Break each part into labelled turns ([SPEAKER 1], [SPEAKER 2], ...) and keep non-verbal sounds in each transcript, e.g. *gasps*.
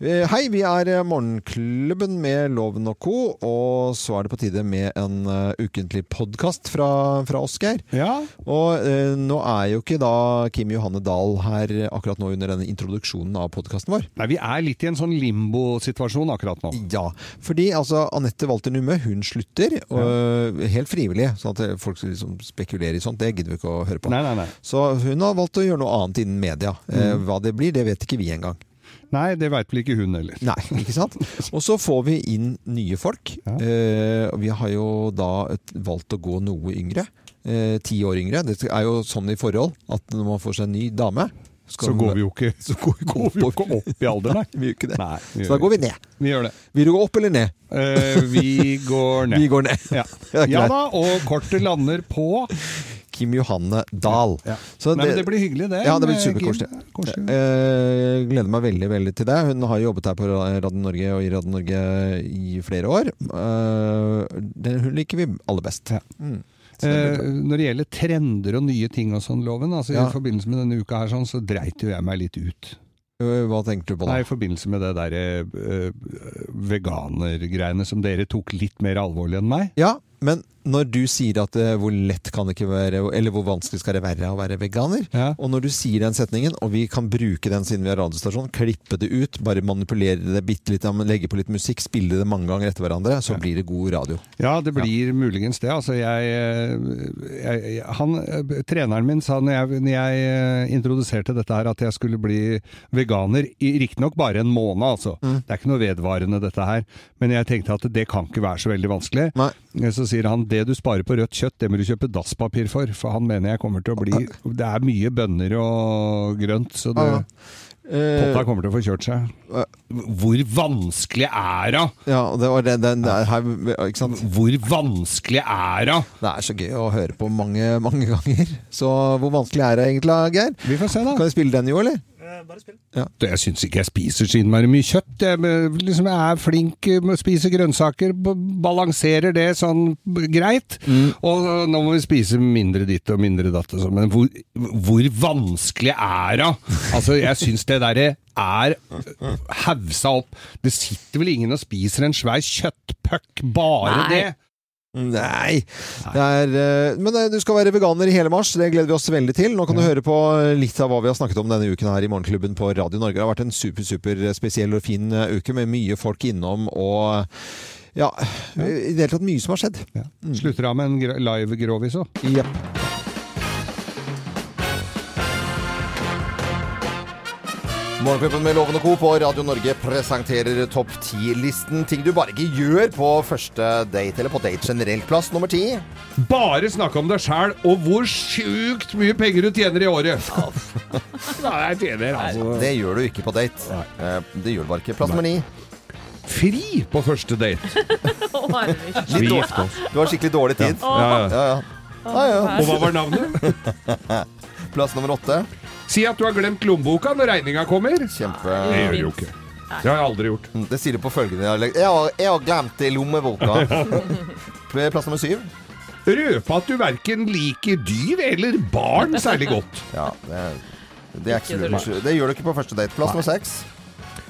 [SPEAKER 1] Eh, Hei, vi er eh, Morgenklubben med Loven og co., og så er det på tide med en eh, ukentlig podkast fra, fra oss, Geir.
[SPEAKER 2] Ja.
[SPEAKER 1] Og eh, nå er jo ikke da Kim Johanne Dahl her eh, akkurat nå under denne introduksjonen av podkasten vår.
[SPEAKER 2] Nei, vi er litt i en sånn limbo-situasjon akkurat nå.
[SPEAKER 1] Ja, fordi altså Anette Walter Numme, hun slutter og, helt frivillig. Sånn at eh, folk liksom spekulerer i sånt, det gidder vi ikke å høre på.
[SPEAKER 2] Nei, Mm. nei, nei.
[SPEAKER 1] Så hun har valgt å gjøre noe annet innen media. Eh, Hva det blir, det vet ikke vi engang.
[SPEAKER 2] Nei, det veit vel ikke hun heller.
[SPEAKER 1] Nei, ikke
[SPEAKER 2] *laughs*
[SPEAKER 1] sant? Og så får vi inn nye folk. Eh, og vi har jo da et, valgt å gå noe yngre. Eh, Ti år yngre. Det er jo sånn i forhold at når man får seg en ny dame
[SPEAKER 2] Så går vi jo
[SPEAKER 1] *laughs*
[SPEAKER 2] ikke, så går, går vi jo ikke opp i alder, nei.
[SPEAKER 1] Vi gjør ikke det.
[SPEAKER 2] Nei, vi
[SPEAKER 1] så da
[SPEAKER 2] gjør
[SPEAKER 1] går vi ned.
[SPEAKER 2] Vi gjør det.
[SPEAKER 1] Vil du gå opp eller ned?
[SPEAKER 2] Eh, vi
[SPEAKER 1] *laughs*
[SPEAKER 2] går ned.
[SPEAKER 1] Vi går ned.
[SPEAKER 2] Ja.
[SPEAKER 1] Ja,
[SPEAKER 2] ja
[SPEAKER 1] greit.
[SPEAKER 2] da, og kortet lander på
[SPEAKER 1] Kim Johanne Dahl. Så
[SPEAKER 2] Nei, men det blir hyggelig, det.
[SPEAKER 1] Ja, det blir
[SPEAKER 2] med
[SPEAKER 1] superkoselig.
[SPEAKER 2] Kim. Koselig.
[SPEAKER 1] Eh, gleder meg veldig veldig til det. Hun har jobbet her på Radio Norge og i Radio Norge i flere år. Eh, det- hun liker vi aller best.
[SPEAKER 2] Ja.
[SPEAKER 1] Mm. Så det blir
[SPEAKER 2] Eh,
[SPEAKER 1] bra.
[SPEAKER 2] når det gjelder trender og nye ting og sånn, Loven, altså
[SPEAKER 1] Ja.
[SPEAKER 2] i forbindelse med denne uka her sånn, så dreit jo jeg meg litt ut.
[SPEAKER 1] Eh, Hva tenker du på da?
[SPEAKER 2] Nei, i forbindelse med det derre eh, veganergreiene som dere tok litt mer alvorlig enn meg.
[SPEAKER 1] Ja, men når du sier at eh, hvor lett kan det ikke være, eller hvor vanskelig skal det være å være veganer,
[SPEAKER 2] Ja.
[SPEAKER 1] og når du sier den setningen, og vi kan bruke den siden vi har radiostasjon, klippe det ut, bare manipulere det bitte litt, ja, men legge på litt musikk, spille det mange ganger etter hverandre, så blir det god radio.
[SPEAKER 2] Ja, det blir muligens det. Altså, jeg, eh, jeg, jeg- han, eh, treneren min sa når jeg, når jeg eh, introduserte dette her, at jeg skulle bli veganer, i- riktignok bare en måned, altså.
[SPEAKER 1] Mm.
[SPEAKER 2] Det er ikke noe vedvarende dette her. Men jeg tenkte at det kan ikke være så veldig vanskelig. Eh,
[SPEAKER 1] Nei.
[SPEAKER 2] Så sier han det du sparer på rødt kjøtt, det må du kjøpe dasspapir for. For han mener jeg kommer til å bli Det er mye bønner og grønt, så det,
[SPEAKER 1] Ja. Eh,
[SPEAKER 2] potta kommer til å få kjørt seg.
[SPEAKER 1] eh,
[SPEAKER 2] Hvor vanskelig er det?
[SPEAKER 1] ja, og det var det, den der her, ikke sant?
[SPEAKER 2] Hvor vanskelig er det?
[SPEAKER 1] Det er så gøy å høre på mange, mange ganger. Så hvor vanskelig er det egentlig, Geir?
[SPEAKER 2] Vi får se,
[SPEAKER 1] Kan
[SPEAKER 2] da.
[SPEAKER 1] vi spille den jo, eller?
[SPEAKER 2] Jeg syns ikke jeg spiser så innmari mye kjøtt. Jeg eh, liksom jeg er flink eh, med å spise grønnsaker, b- balanserer det sånn b- greit. Og eh, nå må vi spise mindre ditt og mindre datt og sånn, men hvor, hvor vanskelig er det? Altså, jeg syns det derre er hausa opp. Det sitter vel ingen og spiser en svær kjøttpuck, bare
[SPEAKER 3] Nei.
[SPEAKER 2] det?
[SPEAKER 1] Nei. Det er, eh, men eh, du skal være veganer i hele mars, det gleder vi oss veldig til. Nå kan du høre på litt av hva vi har snakket om denne uken her i Morgenklubben på Radio Norge. Det har vært en super, super spesiell og fin eh, uke med mye folk innom og ja, i det hele tatt mye som har skjedd. Mm.
[SPEAKER 2] Ja. Slutter av med en gra- live grovis òg.
[SPEAKER 1] Jepp. Morgenklubben med Loven og Co. på Radio Norge presenterer topp ti-listen ting du bare ikke gjør på første date, eller på date generelt. Plass nummer ti.
[SPEAKER 2] Bare snakke om deg sjæl og hvor sjukt mye penger du tjener i året! *laughs* Nei, jeg tjener altså
[SPEAKER 1] Det gjør du ikke på date. Eh, Det gjør du bare ikke. Plass nummer ni.
[SPEAKER 2] Fri på første date!
[SPEAKER 3] Å, herregud.
[SPEAKER 1] *laughs* Litt
[SPEAKER 2] Vi
[SPEAKER 1] dårlig.
[SPEAKER 2] gifter oss.
[SPEAKER 1] Du har skikkelig dårlig tid.
[SPEAKER 2] Ja, ja.
[SPEAKER 1] Ja, ja. Ja, ja.
[SPEAKER 2] Og hva var navnet?
[SPEAKER 1] *laughs* Plass nummer åtte.
[SPEAKER 2] Si at du har glemt lommeboka når regninga kommer!
[SPEAKER 1] Kjempe...
[SPEAKER 2] Det gjør du jo ikke. Det har jeg aldri gjort.
[SPEAKER 1] Det sier du på følgende dialekt. Jeg har, jeg har glemt det i
[SPEAKER 2] *laughs*
[SPEAKER 1] lommeboka. Plass nummer syv.
[SPEAKER 2] Røpe at du verken liker dyr eller barn særlig godt.
[SPEAKER 1] Ja, det, det, er ikke så
[SPEAKER 3] Ikke
[SPEAKER 1] lurt. det gjør du ikke på første date. Plass nummer seks.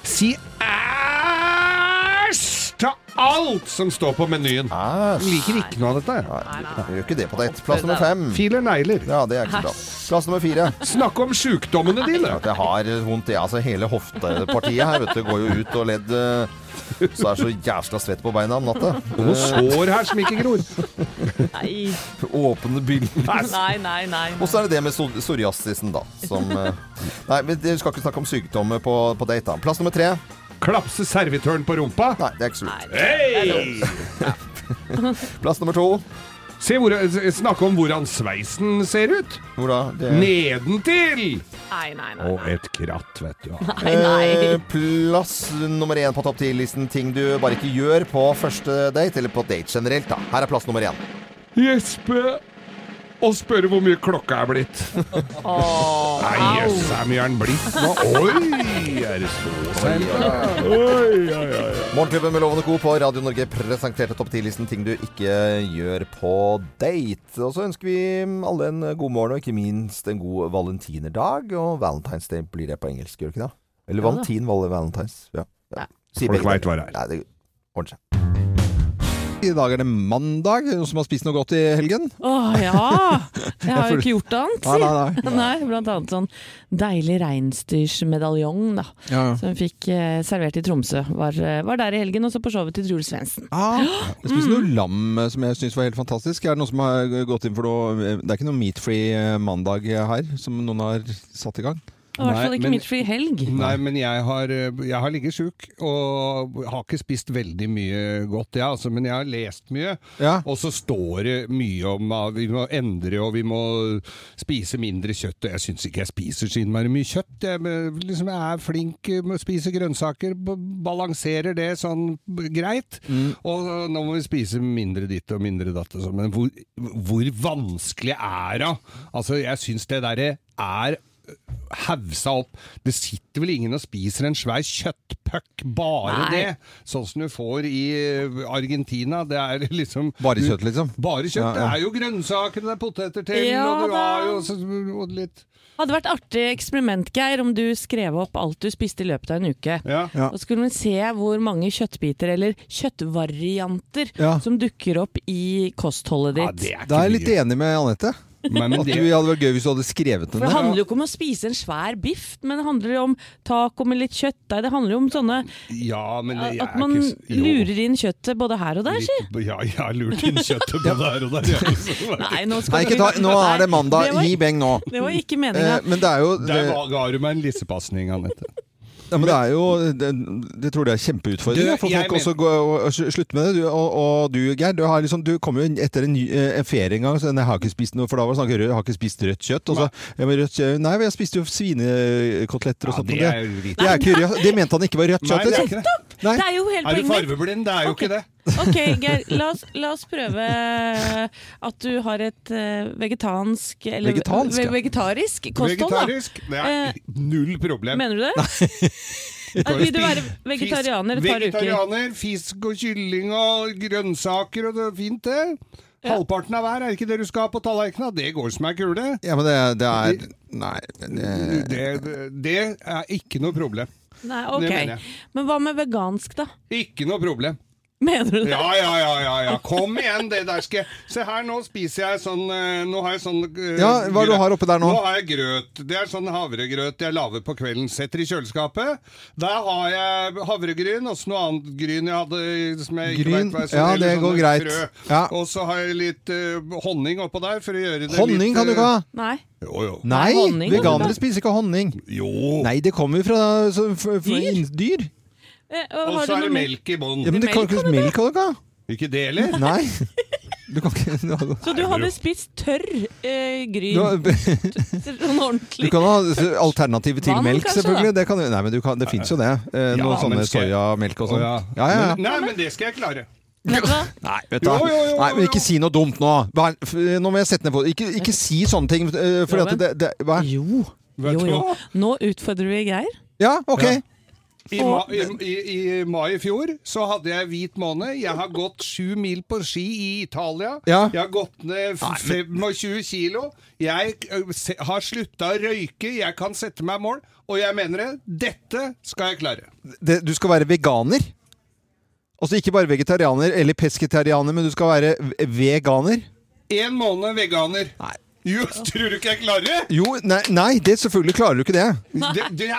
[SPEAKER 2] Si æsj til alt som står på menyen.
[SPEAKER 1] Æsj.
[SPEAKER 2] Liker ikke noe av dette.
[SPEAKER 1] Nei, du gjør ikke det på date. Plass nummer fem.
[SPEAKER 2] Filer negler.
[SPEAKER 1] Ja, det er ikke så bra. Plass nummer fire.
[SPEAKER 2] Snakke om sjukdommene dine.
[SPEAKER 1] At jeg har vondt, jeg. Altså, hele hoftepartiet her vet du, går jo ut og ledd. eh, Så er jeg så jævla svett på beina om natta.
[SPEAKER 2] Og noen sår her som ikke gror.
[SPEAKER 3] Nei,
[SPEAKER 1] Åpne bilder.
[SPEAKER 3] nei, nei. nei.
[SPEAKER 1] Og så er det det med psor- psoriasisen, da. Som,
[SPEAKER 2] *laughs*
[SPEAKER 1] eh, nei, men Vi skal ikke snakke om sykdommer på, på date. da Plass nummer tre.
[SPEAKER 2] Klapse servitøren på rumpa.
[SPEAKER 1] Nei, det er ikke så lurt.
[SPEAKER 2] Hei!
[SPEAKER 1] *laughs* Plass nummer to.
[SPEAKER 2] Se hvor, s- snakke om hvordan sveisen ser ut.
[SPEAKER 1] Hvor da? Det
[SPEAKER 2] Nedentil!
[SPEAKER 3] Nei, nei, nei.
[SPEAKER 2] Og et kratt, vet du.
[SPEAKER 3] nei, nei.
[SPEAKER 1] Eh, Plass nummer én på topp ti-listen. Ting du bare ikke gjør på første date, eller på date generelt. da Her er plass nummer én.
[SPEAKER 2] Gjespe og spørre hvor mye klokka er blitt.
[SPEAKER 3] Åh,
[SPEAKER 2] Nei,
[SPEAKER 3] au.
[SPEAKER 2] jøss, hvor mye er den blitt nå? Oi! er det ståsent.
[SPEAKER 1] Morgenklubben med Lovende Co. på Radio Norge presenterte topp 10-listen ting du ikke gjør på date. Og så ønsker vi alle en god morgen, og ikke minst en god valentinerdag. Og Valentine's Day blir det på engelsk, gjør det ikke det? Eller Valentin, val- Valentine's. Ja.
[SPEAKER 3] Nei.
[SPEAKER 1] Si
[SPEAKER 2] Folk
[SPEAKER 1] begge
[SPEAKER 2] vet hva det
[SPEAKER 1] deler.
[SPEAKER 2] er.
[SPEAKER 1] Nei, det ordner seg. I dag er det mandag. Noen som har spist noe godt i helgen?
[SPEAKER 3] Å ja! Jeg har jo ikke gjort annet, si.
[SPEAKER 1] nei,
[SPEAKER 3] *laughs* Nei, blant annet sånn deilig reinsdyrsmedaljong, da. Som vi fikk eh, servert i Tromsø. Var, eh, var der i helgen, og så på showet til Truls Svendsen. *gasps*
[SPEAKER 1] Ah, jeg spiste noe lam eh, som jeg syns var helt fantastisk. Er det noen som har gått inn for noe eh, Det er ikke noe meat-free eh, mandag eh, her, som noen har satt i gang?
[SPEAKER 3] Og I hvert
[SPEAKER 2] Nei,
[SPEAKER 3] fall ikke
[SPEAKER 2] men-
[SPEAKER 3] mitt fri helg.
[SPEAKER 2] Nei, men jeg har, jeg har ligget sjuk, og har ikke spist veldig mye godt, jeg, altså, men jeg har lest mye.
[SPEAKER 1] Ja.
[SPEAKER 2] Og så står det mye om at vi må endre, og vi må spise mindre kjøtt. Og jeg syns ikke jeg spiser så innmari mye kjøtt. Jeg eh, liksom er flink med å spise grønnsaker, b- balanserer det sånn b- greit.
[SPEAKER 1] Mm.
[SPEAKER 2] Og eh, nå må vi spise mindre ditt og mindre datt. Og sånn. men hvor, hvor vanskelig er det? Altså, jeg syns det derre er øh, hausa opp. Det sitter vel ingen og spiser en svær kjøttpuck, bare
[SPEAKER 3] Nei.
[SPEAKER 2] det. Sånn som du får i eh, Argentina. Det er *laughs* liksom
[SPEAKER 1] Bare kjøtt, liksom?
[SPEAKER 2] Bare kjøtt.
[SPEAKER 1] Ja,
[SPEAKER 2] Det
[SPEAKER 1] ja.
[SPEAKER 2] er jo grønnsaker, det er poteter til,
[SPEAKER 3] Ja,
[SPEAKER 2] og du har jo
[SPEAKER 3] da.
[SPEAKER 2] også, og litt
[SPEAKER 3] Hadde vært artig eksperiment, Geir, om du skrev opp alt du spiste i løpet av en uke.
[SPEAKER 2] ja.
[SPEAKER 1] Ja.
[SPEAKER 3] Og så skulle vi se hvor mange kjøttbiter eller kjøttvarianter
[SPEAKER 1] Ja.
[SPEAKER 3] som dukker opp i kostholdet
[SPEAKER 2] Ja,
[SPEAKER 3] ditt.
[SPEAKER 2] det er ikke
[SPEAKER 1] Da er jeg litt
[SPEAKER 2] mye.
[SPEAKER 1] enig med Anette.
[SPEAKER 2] Men
[SPEAKER 1] At
[SPEAKER 2] det,
[SPEAKER 1] du hadde vært gøy hvis du hadde skrevet den
[SPEAKER 3] For Det
[SPEAKER 1] ned.
[SPEAKER 3] handler jo ikke om å spise en svær biff, men det handler jo om taco med litt kjøttdeig. Det handler jo om sånne
[SPEAKER 2] ja, men jeg
[SPEAKER 3] At
[SPEAKER 2] er
[SPEAKER 3] man
[SPEAKER 2] ikke s- jo,
[SPEAKER 3] lurer inn kjøttet både her og der, si.
[SPEAKER 2] litt- Ja, jeg har lurt inn kjøttet på
[SPEAKER 3] *laughs*
[SPEAKER 2] der og der.
[SPEAKER 1] *laughs*
[SPEAKER 2] jeg, så-
[SPEAKER 3] Nei, nå, skal
[SPEAKER 1] Nei, ikke
[SPEAKER 3] vi-
[SPEAKER 1] ta, nå er det mandag.
[SPEAKER 3] var-
[SPEAKER 1] Gi beng nå.
[SPEAKER 3] Det var ikke
[SPEAKER 1] Eh,
[SPEAKER 3] meninga.
[SPEAKER 1] men det er jo det,
[SPEAKER 2] Der var- ga du meg en lissepasning, Anette.
[SPEAKER 1] ja, men det er jo det, det tror jeg er kjempeutfordring.
[SPEAKER 2] Du,
[SPEAKER 1] ja, for
[SPEAKER 2] jeg
[SPEAKER 1] folk også går og, og slutter med det. Du, og, og du, Geir, du, har liksom, du kom jo inn etter en, ny, eh, en ferie en gang, så jeg har ikke spist noe, for da var det snakk om rød- jeg har ikke spist rødt kjøtt. Og så, ja, men rødt kjøtt Nei, men jeg spiste jo svinekoteletter
[SPEAKER 2] Ja,
[SPEAKER 1] og sånt.
[SPEAKER 2] det
[SPEAKER 1] men
[SPEAKER 2] er jo riktig.
[SPEAKER 1] det, er ikke rødt, det mente han ikke var rødt
[SPEAKER 2] Nei,
[SPEAKER 1] kjøtt.
[SPEAKER 2] det er
[SPEAKER 1] liksom.
[SPEAKER 2] ikke det.
[SPEAKER 1] Nei.
[SPEAKER 3] Det er jo hele
[SPEAKER 2] Er du
[SPEAKER 3] poenget mitt.
[SPEAKER 2] farveblind? Det er jo
[SPEAKER 3] Ok.
[SPEAKER 2] ikke det.
[SPEAKER 3] Ok, Geir, la oss, la oss prøve eh, at du har et eh, vegetansk eller
[SPEAKER 1] Vegetansk, ja.
[SPEAKER 3] ve- vegetarisk kosthold, da. Eh,
[SPEAKER 2] Vegetarisk? Det er null problem.
[SPEAKER 3] Mener du det? At vil du være vegetarianer et par uker?
[SPEAKER 2] Vegetarianer, fisk og kylling og grønnsaker, og det er fint det. Halvparten av hver, er ikke det du skal ha på tallerkena? Det går som ei kule.
[SPEAKER 1] Ja, men det, det er Nei. Det,
[SPEAKER 2] Det, det er ikke noe problem.
[SPEAKER 3] Nei,
[SPEAKER 2] Det mener jeg.
[SPEAKER 3] ok. Men hva med vegansk, da?
[SPEAKER 2] Ikke noe problem.
[SPEAKER 3] Mener du det?
[SPEAKER 2] Ja, ja, ja, ja, ja. kom igjen, det der skal jeg Se her, nå spiser jeg sånn eh, Nå har jeg sånn eh,
[SPEAKER 1] Ja, hva er det du
[SPEAKER 2] grøt.
[SPEAKER 1] har oppe der nå?
[SPEAKER 2] Nå har jeg grøt. Det er sånn havregrøt jeg lager på kvelden. Setter i kjøleskapet. Der har jeg havregryn og så noe annet gryn jeg hadde som jeg ikke
[SPEAKER 1] Gryn,
[SPEAKER 2] vet hva er.
[SPEAKER 1] ja,
[SPEAKER 2] eller
[SPEAKER 1] det
[SPEAKER 2] sånne
[SPEAKER 1] går greit.
[SPEAKER 2] frø.
[SPEAKER 1] Ja.
[SPEAKER 2] Og så har jeg litt eh, honning oppå der for å gjøre det
[SPEAKER 1] Honning
[SPEAKER 2] litt eh,
[SPEAKER 1] kan du ikke ha!
[SPEAKER 3] Nei.
[SPEAKER 2] Jo, jo.
[SPEAKER 1] Nei,
[SPEAKER 3] Nei, honning kan du
[SPEAKER 1] veganere
[SPEAKER 3] ikke.
[SPEAKER 1] spiser ikke honning.
[SPEAKER 2] jo.
[SPEAKER 1] Nei, det kommer jo fra så, fra- fra
[SPEAKER 3] Dyr?
[SPEAKER 1] inn- dyr.
[SPEAKER 3] Eh,
[SPEAKER 2] Og
[SPEAKER 3] har
[SPEAKER 2] så
[SPEAKER 3] du
[SPEAKER 2] er
[SPEAKER 3] noe
[SPEAKER 2] det
[SPEAKER 3] mer?
[SPEAKER 2] melk i bånn.
[SPEAKER 1] Ja, men det kan
[SPEAKER 3] Melk kan
[SPEAKER 1] ikke melk, kan du ikke ha?
[SPEAKER 2] Ikke det heller?
[SPEAKER 3] *laughs*
[SPEAKER 1] Nei. Du kan ikke du har-
[SPEAKER 3] Så du hadde spist tørr eh, gryn?
[SPEAKER 1] du, har-
[SPEAKER 3] *laughs* Sånn
[SPEAKER 1] du
[SPEAKER 3] ordentlig?
[SPEAKER 1] kan ha alternativet til
[SPEAKER 3] Vann,
[SPEAKER 1] melk,
[SPEAKER 3] kanskje,
[SPEAKER 1] selvfølgelig. Det, kan, du- nei, men du kan, det fins jo det. Eh,
[SPEAKER 2] Ja,
[SPEAKER 1] noe
[SPEAKER 2] men
[SPEAKER 1] sånne
[SPEAKER 2] skal jeg-
[SPEAKER 1] soyamelk og
[SPEAKER 2] Å,
[SPEAKER 1] sånn.
[SPEAKER 2] ja.
[SPEAKER 1] Ja, ja, ja.
[SPEAKER 2] Men, nei, men det skal jeg klare.
[SPEAKER 3] Vet du hva?
[SPEAKER 1] Nei, vet
[SPEAKER 2] Jo, jo, jo,
[SPEAKER 1] du.
[SPEAKER 2] jo,
[SPEAKER 1] Nei, men
[SPEAKER 2] jo.
[SPEAKER 1] ikke si noe dumt nå. Hva er- f- Nå må jeg sette ned på Ikke, ikke si sånne ting. eh, Fordi at
[SPEAKER 3] Loven?
[SPEAKER 1] det, det hva? er-
[SPEAKER 3] Jo.
[SPEAKER 2] Vet
[SPEAKER 3] Jo,
[SPEAKER 2] du
[SPEAKER 3] jo.
[SPEAKER 2] hva?
[SPEAKER 3] Nå utfordrer vi Geir.
[SPEAKER 1] Ja, ok.
[SPEAKER 2] I, ma i, i, I mai i fjor så hadde jeg hvit måned. Jeg har gått sju mil på ski i Italia.
[SPEAKER 1] Ja.
[SPEAKER 2] Jeg har gått ned f- 25 kilo. Jeg ø, se har slutta å røyke. Jeg kan sette meg mål, og jeg mener det. Dette skal jeg klare.
[SPEAKER 1] det, du skal være veganer. Altså ikke bare vegetarianer eller pesketarianer, men du skal være v- veganer.
[SPEAKER 2] Én måned veganer. Jo, *laughs* tror du ikke jeg klarer det?
[SPEAKER 1] Jo, nei, nei det selvfølgelig klarer du ikke det.
[SPEAKER 2] det, det er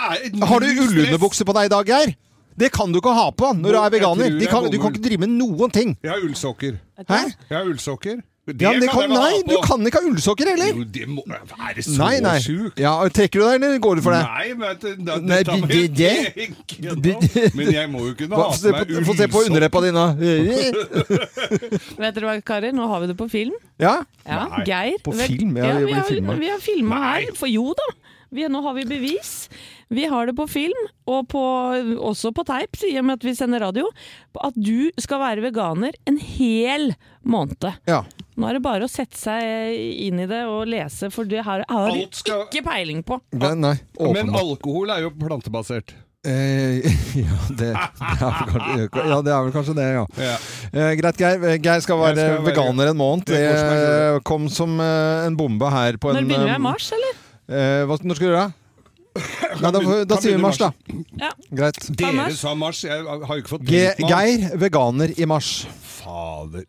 [SPEAKER 1] Har du
[SPEAKER 2] null stress.
[SPEAKER 1] ullunderbukse på deg i dag, Geir? Det kan du ikke ha på når du
[SPEAKER 2] Nå,
[SPEAKER 1] er
[SPEAKER 2] jeg
[SPEAKER 1] veganer.
[SPEAKER 2] tror
[SPEAKER 1] De
[SPEAKER 2] jeg
[SPEAKER 1] kan, du
[SPEAKER 2] bommer.
[SPEAKER 1] kan ikke drive med noen ting.
[SPEAKER 2] Jeg har ullsokker.
[SPEAKER 1] Hæ?
[SPEAKER 2] Jeg har ullsokker. Det
[SPEAKER 1] Ja, men det
[SPEAKER 2] kan jeg
[SPEAKER 1] kan,
[SPEAKER 2] vel ha
[SPEAKER 1] nei, du
[SPEAKER 2] på.
[SPEAKER 1] kan ikke ha ullsokker heller.
[SPEAKER 2] Jo, det må være så
[SPEAKER 1] Nei, nei.
[SPEAKER 2] sjukt.
[SPEAKER 1] Ja, og trekker du deg, eller går du for det?
[SPEAKER 2] Nei, men det, det, det
[SPEAKER 1] Nei,
[SPEAKER 2] tar meg
[SPEAKER 1] det- det-
[SPEAKER 2] ikke
[SPEAKER 1] det-
[SPEAKER 2] gjennom. Men jeg må jo kunne ha
[SPEAKER 1] Hva- se
[SPEAKER 2] på
[SPEAKER 1] på- Få se på underleppa di nå.
[SPEAKER 3] Vet dere hva, karer? Nå har vi det på film.
[SPEAKER 1] Ja?
[SPEAKER 3] Ja,
[SPEAKER 2] Nei.
[SPEAKER 3] Geir.
[SPEAKER 1] På
[SPEAKER 3] Vel-
[SPEAKER 1] film? Ja, det
[SPEAKER 3] vi
[SPEAKER 1] blir filmet.
[SPEAKER 3] har, vi har filma
[SPEAKER 2] Nei.
[SPEAKER 3] her. For jo da, vi, nå har vi bevis. Vi har det på film, og på, også på teip, i og med at vi sender radio, på at du skal være veganer en hel måned.
[SPEAKER 1] ja.
[SPEAKER 3] Nå er det bare å sette seg inn i det og lese, for det her har du
[SPEAKER 2] Alt skal-
[SPEAKER 3] ikke peiling på.
[SPEAKER 1] Nei, nei.
[SPEAKER 2] Men
[SPEAKER 1] åpenbart.
[SPEAKER 2] alkohol er jo plantebasert.
[SPEAKER 1] Eh, *laughs* ja, det, det er vel
[SPEAKER 2] *laughs*
[SPEAKER 1] kanskje, ja, det er vel kanskje det, ja.
[SPEAKER 2] Ja.
[SPEAKER 1] Eh, greit, Geir. Geir skal være
[SPEAKER 2] Jeg skal være-
[SPEAKER 1] veganer en måned.
[SPEAKER 2] Det
[SPEAKER 1] Det
[SPEAKER 2] går som en
[SPEAKER 1] eh, kom som eh, en bombe her på
[SPEAKER 3] Når
[SPEAKER 1] en
[SPEAKER 3] begynner vi?
[SPEAKER 1] eh,
[SPEAKER 3] I mars, eller?
[SPEAKER 1] eh, hva, når skal du gjøre det? Nei, da,
[SPEAKER 2] begynne-
[SPEAKER 1] da
[SPEAKER 2] kan
[SPEAKER 1] sier vi
[SPEAKER 2] begynne
[SPEAKER 1] mars, da.
[SPEAKER 3] Ja.
[SPEAKER 1] Greit.
[SPEAKER 3] Ta
[SPEAKER 2] Dere
[SPEAKER 3] mars.
[SPEAKER 2] sa mars, jeg har jo ikke fått
[SPEAKER 1] Ge
[SPEAKER 2] drink nå.
[SPEAKER 1] Geir, veganer i mars.
[SPEAKER 2] Fader,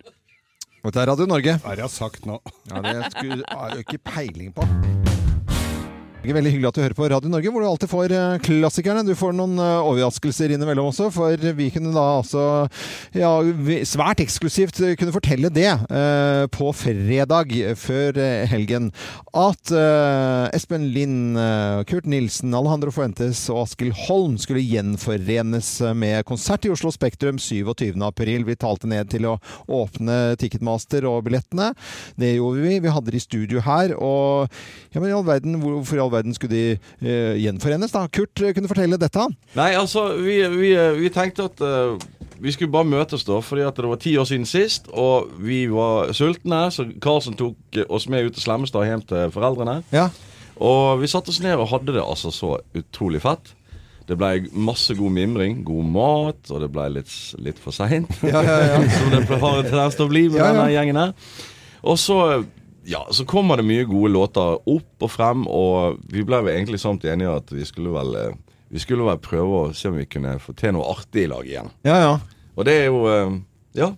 [SPEAKER 1] Dette er Radio Norge.
[SPEAKER 2] hva har jeg sagt nå?
[SPEAKER 1] Ja, det skulle, har jeg jo ikke peiling på. Det er Veldig hyggelig at du hører på Radio Norge, hvor du alltid får eh, klassikerne. Du får noen eh, overraskelser innimellom også, for vi kunne da altså ja, vi, svært eksklusivt eh, kunne fortelle det eh, på fredag før eh, helgen at eh, Espen Lind, eh, Kurt Nilsen, Alejandro Fuentes og Askild Holm skulle gjenforenes med konsert i Oslo Spektrum 27. april. Vi talte ned til å åpne Ticketmaster og billettene. Det gjorde vi. Vi hadde de i studio her. og ja, men i all verden, Hvorfor i all verden skulle de eh, gjenforenes? da? Kurt eh, kunne fortelle dette.
[SPEAKER 4] Nei, altså, vi, vi, vi tenkte at eh, vi skulle bare møtes, da. Fordi at det var ti år siden sist, og vi var sultne. Så Karlsen tok eh, oss med ut til Slemmestad hjem til foreldrene.
[SPEAKER 1] Ja.
[SPEAKER 4] Og vi satte oss ned og hadde det altså så utrolig fett. Det ble masse god mimring, god mat, og det ble litt, litt for seint. *laughs* Som det ble- har en tendens til å bli med
[SPEAKER 1] Ja, ja.
[SPEAKER 4] denne gjengen her. Og så, ja, så kommer det mye gode låter opp og frem, og vi ble vel egentlig samt enige at vi skulle vel eh, vi skulle vel prøve å se om vi kunne få til noe artig i lag igjen.
[SPEAKER 1] Ja, ja.
[SPEAKER 4] Og det er jo eh, Ja.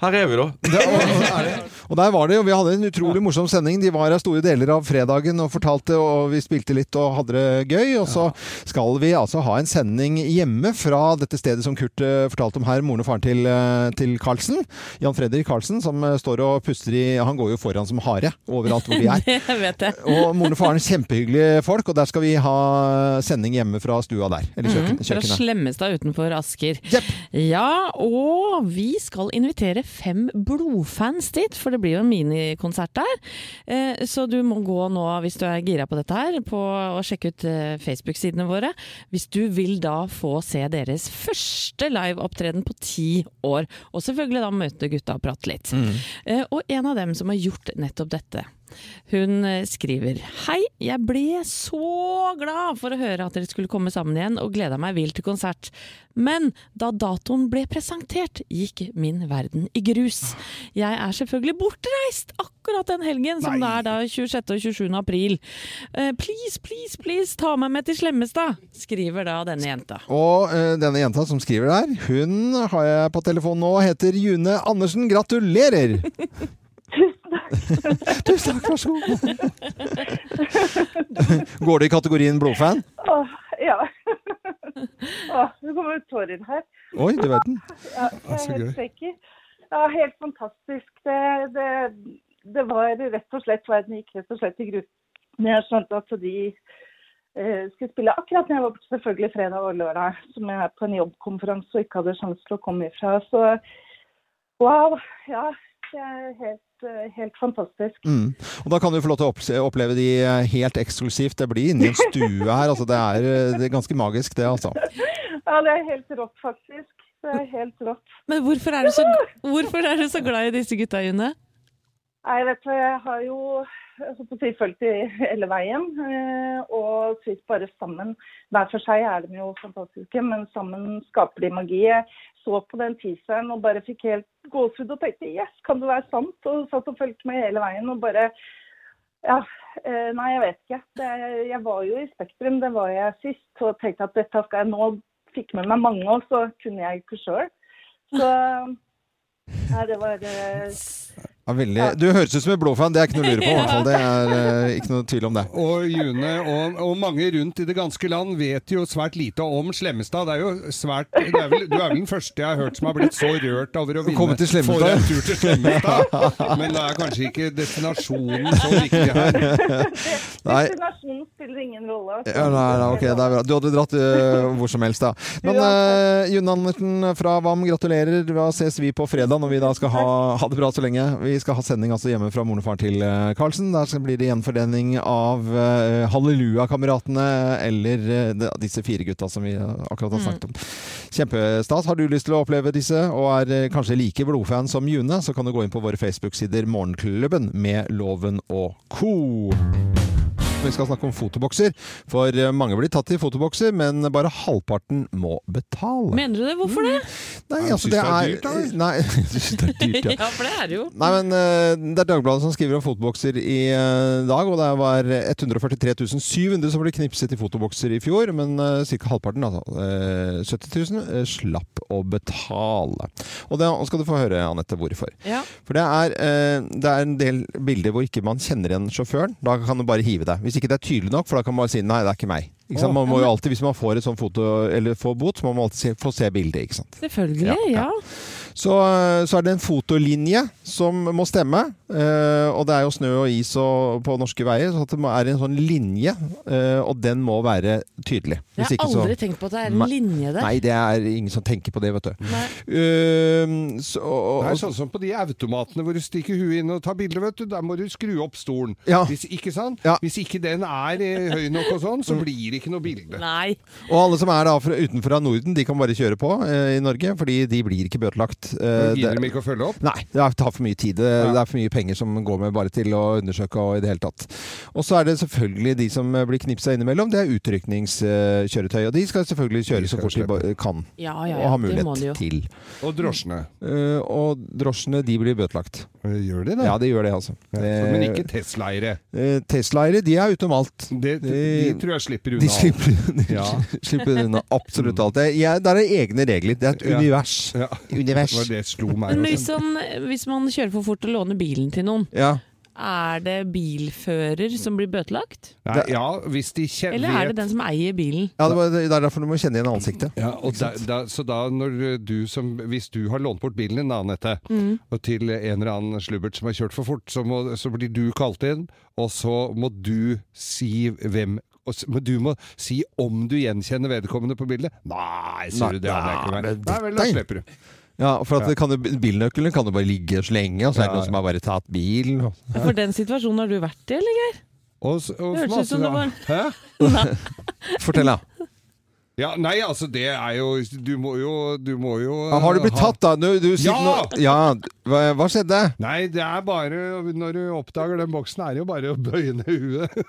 [SPEAKER 4] Her er vi, da.
[SPEAKER 1] Det, og, og,
[SPEAKER 4] *laughs*
[SPEAKER 1] er det. og der var det jo, Vi hadde en utrolig morsom sending. De var her store deler av fredagen og fortalte, og vi spilte litt og hadde det gøy. Og så skal vi altså ha en sending hjemme fra dette stedet som Kurt eh, fortalte om her. Moren og faren til, eh, til Karlsen. Jan Fredrik Karlsen, som eh, står og puster i Han går jo foran som hare overalt hvor
[SPEAKER 3] *laughs*
[SPEAKER 1] vi er.
[SPEAKER 3] Jeg vet det.
[SPEAKER 1] Og moren og faren er kjempehyggelige folk, og der skal vi ha sending hjemme fra stua der. Eller kjøkken,
[SPEAKER 3] Fra
[SPEAKER 1] kjøkkenet.
[SPEAKER 3] Slemmestad utenfor Asker.
[SPEAKER 1] Jepp.
[SPEAKER 3] Ja, og vi skal invitere fem blodfans dit, for det blir jo en minikonsert der. Eh, Så du må gå nå, hvis du er gira på dette her, på å sjekke ut eh, Facebook-sidene våre. Hvis du vil da få se deres første liveopptreden på ti år. Og selvfølgelig da møte gutta og prate litt.
[SPEAKER 1] Mm.
[SPEAKER 3] Eh, Og en av dem som har gjort nettopp dette. Hun eh, skriver Hei, jeg ble så glad for å høre at dere skulle komme sammen igjen og gleda meg vilt til konsert. Men da datoen ble presentert, gikk min verden i grus. Jeg er selvfølgelig bortreist akkurat den helgen, som det er da 26. og 27. april. Eh, please, please, please, ta meg med til Slemmestad, skriver da denne jenta.
[SPEAKER 1] Og eh, denne jenta som skriver der, hun har jeg på telefonen nå, heter June Andersen. Gratulerer! Tusen takk. Tusen takk, vær så god. *laughs* Går det i kategorien blodfan?
[SPEAKER 5] *laughs* Åh, ja. *laughs* Åh, det kommer ut tårer her.
[SPEAKER 1] Oi, du verden.
[SPEAKER 5] Jeg
[SPEAKER 2] så
[SPEAKER 5] er helt
[SPEAKER 2] gøy.
[SPEAKER 5] sikker. Ja, helt fantastisk. Det, det, det var rett og slett verden gikk rett og slett i grus. Men jeg skjønte at de eh, skulle spille akkurat når jeg var på selvfølgelig fredag og lørdag, som jeg er på en jobbkonferanse og ikke hadde sjanse til å komme ifra. Så wow. Ja, det er helt, eh, helt fantastisk.
[SPEAKER 1] Mm. Og da kan du få lov til å opps- oppleve de eh, helt eksklusivt. Det blir inni en stue her. Altså, det, er, eh, det er ganske magisk, det, altså.
[SPEAKER 5] *laughs* Ja, det er helt rått, faktisk. Det er helt rått.
[SPEAKER 3] Men hvorfor er du så, hvorfor er du så glad i disse gutta, June?
[SPEAKER 5] Nei, vet du, hva, jeg har jo jeg holdt på å si, fulgt i hele veien. eh, Og syns bare sammen Hver for seg er de jo fantastiske, men sammen skaper de magi. Jeg så på den teaseren og bare fikk helt gåsehud og tenkte yes, kan det være sant? Og satt og fulgte med hele veien og bare ja, eh, Nei, jeg vet ikke. Det, jeg var jo i Spektrum, det var jeg sist, og tenkte at dette skal jeg nå Fikk med meg mange, og så kunne jeg ikke sjøl. Så Nei, det var eh,
[SPEAKER 1] Ja, veldig. Du høres ut som en blodfan, det er ikke noe å lure på. i hvert fall. Det er eh, ikke noe tvil om det.
[SPEAKER 2] Og June og, og mange rundt i det ganske land vet jo svært lite om Slemmestad. Det er jo svært, det er vel, du er vel den første jeg har hørt som har blitt så rørt over å vinne.
[SPEAKER 1] komme til Slemmestad.
[SPEAKER 2] Få en tur til Slemmestad. Men da er kanskje ikke destinasjonen så viktig her.
[SPEAKER 1] *laughs* Nei.
[SPEAKER 5] Destinasjonen spiller ingen rolle. altså.
[SPEAKER 1] Ja, nei, nei, ok, det er bra. Du hadde dratt øh, hvor som helst, da. Men øh, June Andersen fra VAM, gratulerer. Da ses vi på fredag når vi da skal ha, ha det bra så lenge. Vi skal ha sending altså hjemme fra moren og faren til øh, Karlsen. Der skal- blir det gjenforening av øh, Halleluja-kameratene eller øh, de- disse fire gutta som vi øh, akkurat har snakket om. Kjempestas. Har du lyst til å oppleve disse, og er eh, kanskje like blodfan som June, så kan du gå inn på våre Facebook-sider Morgenklubben med Loven og co. Vi skal snakke om fotobokser. For eh, mange blir tatt i fotobokser, men bare halvparten må betale.
[SPEAKER 3] Mener du det? Hvorfor det?
[SPEAKER 1] Nei,
[SPEAKER 2] du
[SPEAKER 1] altså,
[SPEAKER 2] synes
[SPEAKER 1] det
[SPEAKER 2] det er
[SPEAKER 1] er
[SPEAKER 2] dyrt, eller? *laughs*
[SPEAKER 1] Nei, du synes det er dyrt, ja.
[SPEAKER 3] *laughs* Ja, for det er det jo.
[SPEAKER 1] Nei, men eh, Det er Dagbladet som skriver om fotobokser i eh, dag, og det var 143 700 som ble knipset i fotobokser i fjor, men uh, ca. halvparten, altså eh, 70 000, eh, slapp å betale. Og det skal du få høre, Anette, hvorfor.
[SPEAKER 3] Ja.
[SPEAKER 1] For det er, eh, det er en del bilder hvor ikke man kjenner igjen sjåføren. Da kan du bare hive deg. Hvis ikke det er tydelig nok, for da kan man bare si 'nei, det er ikke meg'. Ikke sant? Man må jo alltid, hvis man får et sånt foto, eller får bot, så må man alltid se, få se bildet. ikke sant?
[SPEAKER 3] Selvfølgelig, ja.
[SPEAKER 1] så, eh, så er det en fotolinje som må stemme. eh, og det er jo snø og is og, på norske veier, så at det må- er en sånn linje. eh, og den må være tydelig.
[SPEAKER 3] Jeg har aldri tenkt på at det er en
[SPEAKER 1] Nei.
[SPEAKER 3] linje der.
[SPEAKER 1] Nei, det er ingen som tenker på det, vet du.
[SPEAKER 3] Nei.
[SPEAKER 1] Eh, så, og,
[SPEAKER 2] Det er
[SPEAKER 1] og,
[SPEAKER 2] sånn som på de automatene hvor du stikker huet inn og tar bilder, vet du. Der må du skru opp stolen.
[SPEAKER 1] Ja.
[SPEAKER 2] Hvis, ikke sant?
[SPEAKER 1] Ja. Mm.
[SPEAKER 2] Hvis ikke den er eh, høy nok og sånn, så blir det ikke noe bilde.
[SPEAKER 3] Nei.
[SPEAKER 1] og alle som er da fra, utenfor av Norden, de kan bare kjøre på eh, i Norge, fordi de blir ikke bøtelagt.
[SPEAKER 2] Da
[SPEAKER 1] Eh,
[SPEAKER 2] Gidder
[SPEAKER 1] det-
[SPEAKER 2] de ikke å følge opp?
[SPEAKER 1] Nei, det er- tar for mye tid. Det, det er for mye penger som går med bare til å undersøke og i det hele tatt. Og så er det selvfølgelig de som eh, blir knipsa innimellom. Det er utrykningskjøretøy. Og de skal selvfølgelig
[SPEAKER 2] De
[SPEAKER 1] kjøre så
[SPEAKER 2] skal
[SPEAKER 1] fort de
[SPEAKER 2] slippe.
[SPEAKER 1] bare kan.
[SPEAKER 3] Ja, ja,
[SPEAKER 1] og
[SPEAKER 3] ja.
[SPEAKER 1] har
[SPEAKER 3] Det må de jo.
[SPEAKER 1] mulighet til.
[SPEAKER 2] Og drosjene. Eh,
[SPEAKER 1] Eh, og drosjene de blir bøtelagt.
[SPEAKER 2] Gjør de det?
[SPEAKER 1] Ja, de gjør det, altså.
[SPEAKER 2] Så- Eh, Men ikke Tesla-eiere.
[SPEAKER 1] Eh, Teslaere, de er utenom alt.
[SPEAKER 2] Det, de,
[SPEAKER 1] De-
[SPEAKER 2] tror jeg slipper unna.
[SPEAKER 1] De slipper, de
[SPEAKER 2] Ja.
[SPEAKER 1] *laughs* slipper unna absolutt alt. Det- Jeg, der er egne regler. Det er et
[SPEAKER 2] Ja.
[SPEAKER 1] univers.
[SPEAKER 2] Ja.
[SPEAKER 1] Univers.
[SPEAKER 2] Det var det
[SPEAKER 3] *laughs*
[SPEAKER 2] slo meg.
[SPEAKER 3] Men
[SPEAKER 2] også.
[SPEAKER 3] hvis man, hvis man kjører for fort og låner bilen til noen,
[SPEAKER 1] Ja.
[SPEAKER 3] er det bilfører som blir bøtelagt?
[SPEAKER 2] Nei, ja, hvis de kje-
[SPEAKER 3] Eller er det
[SPEAKER 2] vet-
[SPEAKER 3] den som eier bilen?
[SPEAKER 1] ja, det var- det er derfor du må kjenne igjen ansiktet.
[SPEAKER 2] Ja, og da, da, så da når du som, hvis du har lånt bort bilen din, da, Anette,
[SPEAKER 3] Mm.
[SPEAKER 2] og til en eller annen slubbert som har kjørt for fort, så, må, så blir du kalt inn, og så må du si hvem og s- men du må si om du gjenkjenner vedkommende på bildet. Nei, sier du det hadde jeg ikke
[SPEAKER 1] Nei,
[SPEAKER 2] vært.
[SPEAKER 1] det
[SPEAKER 2] Nei vel, da
[SPEAKER 1] deg.
[SPEAKER 2] slipper du.
[SPEAKER 1] Ja, for at det kan, jo- bilnøkkelen kan jo bare ligge så lenge, og så er det
[SPEAKER 2] Ja,
[SPEAKER 1] noen som har bare tatt bilen. og-
[SPEAKER 3] For den situasjonen har du vært i, eller, Geir?
[SPEAKER 2] Og, s- og
[SPEAKER 3] Det hørtes ut som det var-
[SPEAKER 2] Hæ?
[SPEAKER 1] *laughs* Fortell, da.
[SPEAKER 2] Ja, nei, altså det er jo Du må jo, du må jo
[SPEAKER 1] Har du blitt
[SPEAKER 2] ha-
[SPEAKER 1] tatt, da? Nå, du, sitter
[SPEAKER 2] Ja!
[SPEAKER 1] nå- ja! Hva, hva skjedde?
[SPEAKER 2] Nei, det er bare Når du oppdager den boksen, er det jo bare å bøye ned huet.
[SPEAKER 3] *laughs*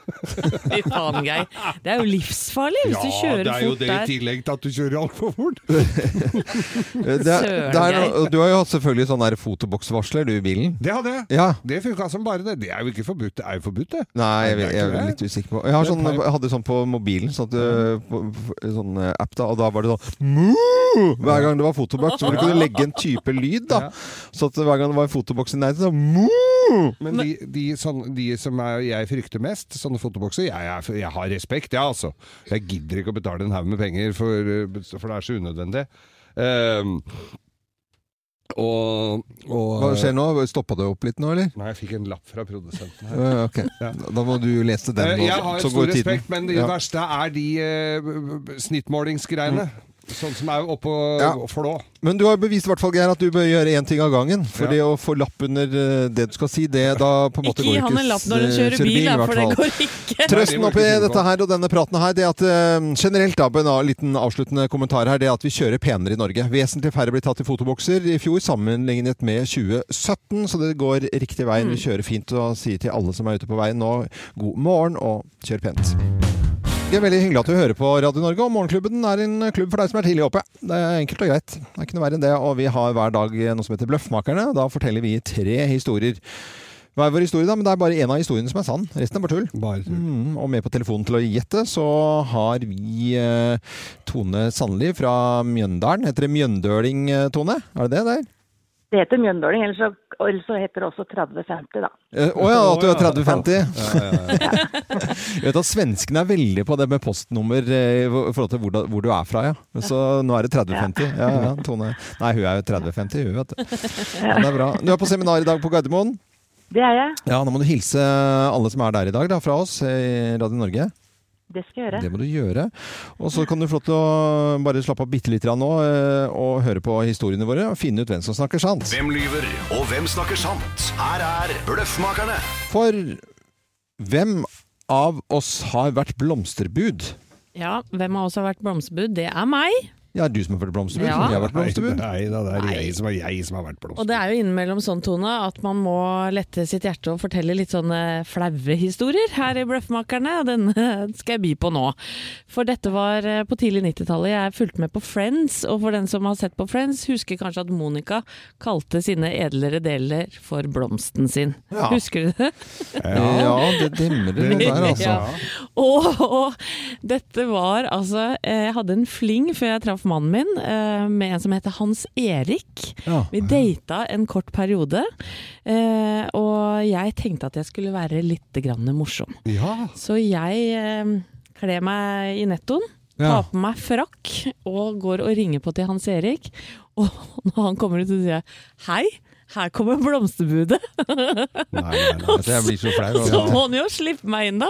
[SPEAKER 3] Fy faen, Geir. Det er jo livsfarlig hvis du kjører
[SPEAKER 2] det er jo
[SPEAKER 3] fort
[SPEAKER 2] det i
[SPEAKER 3] der.
[SPEAKER 2] tillegg til at du kjører altfor fort.
[SPEAKER 1] Eh, Det, er- det er,
[SPEAKER 3] Søren,
[SPEAKER 1] noe- du har jo hatt selvfølgelig sånn der fotoboksvarsler, du, i bilen.
[SPEAKER 2] Det hadde jeg.
[SPEAKER 1] Ja.
[SPEAKER 2] Det funka som bare det. Det er jo ikke forbudt. Det er jo forbudt, det.
[SPEAKER 1] Nei,
[SPEAKER 2] Nei,
[SPEAKER 1] jeg, vet-
[SPEAKER 2] det er
[SPEAKER 1] jeg
[SPEAKER 2] ikke
[SPEAKER 1] er litt
[SPEAKER 2] det.
[SPEAKER 1] usikker på Jeg, har
[SPEAKER 2] Det er
[SPEAKER 1] sånn,
[SPEAKER 2] peip.
[SPEAKER 1] jeg hadde sånn på mobilen, sånn, at, eh, på, på- sånn eh, app, da, og da var det sånn Moo! Hver gang det var fotoboks, så kunne du legge en type lyd, da. Så at hver gang det var en fotoboks i nærheten, så Moo!
[SPEAKER 2] Men de, de, sånn, de som er, jeg frykter mest, sånne fotobokser jeg, er- jeg har respekt, jeg, ja, altså. Jeg gidder ikke å betale en haug med penger, for, eh, for det er så unødvendig. Ehm, og, og
[SPEAKER 1] Hva skjer nå? Stoppa det opp litt nå, eller?
[SPEAKER 2] Nei, jeg fikk en lapp fra produsenten her.
[SPEAKER 1] Ja, Ok, Da må du lese den.
[SPEAKER 2] Eh,
[SPEAKER 1] nå,
[SPEAKER 2] Jeg har
[SPEAKER 1] så
[SPEAKER 2] stor
[SPEAKER 1] går tiden.
[SPEAKER 2] respekt, men det
[SPEAKER 1] Ja.
[SPEAKER 2] verste er de eh, snittmålingsgreiene. Sånn som er oppå
[SPEAKER 1] Mm. Ja.
[SPEAKER 2] flå.
[SPEAKER 1] Men du har bevist i hvert fall, Geir, at du bør gjøre én ting av gangen. For
[SPEAKER 2] Ja.
[SPEAKER 1] det å få lapp under eh, det du skal si, det da på en måte
[SPEAKER 3] Ikke gi
[SPEAKER 1] går
[SPEAKER 3] han en lapp når han
[SPEAKER 1] eh,
[SPEAKER 3] kjører bil,
[SPEAKER 1] i
[SPEAKER 3] da,
[SPEAKER 1] hvert
[SPEAKER 3] for det
[SPEAKER 1] fall.
[SPEAKER 3] går
[SPEAKER 1] *laughs*
[SPEAKER 3] ikke.
[SPEAKER 1] Trøsten
[SPEAKER 2] Nei, det må
[SPEAKER 1] oppi
[SPEAKER 2] ikke
[SPEAKER 1] dette
[SPEAKER 2] gå.
[SPEAKER 1] her og denne praten her, det at eh, generelt da, en av- liten avsluttende kommentar her, det at vi kjører penere i Norge. Vesentlig færre ble tatt i fotobokser i fjor sammenlignet med 2017, så det går riktig veien.
[SPEAKER 3] Mm.
[SPEAKER 1] Vi kjører fint og sier til alle som er ute på veien nå, god morgen og kjør pent. Det er veldig hyggelig at du hører på Radio Norge, og Morgenklubben er en klubb for deg som er tidlig oppe. Det er enkelt og greit. Det er ikke noe verre enn det. Og vi har hver dag noe som heter Bløffmakerne. og Da forteller vi tre historier. Hver vår historie, da, men det er bare én av historiene som er sann. Resten er bare tull.
[SPEAKER 2] Bare tull.
[SPEAKER 1] Mm, og med på telefonen til å gjette, så har vi eh, Tone Sandli fra Mjøndalen. Heter det Mjøndøling, eh, Tone? Er det det der?
[SPEAKER 5] Det heter Mjøndåling, ellers så, ellers så heter det også 3050, da.
[SPEAKER 1] Å eh, åja, at du er 3050? Jeg vet at svenskene er veldig på det med postnummer eh, i forhold til hvor, da, hvor du er fra, ja. Så nå er det 3050. Ja, ja, Tone. Nei, hun er jo 3050, hun, vet du. Ja, det er bra. Du er på seminar i dag på Gardermoen.
[SPEAKER 5] Det er jeg.
[SPEAKER 1] Ja, nå må du hilse alle som er der i dag, da, fra oss eh, i Radio Norge.
[SPEAKER 5] Det skal jeg gjøre.
[SPEAKER 1] Det må du gjøre. Og så kan du få lov til å bare slappe av bitte litt grann nå eh, og høre på historiene våre og finne ut hvem som snakker sant.
[SPEAKER 6] Hvem lyver, og hvem snakker sant? Her er Bløffmakerne.
[SPEAKER 1] For hvem av oss har vært blomsterbud?
[SPEAKER 3] Ja, hvem av oss har vært blomsterbud? Det er meg.
[SPEAKER 1] Ja, er du som har vært blomsterbud?
[SPEAKER 3] Ja.
[SPEAKER 1] Ja. Jeg har vært
[SPEAKER 2] Nei,
[SPEAKER 1] blomsterbud.
[SPEAKER 2] nei da, det er jeg som, er jeg som har vært
[SPEAKER 3] Og
[SPEAKER 2] blomsterbud.
[SPEAKER 3] det er jo innimellom sånn, Tone, at man må lette sitt hjerte og fortelle litt sånne flaue historier her i Bløffmakerne. og Den *laughs* skal jeg by på nå. For dette var eh, på tidlig 90-tallet. Jeg fulgte med på Friends, og for den som har sett på Friends, husker kanskje at Monica kalte sine edlere deler for blomsten sin.
[SPEAKER 1] Ja.
[SPEAKER 3] Husker du det?
[SPEAKER 1] Ja, det demrer noe der, altså.
[SPEAKER 3] Ja. Og, og dette var altså eh, Jeg hadde en fling før jeg traff mannen min, eh, med en som heter Hans Erik.
[SPEAKER 1] Ja.
[SPEAKER 3] Vi data en kort periode, eh, og jeg tenkte at jeg skulle være litt grann morsom.
[SPEAKER 2] Ja.
[SPEAKER 3] Så jeg eh, kler meg i nettoen,
[SPEAKER 1] Ja.
[SPEAKER 3] tar på meg frakk og går og ringer på til Hans Erik. Og *laughs* når han kommer ut, så sier jeg 'hei, her kommer blomsterbudet'. *laughs*
[SPEAKER 2] Nei, nei, nei.
[SPEAKER 1] Altså, jeg blir så flau.
[SPEAKER 3] Og *laughs* så
[SPEAKER 1] og-
[SPEAKER 3] må han jo slippe meg inn, da.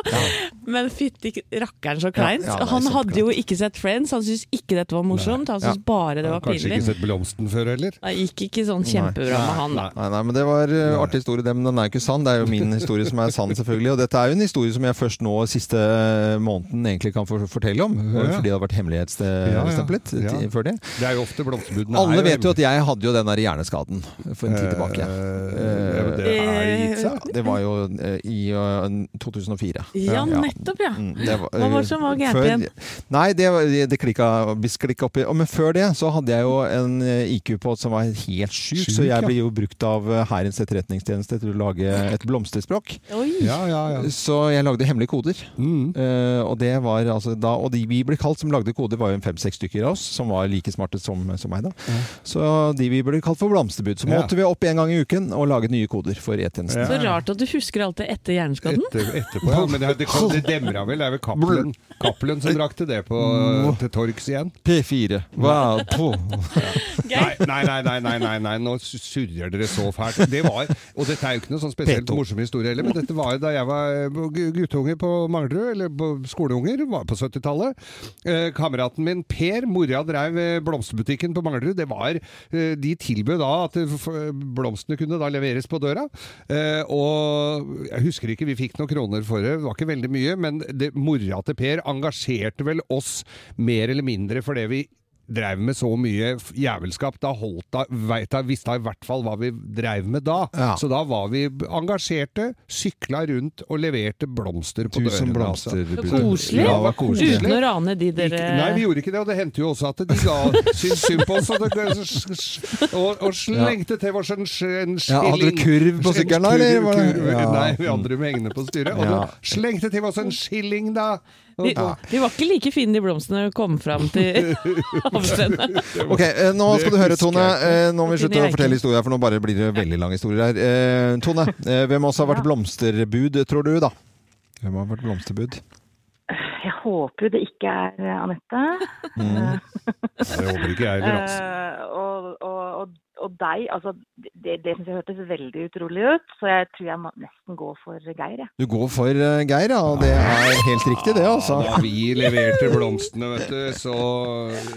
[SPEAKER 3] Men fytti rakkeren så kleint.
[SPEAKER 1] Ja, ja, det er
[SPEAKER 3] han
[SPEAKER 1] kjempekleint.
[SPEAKER 3] hadde jo ikke sett Friends, han syntes ikke dette var morsomt. Han syntes bare det var
[SPEAKER 2] Kanskje
[SPEAKER 3] pinlig.
[SPEAKER 2] ikke sett blomsten før heller?
[SPEAKER 3] Det gikk ikke sånn kjempebra med han, da.
[SPEAKER 1] Nei, nei, men Det var eh, artig historie, det, men den er jo ikke sann. Det er jo min historie som er sann, selvfølgelig. Og dette er jo en historie som jeg først nå siste eh, måneden egentlig kan for fortelle om.
[SPEAKER 2] Ja.
[SPEAKER 1] Fordi det har vært hemmelighetsstemplet
[SPEAKER 2] Ja, ja. Ja.
[SPEAKER 1] til- før det.
[SPEAKER 2] Det er jo ofte blomsterbudene.
[SPEAKER 1] Alle vet jo at jeg hadde jo den der hjerneskaden for en tid tilbake.
[SPEAKER 2] Eh, det er det gitt seg.
[SPEAKER 1] Det var jo eh, i eh, 2004.
[SPEAKER 3] Ja,
[SPEAKER 1] Ja.
[SPEAKER 3] nettopp, ja.
[SPEAKER 1] Mm, det var-
[SPEAKER 3] Hva var det som var gærent
[SPEAKER 1] Før-
[SPEAKER 3] igjen?
[SPEAKER 1] Nei, det, var- det klikka, vi sklikka opp i og Men før det så hadde jeg jo en eh, IQ på som var helt sjuk,
[SPEAKER 2] Sjuk,
[SPEAKER 1] så
[SPEAKER 2] ja.
[SPEAKER 1] jeg ble jo brukt av eh, Hærens etterretningstjeneste til å lage et blomsterspråk.
[SPEAKER 3] Oi.
[SPEAKER 2] Ja, ja, Mm. ja.
[SPEAKER 1] Så jeg lagde hemmelige koder. Eh, og det var altså da, og de vi ble kalt som lagde koder, var jo en fem-seks stykker av oss som var like smarte som, som meg. da. Så de vi ble kalt for blomsterbud. Så
[SPEAKER 2] Ja.
[SPEAKER 1] måtte vi opp en gang i uken og lage nye koder for E-tjenesten.
[SPEAKER 3] Så rart at du husker alt det etter hjerneskaden.
[SPEAKER 2] Etter, etterpå, ja. Men det, det, kom- det demra vel. Det er vel Cappelen Cappelen som brakte det på, til torgs igjen.
[SPEAKER 1] P4. Mm. Hva på?
[SPEAKER 2] Nei, nei, nei, nei, nei, nei, nei. nå surrer dere så fælt. Det var, og dette er jo ikke noe sånn spesielt
[SPEAKER 1] P2.
[SPEAKER 2] morsom historie heller, men dette var jo da jeg var eh, gu- guttunge på Manglerud, eller på skoleunger, var på 70-tallet. Eh, kameraten min Per, mora drev eh, blomsterbutikken på Manglerud. Det var, eh, de tilbød da at eh, f- blomstene kunne da leveres på døra. Eh, og jeg husker ikke, vi fikk noen kroner for det, det var ikke veldig mye, men det, mora til Per engasjerte vel oss mer eller mindre for det vi dreiv med så mye f- jævelskap, da holdt da, vet jeg, visste jeg i hvert fall hva vi dreiv med da.
[SPEAKER 1] Ja.
[SPEAKER 2] Så da var vi b- engasjerte, sykla rundt og leverte blomster på dørene.
[SPEAKER 1] Tusen blomsterbud.
[SPEAKER 2] Altså.
[SPEAKER 3] Koselig.
[SPEAKER 2] Ja, det var koselig.
[SPEAKER 3] Uten å rane de dere
[SPEAKER 2] Ikke- Nei, vi gjorde ikke det, og det hendte jo også at de ga syntes synd på oss og, det, og, og slengte til oss en, sk- en
[SPEAKER 1] *laughs* Ja, hadde dere
[SPEAKER 2] skilling.
[SPEAKER 1] kurv på sykkelen,
[SPEAKER 2] En
[SPEAKER 1] eller var det-
[SPEAKER 2] kurv,
[SPEAKER 1] Ja.
[SPEAKER 2] Nei, vi andre med hengende på styret. Og
[SPEAKER 1] Ja.
[SPEAKER 2] de slengte til oss en skilling, da! Og,
[SPEAKER 3] de, de var ikke like fine, de blomstene, når vi kom fram
[SPEAKER 2] *laughs*
[SPEAKER 3] til avsenderen.
[SPEAKER 1] Ok, eh, Nå skal du høre, Tone. Eh, nå må vi
[SPEAKER 3] Kunne
[SPEAKER 1] slutte å
[SPEAKER 3] jeg ikke.
[SPEAKER 1] fortelle historier, for nå bare blir det veldig lange historier her. Eh, Tone, eh, hvem av oss har vært blomsterbud, tror du, da? Hvem har vært blomsterbud?
[SPEAKER 5] Jeg håper jo det ikke er eh, Anette.
[SPEAKER 1] Mm.
[SPEAKER 2] Ja, det håper ikke jeg heller, altså.
[SPEAKER 5] Eh, og, og, og, og deg. Altså, det, det syns jeg hørtes veldig utrolig ut, så jeg tror jeg må nesten gå for Geir, jeg.
[SPEAKER 1] Du går for eh, Geir, ja. Og det er helt riktig, det, altså.
[SPEAKER 2] Da vi leverte blomstene, vet du, så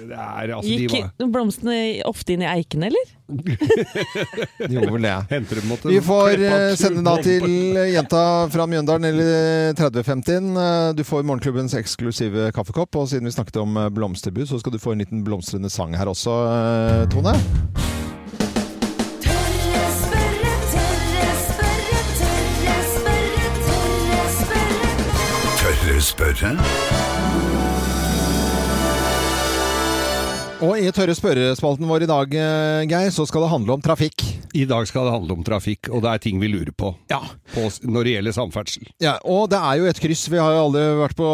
[SPEAKER 2] det er, altså, de var,
[SPEAKER 3] Gikk blomstene ofte inn i eikene, eller?
[SPEAKER 1] *laughs* Jo, vel det.
[SPEAKER 2] henter dem måtte
[SPEAKER 1] Vi får
[SPEAKER 2] klippe av
[SPEAKER 1] eh, sende da
[SPEAKER 2] turen.
[SPEAKER 1] til eh, jenta fra Mjøndalen eller 3050. Eh, Du får morgenklubbens eksklusive kaffekopp, og siden vi snakket om eh, blomsterbud, så skal du få en liten blomstrende sang her også, eh, Tone.
[SPEAKER 7] Tørre spørre, tørre spørre, tørre spørre, tørre spørre.
[SPEAKER 6] Tørre spørre?
[SPEAKER 1] Og i tørre spørrespalten vår i dag, eh, Geir, så skal det handle om trafikk.
[SPEAKER 2] I dag skal det handle om trafikk, og det er ting vi lurer på, på s- når det gjelder samferdsel.
[SPEAKER 1] Ja, og det er jo et kryss. Vi har jo alle vært på,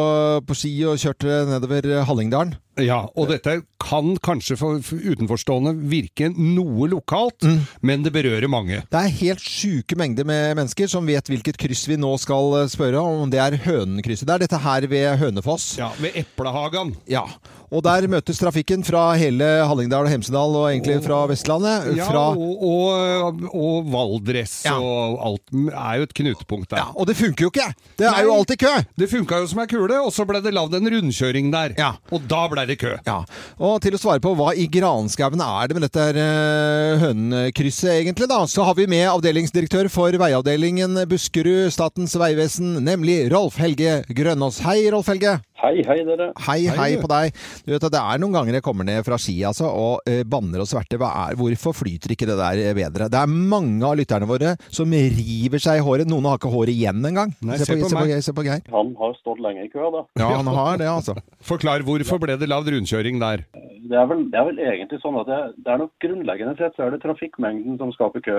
[SPEAKER 1] på ski og kjørt eh, nedover eh, Hallingdalen.
[SPEAKER 2] Ja, og dette kan kanskje for for utenforstående virke noe lokalt,
[SPEAKER 1] Mm.
[SPEAKER 2] men det berører mange.
[SPEAKER 1] Det er helt sjuke mengder med mennesker som vet hvilket kryss vi nå skal eh, spørre om. Det er Hønenkrysset. Det er dette her ved Hønefoss.
[SPEAKER 2] Ja, Ved Eplehagan.
[SPEAKER 1] Ja, og der møtes trafikken fra hele Hallingdal og Hemsedal, og egentlig fra Vestlandet.
[SPEAKER 2] Ja,
[SPEAKER 1] Fra,
[SPEAKER 2] og, og, og Valdres
[SPEAKER 1] Ja.
[SPEAKER 2] og alt er jo et knutepunkt der.
[SPEAKER 1] ja, og det funker jo ikke! Det er jo
[SPEAKER 2] Nei.
[SPEAKER 1] alltid kø!
[SPEAKER 2] Det funka jo som ei kule, og så ble det lagd en rundkjøring der.
[SPEAKER 1] Ja.
[SPEAKER 2] Og da ble det kø.
[SPEAKER 1] Ja, Og til å svare på hva i granskauen er det med dette her, eh, hønekrysset, egentlig, da, så har vi med avdelingsdirektør for veiavdelingen Buskerud Statens vegvesen, nemlig Rolf Helge Grønås. Hei, Rolf Helge.
[SPEAKER 8] Hei, hei dere.
[SPEAKER 1] Hei, hei på deg. Du vet at Det er noen ganger jeg kommer ned fra ski altså, og eh, banner og sverter. Hva er- Hvorfor flyter ikke det der eh, bedre? Det er mange av lytterne våre som river seg i håret. Noen har ikke håret igjen engang.
[SPEAKER 2] Nei, se på
[SPEAKER 1] se,
[SPEAKER 2] meg.
[SPEAKER 1] på, se på Geir.
[SPEAKER 8] Han har stått lenge i kø, da.
[SPEAKER 1] Ja, han har det, altså. *laughs*
[SPEAKER 2] Forklar hvorfor ble det lavd rundkjøring der?
[SPEAKER 8] Det er vel, det er vel egentlig sånn at det, det er nok grunnleggende sett så er det trafikkmengden som skaper kø.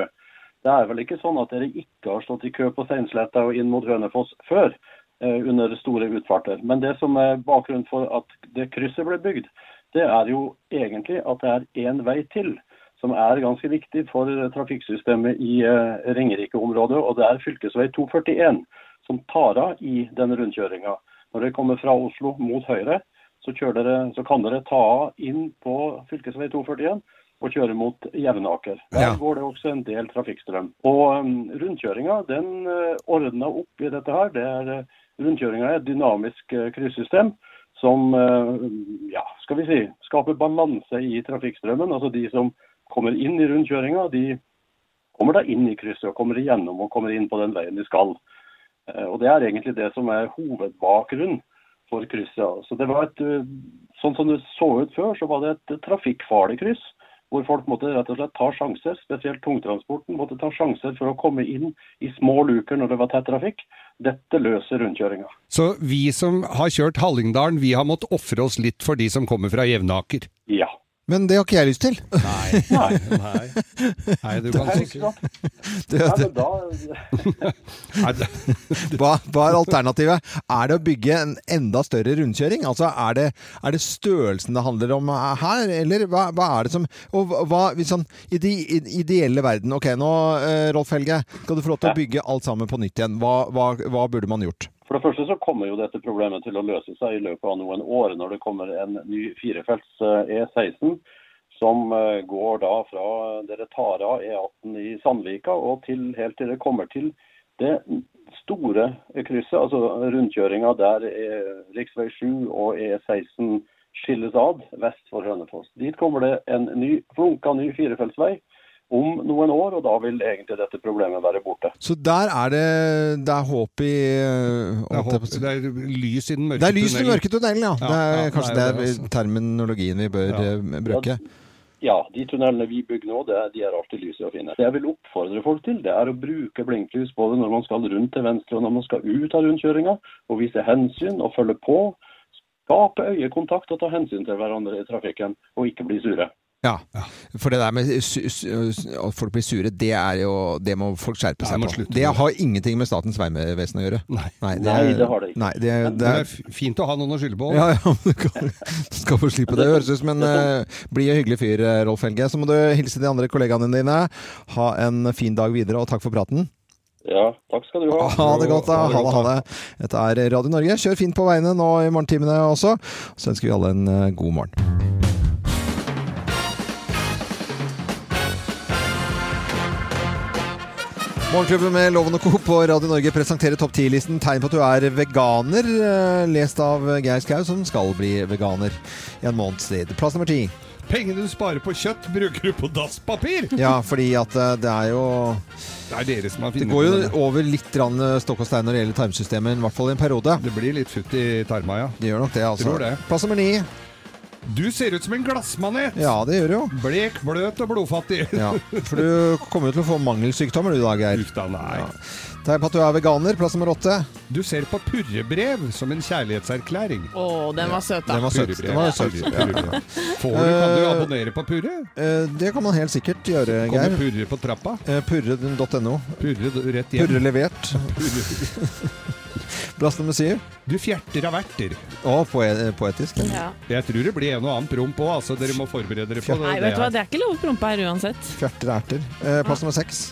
[SPEAKER 8] Det er vel ikke sånn at dere ikke har stått i kø på Steinsletta og inn mot Hønefoss før eh, under store utfarter. Men det som er bakgrunnen for at det krysset ble bygd, det er jo egentlig at det er én vei til. Som er ganske viktig for eh, trafikksystemet i eh, Ringerike-området. Og det er fylkesvei 241 som tar av i den rundkjøringa. Når dere kommer fra Oslo mot høyre, så, kjører dere, så kan dere ta av inn på fylkesvei 241 og kjøre mot Jevnaker. Der
[SPEAKER 2] Ja.
[SPEAKER 8] går det også en del trafikkstrøm. Og um, rundkjøringa den uh, ordna opp i dette her. Det er, uh, rundkjøringa er et dynamisk uh, kryssystem som eh, ja, skal vi si, skaper balanse i trafikkstrømmen. Altså de som kommer inn i rundkjøringa, de kommer da inn i krysset og kommer igjennom og kommer inn på den veien de skal. Eh, Og Det er egentlig det som er hovedbakgrunnen for krysset. Så det var et, eh, Sånn som det så ut før, så var det et trafikkfarlig kryss. Hvor folk måtte rett og slett ta sjanser, spesielt tungtransporten. måtte ta sjanser for å komme inn i små luker når det var tett trafikk. Dette løser rundkjøringa.
[SPEAKER 2] Så vi som har kjørt Hallingdalen, vi har måttet ofre oss litt for de som kommer fra Jevnaker.
[SPEAKER 8] Ja.
[SPEAKER 1] Men det har ikke jeg lyst til.
[SPEAKER 8] Nei,
[SPEAKER 2] Nei, Nei du kan
[SPEAKER 8] det er ikke sant. Nei, men da, *laughs*
[SPEAKER 2] Nei, det-
[SPEAKER 1] *laughs* Hva, hva er alternativet? Er det å bygge en enda større rundkjøring? Altså, er det, er det størrelsen det handler om her, eller hva, hva er det som Og hva, hvis sånn, I de i- ideelle verden Ok, nå, eh, Rolf Helge, skal du få lov til å bygge alt sammen på nytt igjen. Hva, hva, hva burde man gjort?
[SPEAKER 8] For det første så kommer jo dette problemet til å løse seg i løpet av noen år, når det kommer en ny firefelts eh, E16 som eh, går da fra dere tar av E18 i Sandvika og til, helt til dere kommer til det store krysset, altså rundkjøringa der eh, rv. 7 og E16 skilles ad vest for Hønefoss. Dit kommer det en ny, flunka ny firefeltsvei om noen år, og da vil egentlig dette problemet være borte.
[SPEAKER 1] Så der er det Det er håp i eh,
[SPEAKER 2] det er
[SPEAKER 1] holdt jeg på å
[SPEAKER 2] håp-
[SPEAKER 1] si.
[SPEAKER 2] det er lys i den mørke
[SPEAKER 1] Det er lys i den
[SPEAKER 2] tunnelen.
[SPEAKER 1] mørke tunnelen, ja. Det er
[SPEAKER 2] Ja, ja,
[SPEAKER 1] kanskje
[SPEAKER 2] det
[SPEAKER 1] det
[SPEAKER 2] er
[SPEAKER 1] er
[SPEAKER 2] det, altså.
[SPEAKER 1] terminologien vi bør
[SPEAKER 2] Ja.
[SPEAKER 1] eh, bruke.
[SPEAKER 8] Ja, de tunnelene vi bygger nå, det, er- de er alltid lyse og fine. Det jeg vil oppfordre folk til, det er å bruke blinklys både når man skal rundt til venstre og når man skal ut av rundkjøringa, og vise hensyn og følge på. Skape øyekontakt og ta hensyn til hverandre i trafikken, og ikke bli sure.
[SPEAKER 1] Ja. For det der med su su su- at folk blir sure, det er jo Det må folk skjerpe
[SPEAKER 2] Ja,
[SPEAKER 1] seg
[SPEAKER 2] må
[SPEAKER 1] på.
[SPEAKER 2] slutte
[SPEAKER 1] Det
[SPEAKER 2] med det.
[SPEAKER 1] har ingenting med Statens vegvesen å gjøre.
[SPEAKER 2] Nei.
[SPEAKER 8] Nei, det har det ikke.
[SPEAKER 1] Nei, det,
[SPEAKER 2] Det
[SPEAKER 1] det
[SPEAKER 2] er
[SPEAKER 1] er
[SPEAKER 2] f- fint å ha noen å skylde på.
[SPEAKER 1] ja, ja, du, kan, du skal få slippe det. Høres ut som en uh, blid og hyggelig fyr, eh, Rolf Helge. Så må du hilse de andre kollegaene dine. Ha en fin dag videre, og takk for praten.
[SPEAKER 8] Ja, takk skal du ha.
[SPEAKER 1] Ha det godt, da. Ha det, ha det. Dette er Radio Norge. Kjør fint på veiene nå i morgentimene også. Så ønsker vi alle en eh, god morgen. Morgenklubben med Loven og Co. på Radio Norge presenterer topp 10-listen tegn på at du er veganer, eh, lest av Geir Skau, som skal bli veganer i en måneds tid. Plass nummer ti.
[SPEAKER 2] Pengene du sparer på kjøtt, bruker du på dasspapir!
[SPEAKER 1] Ja, fordi at eh, det er jo
[SPEAKER 2] Det er dere som har
[SPEAKER 1] Det
[SPEAKER 2] funnet
[SPEAKER 1] går jo
[SPEAKER 2] det.
[SPEAKER 1] over litt grann, eh, stokk og stein når det gjelder tarmsystemet, i hvert fall i en periode.
[SPEAKER 2] Det blir litt futt i tarma, ja.
[SPEAKER 1] Det gjør nok det, altså.
[SPEAKER 2] Tror det.
[SPEAKER 1] Plass nummer ni.
[SPEAKER 2] Du ser ut som en glassmanet!
[SPEAKER 1] Ja, det gjør det
[SPEAKER 2] *laughs*
[SPEAKER 1] jo.
[SPEAKER 2] Blek, bløt og blodfattig.
[SPEAKER 1] Ja, for du kommer jo til å få mangelsykdommer du i dag, Geir.
[SPEAKER 2] Uff da, nei.
[SPEAKER 1] Ja. Tegn på at du er veganer. Plass nummer åtte.
[SPEAKER 2] Du ser på purrebrev som en kjærlighetserklæring.
[SPEAKER 3] Å, den var søt, da.
[SPEAKER 1] Den var søt.
[SPEAKER 2] Purrebrev.
[SPEAKER 1] Den var søt. Ja.
[SPEAKER 2] Purrebrev. Får du, kan du abonnere på Purre?
[SPEAKER 1] Eh, Det kan man helt sikkert gjøre,
[SPEAKER 2] Kommer
[SPEAKER 1] Geir.
[SPEAKER 2] Purre på trappa?
[SPEAKER 1] Eh, Purre.no.
[SPEAKER 2] Purre d- rett hjem.
[SPEAKER 1] Purre levert. *laughs* Plass nummer syv.
[SPEAKER 2] Du fjerter av verter.
[SPEAKER 1] Å, poe- poetisk. ja.
[SPEAKER 3] Ja.
[SPEAKER 2] Jeg tror det blir en og annen promp òg, altså. Dere må forberede dere på det.
[SPEAKER 3] Nei, vet du hva, det er ikke lov å prompe her uansett.
[SPEAKER 1] Fjerter erter. Eh, Plass nummer seks.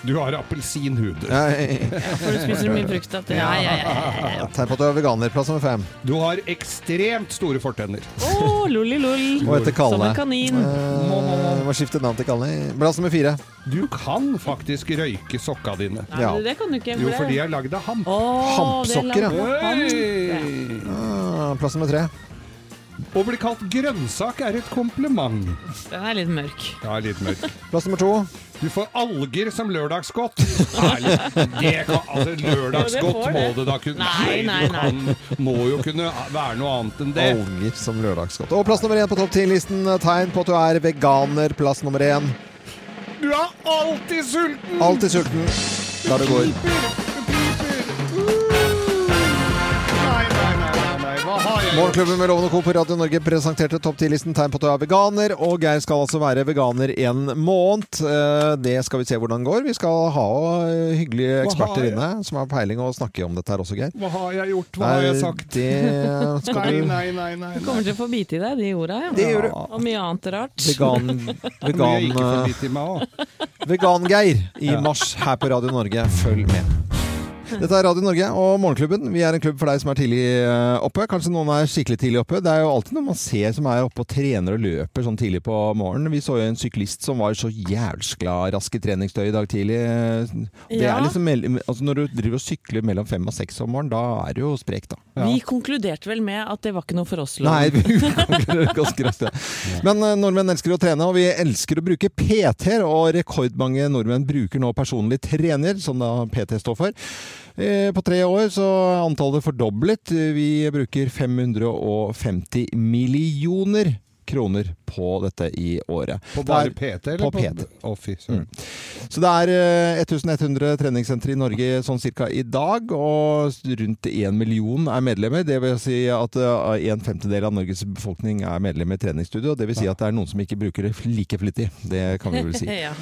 [SPEAKER 2] Du har appelsinhud.
[SPEAKER 1] Eh,
[SPEAKER 3] For du spiser så mye frukt at Ja, ja, ja. ja.
[SPEAKER 1] Tegn på at du er veganer. Plass nummer fem.
[SPEAKER 2] Du har ekstremt store fortenner.
[SPEAKER 3] Å, lolli-loll.
[SPEAKER 1] Og
[SPEAKER 3] Som
[SPEAKER 1] etter Kalle.
[SPEAKER 3] en kanin. Må, må,
[SPEAKER 1] Eh,
[SPEAKER 3] må.
[SPEAKER 1] Må skifte navn til Kalle. Plass nummer fire.
[SPEAKER 2] Du kan faktisk røyke sokka dine.
[SPEAKER 3] Nei,
[SPEAKER 1] Ja.
[SPEAKER 3] du, det kan du ikke.
[SPEAKER 2] Jo,
[SPEAKER 3] for
[SPEAKER 2] fordi
[SPEAKER 3] det-
[SPEAKER 2] jeg er lagd av hamp.
[SPEAKER 3] Å,
[SPEAKER 1] Hampsokker,
[SPEAKER 3] det er
[SPEAKER 1] ja.
[SPEAKER 3] langt på hamp.
[SPEAKER 2] Hei!
[SPEAKER 1] Ah, Plass nummer tre.
[SPEAKER 2] Å bli kalt grønnsak er et kompliment.
[SPEAKER 3] Den er litt mørk.
[SPEAKER 2] Ja, litt mørk.
[SPEAKER 1] Plass nummer to.
[SPEAKER 2] Du får alger som lørdagsgodt. Ærlig. Det kan, altså,
[SPEAKER 3] Jo,
[SPEAKER 2] lørdagsgodt
[SPEAKER 3] det får
[SPEAKER 2] må
[SPEAKER 3] det.
[SPEAKER 2] det da kunne
[SPEAKER 3] Nei, nei,
[SPEAKER 2] du Kan, må jo kunne være noe annet enn det.
[SPEAKER 1] Alger som lørdagsgodt. Og plass nummer én på topp ti-listen. Tegn på at du er veganer. Plass nummer én.
[SPEAKER 2] Du er alltid sulten!
[SPEAKER 1] Alltid sulten der du går.
[SPEAKER 2] Nei, nei, nei, nei, nei. Hva har jeg gjort?
[SPEAKER 1] Morgenklubben med Loven og Co. på Radio Norge presenterte topp 10-listen tegn på at du er veganer. Og Geir skal altså være veganer en måned. Eh, Det skal vi se hvordan går. Vi skal ha eh, hyggelige
[SPEAKER 2] har
[SPEAKER 1] eksperter
[SPEAKER 2] jeg?
[SPEAKER 1] inne som har peiling og snakke om dette her også, Geir.
[SPEAKER 2] Hva har jeg gjort? Hva har jeg sagt?
[SPEAKER 1] Nei, Det
[SPEAKER 2] Nei,
[SPEAKER 1] skal du
[SPEAKER 2] nei, nei, nei. nei.
[SPEAKER 3] Kommer til å få bite i deg de orda, ja.
[SPEAKER 1] Det gjør du.
[SPEAKER 3] Og mye annet rart.
[SPEAKER 1] Vegan,
[SPEAKER 3] *laughs*
[SPEAKER 2] *laughs* Mye jeg ikke får
[SPEAKER 1] vegan,
[SPEAKER 2] bitt i meg også.
[SPEAKER 1] Vegan-Geir i mars her på Radio Norge. Følg med. Dette er Radio Norge og Morgenklubben. Vi er en klubb for deg som er tidlig eh, oppe. Kanskje noen er skikkelig tidlig oppe. Det er jo alltid noen man ser som er oppe og trener og løper sånn tidlig på morgenen. Vi så jo en syklist som var så jævskla rask i treningstøy i dag tidlig. Det
[SPEAKER 3] Ja.
[SPEAKER 1] er liksom, mell- altså når du driver og sykler mellom fem og seks om morgenen, da er du jo sprek, da.
[SPEAKER 3] Vi konkluderte vel med at det var ikke noe for oss. Loven.
[SPEAKER 1] Nei, *laughs* vi
[SPEAKER 3] *laughs*
[SPEAKER 1] konkurrerer ganske raskt. ja. Men eh, nordmenn elsker å trene, og vi elsker å bruke PT-er. Og rekordmange nordmenn bruker nå personlig trener, som da PT står for. Eh, På tre år så er antallet fordoblet. Vi bruker 550 millioner kroner på dette i året.
[SPEAKER 2] På bare
[SPEAKER 1] Det er-
[SPEAKER 2] PT, eller?
[SPEAKER 1] På PT.
[SPEAKER 2] Å, fy søren.
[SPEAKER 1] Så det er eh, 1100 treningssentre i Norge sånn cirka i dag, og rundt én million er medlemmer. Det vil si at eh, en femtedel av Norges befolkning er medlem i treningsstudio. og Det vil si at det er noen som ikke bruker det like flittig. Det kan vi vel si.
[SPEAKER 3] Ja.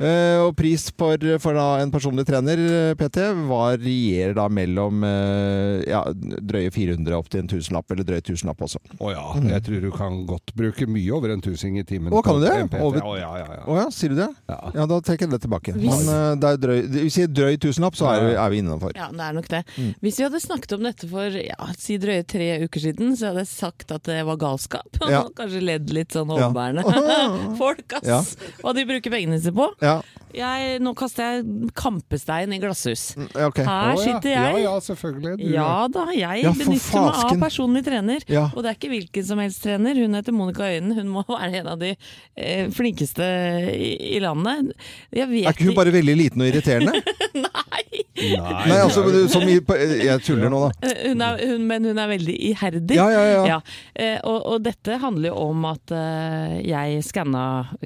[SPEAKER 1] Eh, Og pris for, for da en personlig trener, eh, PT, varierer da mellom eh, ja, drøye 400 opp til en tusenlapp, eller drøye tusenlapp også. Mm.
[SPEAKER 2] Å ja, jeg tror du kan godt bruke mye over en tusing i timen.
[SPEAKER 1] Å, kan
[SPEAKER 2] på
[SPEAKER 1] du det?
[SPEAKER 2] en PT.
[SPEAKER 1] Over-
[SPEAKER 2] Å, ja, ja, ja.
[SPEAKER 1] Å ja, sier du det?
[SPEAKER 2] Ja.
[SPEAKER 1] Ja, da trekker jeg det tilbake.
[SPEAKER 3] Hvis-
[SPEAKER 1] Men eh, det er drøy, hvis vi sier drøy tusenlapp, så er vi, er vi innafor.
[SPEAKER 3] Ja, det er nok det.
[SPEAKER 1] Mm.
[SPEAKER 3] Hvis vi hadde snakket om dette for ja, si drøye tre uker siden, så hadde jeg sagt at det var galskap. *laughs* Og
[SPEAKER 1] Ja.
[SPEAKER 3] kanskje ledd litt sånn
[SPEAKER 1] Ja.
[SPEAKER 3] overbærende.
[SPEAKER 1] *laughs*
[SPEAKER 3] Folk, ass!
[SPEAKER 1] Ja.
[SPEAKER 3] Hva de bruker pengene sine på.
[SPEAKER 1] Ja,
[SPEAKER 3] Jeg, nå kaster jeg kampestein i glasshus.
[SPEAKER 1] Mm, ja, *laughs* altså. ok.
[SPEAKER 3] Her
[SPEAKER 2] Å, ja.
[SPEAKER 3] sitter
[SPEAKER 2] Ja
[SPEAKER 3] jeg.
[SPEAKER 2] ja, selvfølgelig. Du,
[SPEAKER 3] Ja da, jeg
[SPEAKER 1] Ja, for
[SPEAKER 3] benytter meg av
[SPEAKER 1] fasken.
[SPEAKER 3] personlig trener.
[SPEAKER 1] Ja.
[SPEAKER 3] Og det er ikke hvilken som helst trener. Hun heter Monica Øynen. Hun må *laughs* være en av de eh, flinkeste i, i landet. Jeg vet
[SPEAKER 1] Er ikke hun bare veldig liten og irriterende?
[SPEAKER 3] *laughs* Nei!
[SPEAKER 2] Nei,
[SPEAKER 1] Nei, altså, men du- som i, på- jeg tuller nå, da.
[SPEAKER 3] Eh, Hun er, hun, men hun er veldig iherdig.
[SPEAKER 1] Ja, ja, ja.
[SPEAKER 3] Eh, og, og dette handler jo om at eh, jeg skanna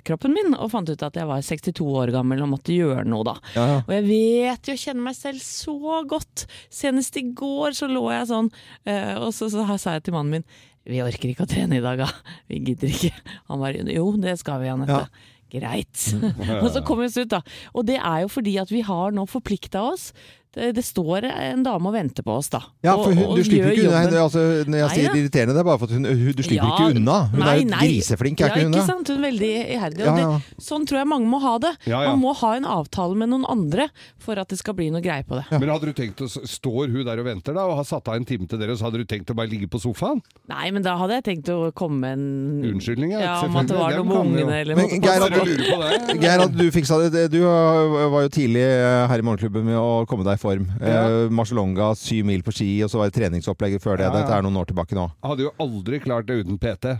[SPEAKER 3] kroppen min og fant ut at jeg var 62 år gammel og måtte gjøre noe da.
[SPEAKER 1] Ja, ja.
[SPEAKER 3] Og jeg vet jo, jeg kjenner meg selv så godt. Senest i går så lå jeg sånn, eh, og så, så her sa jeg til mannen min Vi orker ikke å trene i dag, da. Vi gidder ikke. Han bare Jo, det skal vi, Anette.
[SPEAKER 1] Ja. *laughs*
[SPEAKER 3] Greit. og så kom vi oss ut, da. Og det er jo fordi at vi har nå forplikta oss. Det, det står en dame og venter på oss, da.
[SPEAKER 1] Ja, for
[SPEAKER 3] Og-
[SPEAKER 1] hun,
[SPEAKER 3] og
[SPEAKER 1] du
[SPEAKER 3] gjør
[SPEAKER 1] slipper ikke unna
[SPEAKER 3] jobben.
[SPEAKER 1] henne. Altså, når jeg
[SPEAKER 3] Nei,
[SPEAKER 1] sier
[SPEAKER 3] ja.
[SPEAKER 1] irriterende, det er bare for at hun, hun du slipper
[SPEAKER 3] Ja,
[SPEAKER 1] ikke unna. Hun er jo
[SPEAKER 3] nei, nei.
[SPEAKER 1] griseflink, er
[SPEAKER 3] ja,
[SPEAKER 1] ikke hun det?
[SPEAKER 3] sant? Hun er veldig iherdig.
[SPEAKER 1] Ja,
[SPEAKER 3] Og
[SPEAKER 1] ja.
[SPEAKER 3] det, sånn tror jeg mange må ha det.
[SPEAKER 2] Ja, ja.
[SPEAKER 3] Man må ha en avtale med noen andre for at det skal bli noe greie på det.
[SPEAKER 2] Men hadde du tenkt å, Står hun der og venter da, og har satt av en time til dere, og så hadde du tenkt å bare ligge på sofaen?
[SPEAKER 3] Nei, men da hadde jeg tenkt å komme med en
[SPEAKER 2] Unnskyldning, ja,
[SPEAKER 3] ja. Om at det
[SPEAKER 2] selvfølgelig.
[SPEAKER 3] var noe
[SPEAKER 2] Den
[SPEAKER 3] med
[SPEAKER 2] kan vi jo.
[SPEAKER 3] ungene eller
[SPEAKER 1] Men
[SPEAKER 3] noe.
[SPEAKER 1] Geir,
[SPEAKER 2] Dere
[SPEAKER 1] hadde,
[SPEAKER 2] lurer på det?
[SPEAKER 1] Geir, hadde du fiksa det? det? Du øh, var jo tidlig øh, her i Morgenklubben med å komme deg i form.
[SPEAKER 2] Ja.
[SPEAKER 1] Eh, Marcialonga, syv mil på ski, og så var det treningsopplegget før det.
[SPEAKER 2] Ja, ja.
[SPEAKER 1] Dette er noen år tilbake nå.
[SPEAKER 2] Jeg hadde jo aldri klart det uten PT.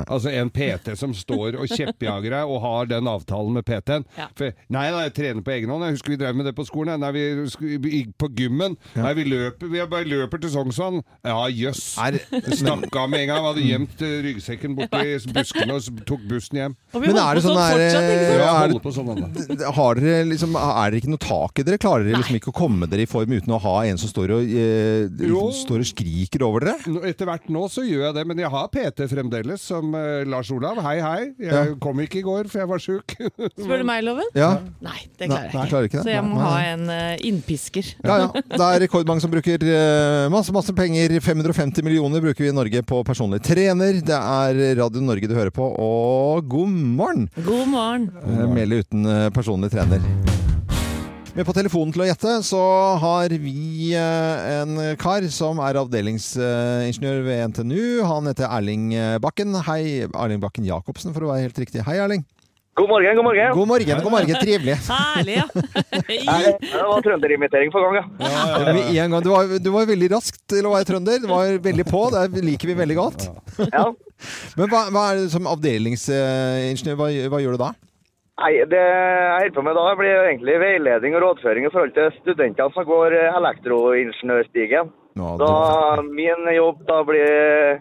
[SPEAKER 2] Altså en PT som står og kjeppjager deg og har den avtalen med PT-en.
[SPEAKER 3] Ja.
[SPEAKER 2] For, nei, nei, jeg trener på egen hånd. Jeg husker vi drev med det på skolen. Nei, vi sku- vi gikk på gymmen. Nei, vi løper, vi bare løper til Sognsvann. Ja, jøss.
[SPEAKER 1] Er, Mm.
[SPEAKER 2] Snakka med en gang. Vi hadde gjemt eh, ryggsekken borti buskene og s- tok bussen hjem.
[SPEAKER 3] Og vi
[SPEAKER 1] men
[SPEAKER 3] holder
[SPEAKER 1] er det
[SPEAKER 3] på
[SPEAKER 1] sånn
[SPEAKER 3] sånn
[SPEAKER 1] der,
[SPEAKER 3] fortsatt, ikke
[SPEAKER 1] øh,
[SPEAKER 3] sant?
[SPEAKER 2] Ja,
[SPEAKER 1] er,
[SPEAKER 2] holder på sånn, da.
[SPEAKER 1] Har dere liksom, er det ikke noe tak i dere? Klarer dere liksom
[SPEAKER 3] Nei.
[SPEAKER 1] ikke å komme dere i form uten å ha en som står og, eh,
[SPEAKER 2] Jo.
[SPEAKER 1] står og skriker over dere?
[SPEAKER 2] Nå- Etter hvert nå så gjør jeg det, men jeg har PT fremdeles, som eh, Lars Olav. Hei, hei. Jeg kom ikke i går, for jeg var sjuk.
[SPEAKER 3] Spør du meg, Loven?
[SPEAKER 1] Ja,
[SPEAKER 3] Nei, det klarer jeg
[SPEAKER 1] Nei, nei,
[SPEAKER 3] ikke.
[SPEAKER 1] klarer ikke det.
[SPEAKER 3] Så jeg må
[SPEAKER 1] Nei, nei.
[SPEAKER 3] ha en eh, innpisker.
[SPEAKER 1] ja, ja. Det er rekordmange som bruker eh, masse, masse penger. 550 millioner bruker vi i Norge på personlig trener. Det er Radio Norge du hører på, og god morgen!
[SPEAKER 3] God morgen.
[SPEAKER 1] Eh, Mele uten eh, personlig trener. Med på telefonen til å gjette så har vi eh, en kar som er avdelingsingeniør ved NTNU. Han heter Erling eh, Bakken. Hei, Erling Bakken Jacobsen, for å være helt riktig. Hei, Erling.
[SPEAKER 9] God morgen, god morgen.
[SPEAKER 1] God morgen, god morgen. Trivelig.
[SPEAKER 3] *laughs* Herlig, ja.
[SPEAKER 9] *laughs* Nei, Det var trønderimittering for gang, ja.
[SPEAKER 1] Med en gang. Du, var, du var veldig rask til å være trønder. Du var veldig på. Det liker vi veldig godt.
[SPEAKER 9] ja.
[SPEAKER 1] *laughs* Men hva, hva er det som avdelingsingeniør, hva, hva gjør du da?
[SPEAKER 9] *laughs* Nei, det jeg holder på med da, blir jo egentlig veiledning og rådføring i forhold til studentene som går eh, elektroingeniørstigen.
[SPEAKER 1] Ja,
[SPEAKER 9] Da min jobb da blir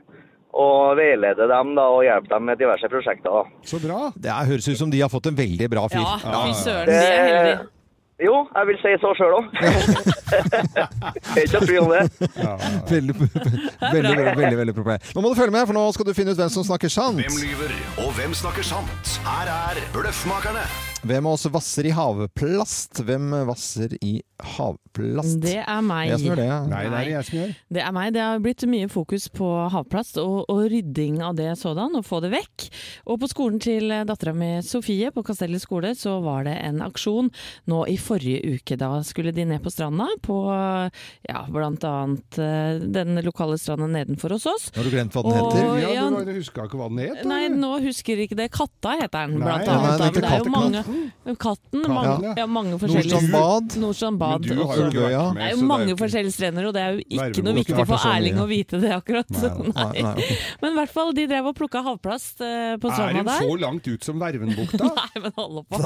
[SPEAKER 9] å veilede dem da, og hjelpe dem med diverse prosjekter. da.
[SPEAKER 2] Så bra.
[SPEAKER 1] Det er, høres ut som de har fått en veldig bra fyr.
[SPEAKER 3] Ja, fy søren,
[SPEAKER 9] Det-
[SPEAKER 3] de er heldige.
[SPEAKER 9] Jo, jeg vil si så sjøl òg. Ikke noe tvil om *laughs* det.
[SPEAKER 1] *laughs* Veldig, veldig, veldig, veldig, veldig populær. Nå må du følge med, for nå skal du finne ut hvem som snakker
[SPEAKER 6] Hvem
[SPEAKER 1] sant.
[SPEAKER 6] lyver, og hvem snakker sant? Her er Bløffmakerne.
[SPEAKER 1] Hvem av oss vasser i havplast? Hvem vasser i havplast?
[SPEAKER 3] Det er meg.
[SPEAKER 1] Jeg som gjør det. ja.
[SPEAKER 2] Nei, det er det jeg som gjør.
[SPEAKER 3] Det er meg. Det har blitt mye fokus på havplast og, og rydding av det sådan, og få det vekk. Og på skolen til dattera mi Sofie på Kastellet skole så var det en aksjon nå i forrige uke. Da skulle de ned på stranda på ja, blant annet eh, den lokale stranda nedenfor hos oss.
[SPEAKER 1] Nå har du glemt hva den heter.
[SPEAKER 3] Og-
[SPEAKER 2] Ja,
[SPEAKER 3] ja.
[SPEAKER 2] du var- du huska ikke hva den het?
[SPEAKER 3] Nei, nå husker ikke det. Katta heter den,
[SPEAKER 2] Nei,
[SPEAKER 3] blant
[SPEAKER 2] nei,
[SPEAKER 3] annet.
[SPEAKER 1] nei,
[SPEAKER 3] da, men
[SPEAKER 1] den
[SPEAKER 3] det er
[SPEAKER 1] heter
[SPEAKER 3] jo mange, katten, mange,
[SPEAKER 2] Katten,
[SPEAKER 3] ja, mange forskjellige
[SPEAKER 1] Nordstrand Bad.
[SPEAKER 3] Nordstrand Bad.
[SPEAKER 2] du har
[SPEAKER 3] også.
[SPEAKER 2] jo ikke
[SPEAKER 1] Gøya.
[SPEAKER 2] vært med,
[SPEAKER 3] Det er
[SPEAKER 2] så
[SPEAKER 3] jo mange
[SPEAKER 2] ikke-
[SPEAKER 3] forskjellige strender, og det er jo ikke
[SPEAKER 2] Vervebol
[SPEAKER 3] noe
[SPEAKER 1] skulle
[SPEAKER 3] viktig
[SPEAKER 1] vært
[SPEAKER 3] for
[SPEAKER 1] så mye.
[SPEAKER 3] Erling å vite det akkurat. Nei.
[SPEAKER 1] Nei, nei, ok.
[SPEAKER 3] *laughs* Men i hvert fall, de drev og plukka havplast eh, på
[SPEAKER 2] Er
[SPEAKER 3] stranda
[SPEAKER 2] den
[SPEAKER 3] der.
[SPEAKER 2] så langt ut som Vervenbukta?
[SPEAKER 3] Nei, men hold på.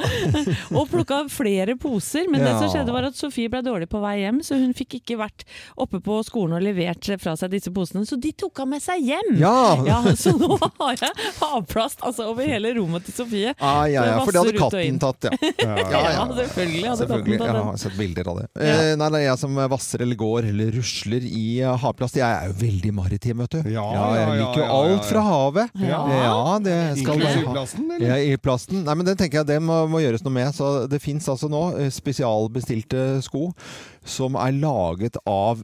[SPEAKER 3] Og plukka flere poser. Men det
[SPEAKER 1] Ja.
[SPEAKER 3] som skjedde var at Sofie ble dårlig på vei hjem, så hun fikk ikke vært oppe på skolen og levert fra seg disse posene. Så de tok henne med seg hjem!
[SPEAKER 1] Ja.
[SPEAKER 3] Så nå har jeg havplast altså, over hele rommet til Sofie.
[SPEAKER 1] Ah, ja, ja, for det hadde
[SPEAKER 3] Vasser ut og
[SPEAKER 1] katten
[SPEAKER 3] inn.
[SPEAKER 1] tatt, ja.
[SPEAKER 3] *laughs* Ja, selvfølgelig hadde
[SPEAKER 1] Selvfølgelig.
[SPEAKER 3] katten
[SPEAKER 1] Jeg
[SPEAKER 3] tatt den.
[SPEAKER 1] har sett bilder av det. Eh, nei, det er jeg som vasser eller går eller rusler i eh, havplast. Jeg er jo veldig maritim, vet du.
[SPEAKER 2] Ja,
[SPEAKER 1] jeg
[SPEAKER 2] ja, ja,
[SPEAKER 1] liker jo
[SPEAKER 2] ja, ja, ja.
[SPEAKER 1] alt fra havet. Ja, det skal
[SPEAKER 2] Inklusiv
[SPEAKER 1] være ha-
[SPEAKER 2] plasten, eller?
[SPEAKER 1] Ja, i plasten. Nei, men den tenker jeg det må, må gjøres noe med. Så det fins altså nå eh, spesialbestilte sko som er laget av